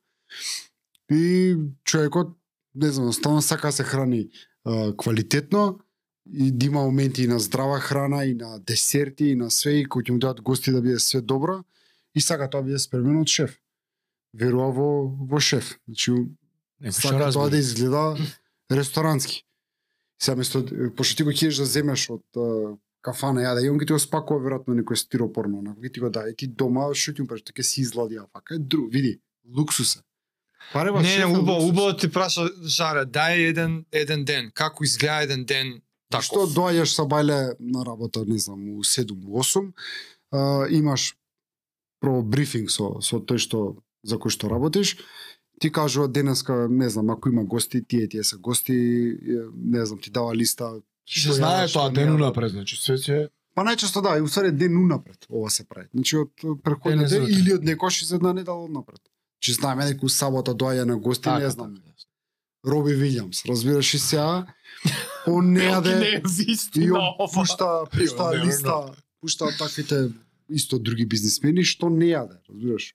И човекот не знам, стално сака да се храни а, квалитетно и да има моменти и на здрава храна и на десерти и на све и кој ќе му дадат гости да биде све добро и сака тоа да биде спремено од шеф. Верува во во шеф. Значи сака тоа да изгледа ресторански. Сега место, пошто ти го киеш да земеш од а, кафана јаде, и он ги ти го спакува веројатно некој стиропорно, на ги ти го даде, и ти дома што ќе му прашаш, ќе си излади а фака, е друг, види, луксус е. Парева
Не, не, убаво, убаво ти праша Жара, дај еден еден ден, како изгледа еден ден таков.
Што доаѓаш са бајле на работа, не знам, у 7, у 8, а, имаш прво брифинг со, со тој што за кој што работиш, ти кажува денеска, не знам, ако има гости, тие тие се гости, е, не знам, ти дава листа. што
Се знае
јадеш, што
тоа
не
ден
јадеш.
унапред, значи све се
Па најчесто да, и у ствари ден унапред ова се прави. Значи од
Денес
преходен ден
утре.
или од некош из една недела однапред. Че знаеме дека у сабота доаѓа на гости,
Така,
така.
не знам. Роби Вилјамс, разбираш и сега, он не јаде и он пушта, пушта
Ја, не,
листа, пушта таквите исто други бизнисмени што не јаде, разбираш.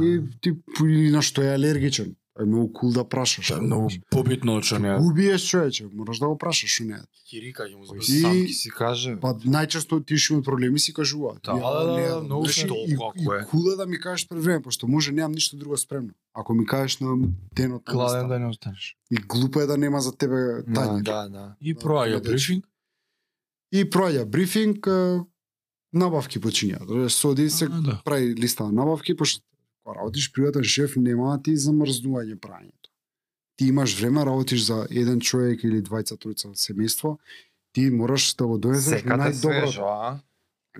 И ти или на што е алергичен. Е многу кул да прашаш.
Тоа е многу побитно што не.
Убиеш човече, мораш да го прашаш што не. јаде.
Кирика ќе му
Кој
И-
сам ки си каже.
Па најчесто ти што имат проблеми си кажува.
Да,
Ја,
да, да,
не,
да, многу
знаеш,
се
и-
толку,
и,
ако е.
и кула да ми кажеш пред време, пошто може немам ништо друго спремно. Ако ми кажеш на денот на
Гладен
листа.
да не останеш.
И глупо е да нема за тебе тање.
да, да.
И
Да,
проаѓа
гледачи.
брифинг.
И проаѓа брифинг, е, набавки почиња. Соди се
А, да.
прави листа на набавки, пошто кога работиш приватен шеф, нема да ти замрзнување прањето. Ти имаш време, работиш за еден човек или двајца, тројца семејство, ти мораш да го донесеш
Секата е свежо,
најдобро.
а?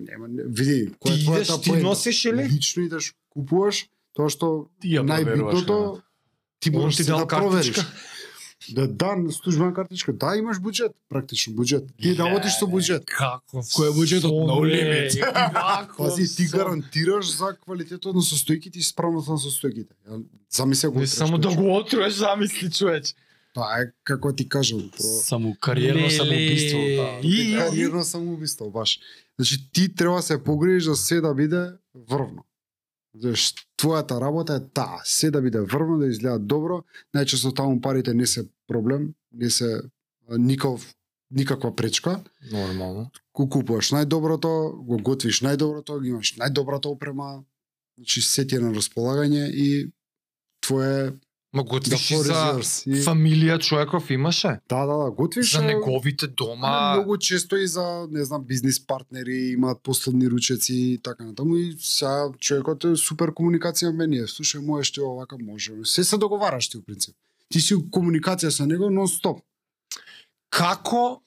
Нема, не, види,
Ти
која е
идеш,
твојата
ти
поента?
носиш или?
Лично идеш, купуваш, тоа што
Ти ја проверуваш.
најбитното ти
Он
можеш
ти
ти да
дал картичка?
провериш. Да, да, службена картичка. Да, имаш буџет, практично буџет. Ти да одиш со буџет.
Како?
Кој е буџетот?
сон
No
е,
limit.
како
Пази, ти
сон.
гарантираш за квалитетот на состојките и справност на состојките. Ја, Замисли го.
Не само да го отруеш, замисли човеч.
Тоа е како ти кажам, про
Саму кариерно
Леле.
самоубиство. да.
И-
кариерно самоубиство, баш. Значи ти треба се погрижиш за се да биде врвно. Знаеш, твојата работа е таа, се да биде врвно, да изгледа добро, најчесто таму парите не се проблем, не се а, никаков никаква пречка.
Нормално.
го купуваш најдоброто, го готвиш најдоброто, ги имаш најдобрата опрема, значи се ти е на располагање и твое
Ма
the
готвиш и
floor is
за
yours. И,
фамилија човеков имаше?
да, да, да, готвиш
За
е,
неговите
ама
дома.
многу често и за, не знам, бизнис партнери, имаат последни ручеци и така натаму и сега човекот е супер комуникација мене, слушај, можеш ти овака, може. Се се договараш ти у принцип. Ти си у комуникација со него нон стоп.
Како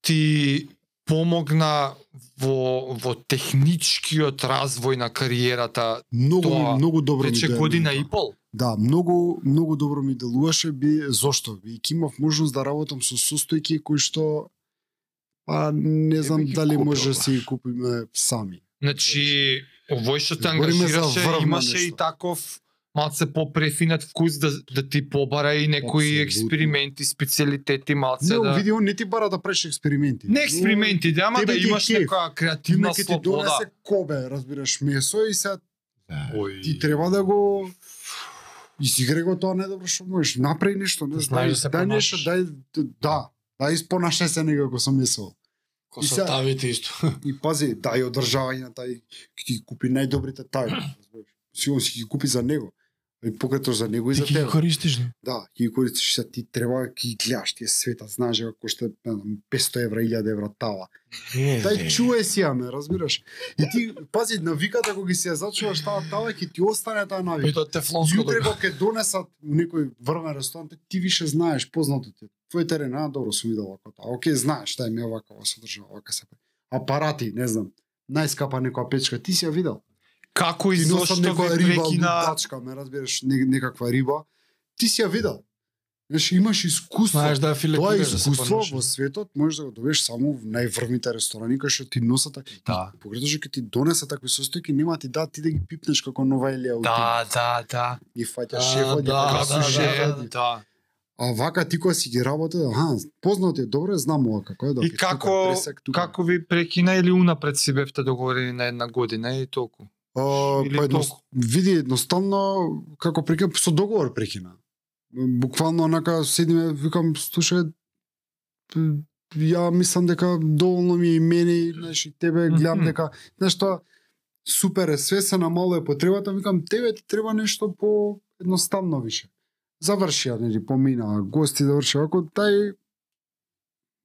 ти помогна во, во техничкиот развој на кариерата
Многу,
Тоа,
многу добро ми
вече
дојде
година
тоа.
и пол?
Да, многу многу добро ми делуваше би зошто? Бидејќи имав можност да работам со состојки кои што па не знам
би ги
дали
купил,
може да
баш.
си ги купиме сами.
Значи, овој што те
Говориме за
ангажираше,
врвно
имаше
нешто.
и таков малце попрефинат вкус да, да ти побара и некои
Апсолутно.
експерименти, специалитети, малце
Не,
да...
види, он не ти бара да правиш експерименти.
Не експерименти, да, ама
тебе
да
ти е
имаш
кеф.
некоја
Ти ме
креативна
ќе ти
да.
слобода.
донесе кобе, разбираш, месо и сега
Ој.
ти треба да го изиграј го тоа најдобро што можеш. Направи нешто, не
Да
знам,
знаеш да се
дај нешто, дај да, дај испонаше се некако со месо.
Ко
И
се
сега-
тавите исто.
И пази, да и одржавање на тај, ќе ти ги купи најдобрите тај. разбираш. Си он си ги купи за него. И покрето за него и
Ти
за
Да ќе ги
тебе.
користиш ли?
Да, ќе ги користиш се ти треба ќе ги гледаш тие света, знаеш дека кошта не знам, 500 евра, 1000 евра тава.
Не,
Тај чуе си ја ме, разбираш? И ти пази навиката кога ги се ја зачуваш таа тава ќе ти остане таа навика.
Па и тоа тефлонско
Јутре
тоа.
кога ќе донесат у некој врвен ресторант, ти више знаеш, познато ти. е. Твој терен, а, добро, сум видел овако таа. Океј, знаеш, тај ми е овако, ова се држава, овака се. прави. Апарати, не знам, најскапа некоја печка, ти си ја видел.
Како и
Ти
зошто
носам некоја
ви
риба,
прекина...
лутачка, ме разбираш, не, некаква риба. Ти си ја видел. Знаеш, имаш искуство.
Знаеш да
Тоа
филетираш да се
искуство
понешеш.
во светот можеш да го добиеш само во најврвните ресторани кои што ти носат такви.
Да.
Погредно што ќе ти донесе такви состојки, нема ти да ти да ги пипнеш како нова илија.
Да, да, да.
Ги фаќаш
Да,
шефот, ги
да,
Како
фаќаш
да, да,
же,
шефот, ги-
да.
А вака ти кога си ги работи, аха, познато е, добро е, знам ова како е да.
И како- Како ви прекина или унапред си бевте договорени на една година и толку?
А,
Или
па едно,
толку?
види едноставно како прекина со договор прекина. Буквално онака седиме викам слушај п- ја мислам дека доволно ми е и мене и знаеш и тебе гледам
Мгм.
дека знаеш што супер е све се намало е потребата викам тебе ти треба нешто по едноставно више. Завршија нели помина гости завршија ако тај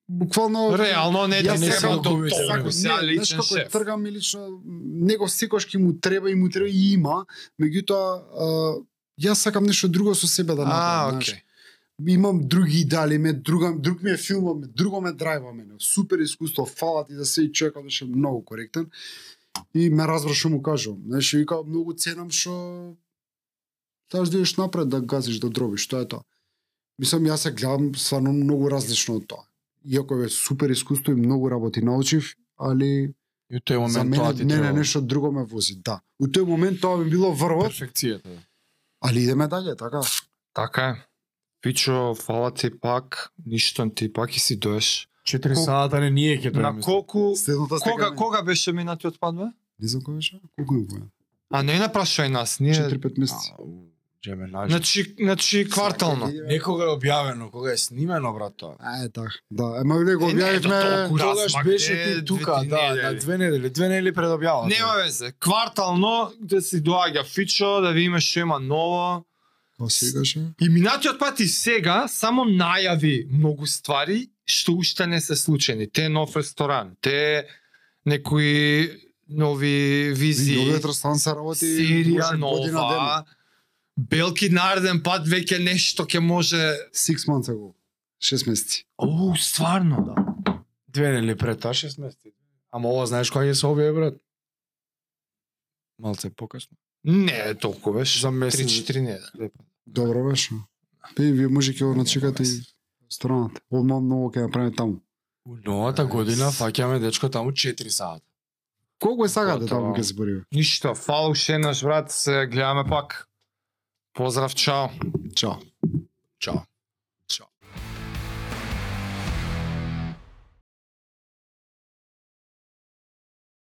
буквално
Реално не ти
Јас
не
сега
се
го
толку,
добивте,
сега
него.
сега
знаеш
личен
како
шеф.
тргам и лично, него секогаш ќе му треба и му треба и има, меѓутоа а, јас сакам нешто друго со себе да
А,
направам,
окей.
Имам други идеали, ме друга, друг ми е филмот, ме друго ме драйва мене. Супер искуство, фала ти за се и човекот беше многу коректен. И ме разбра што му кажувам. Знаеш, и вика, многу ценам што Таш да идеш напред да газиш, да дробиш, тоа е тоа. Мислам, јас се гледам стварно многу различно од тоа. Иако е супер искуство и многу работи научив, али
И у тој
за
момент тоа
мене
ти
не, не,
треба.
нешто друго ме вози, да. У тој момент тоа би било врвот,
Перфекцијата. да.
али идеме дале, така.
Така е. Пичо, фала ти пак, ништо ти пак и си доеш.
4
Кол-
сата не ние ќе дојаме.
На колку...
Следната
Кога, кога беше минатиот падме?
Не знам кога беше, колку ми боја?
А не напрашај нас, ние...
4-5 месеци.
Джеме лажи.
Значи, значи
да
квартално.
Некога е објавено, кога е снимено брат тоа.
А, е така. Да, ема вие го
Е, не, до толку.
објавивме...
Курас,
Тогаш
ма
беше
где
ти тука,
две-три
да,
недели?
на две недели, две недели пред објавата.
Нема везе, квартално да си доаѓа Фичо, да видиме што има ново.
Кога сегаше?
И минатиот пат и сега само најави многу ствари што уште не се случени. Те нов ресторан, те некои нови визии.
Новиот ресторан се работи
серија
може година дена.
нова. Белки нареден пат веќе нешто ќе може.
Six months ago. 6 месеци.
Оу, стварно. Да.
Две недели пред тоа 6 месеци. Ама ова знаеш кога ќе се објави брат? Малце покасно.
Не е толку веш.
За месец.
3-4 недели.
Добро беше. Пе, вие може ќе го начекате и ресторанот. Одма многу ќе направиме таму.
У новата година фаќаме дечко таму 4 сата.
Колку е сакате
Готово.
таму Така, да, ќе се бориме?
Ништо, фала уште еднаш брат, се гледаме пак. Поздрав, чао.
Чао.
Чао.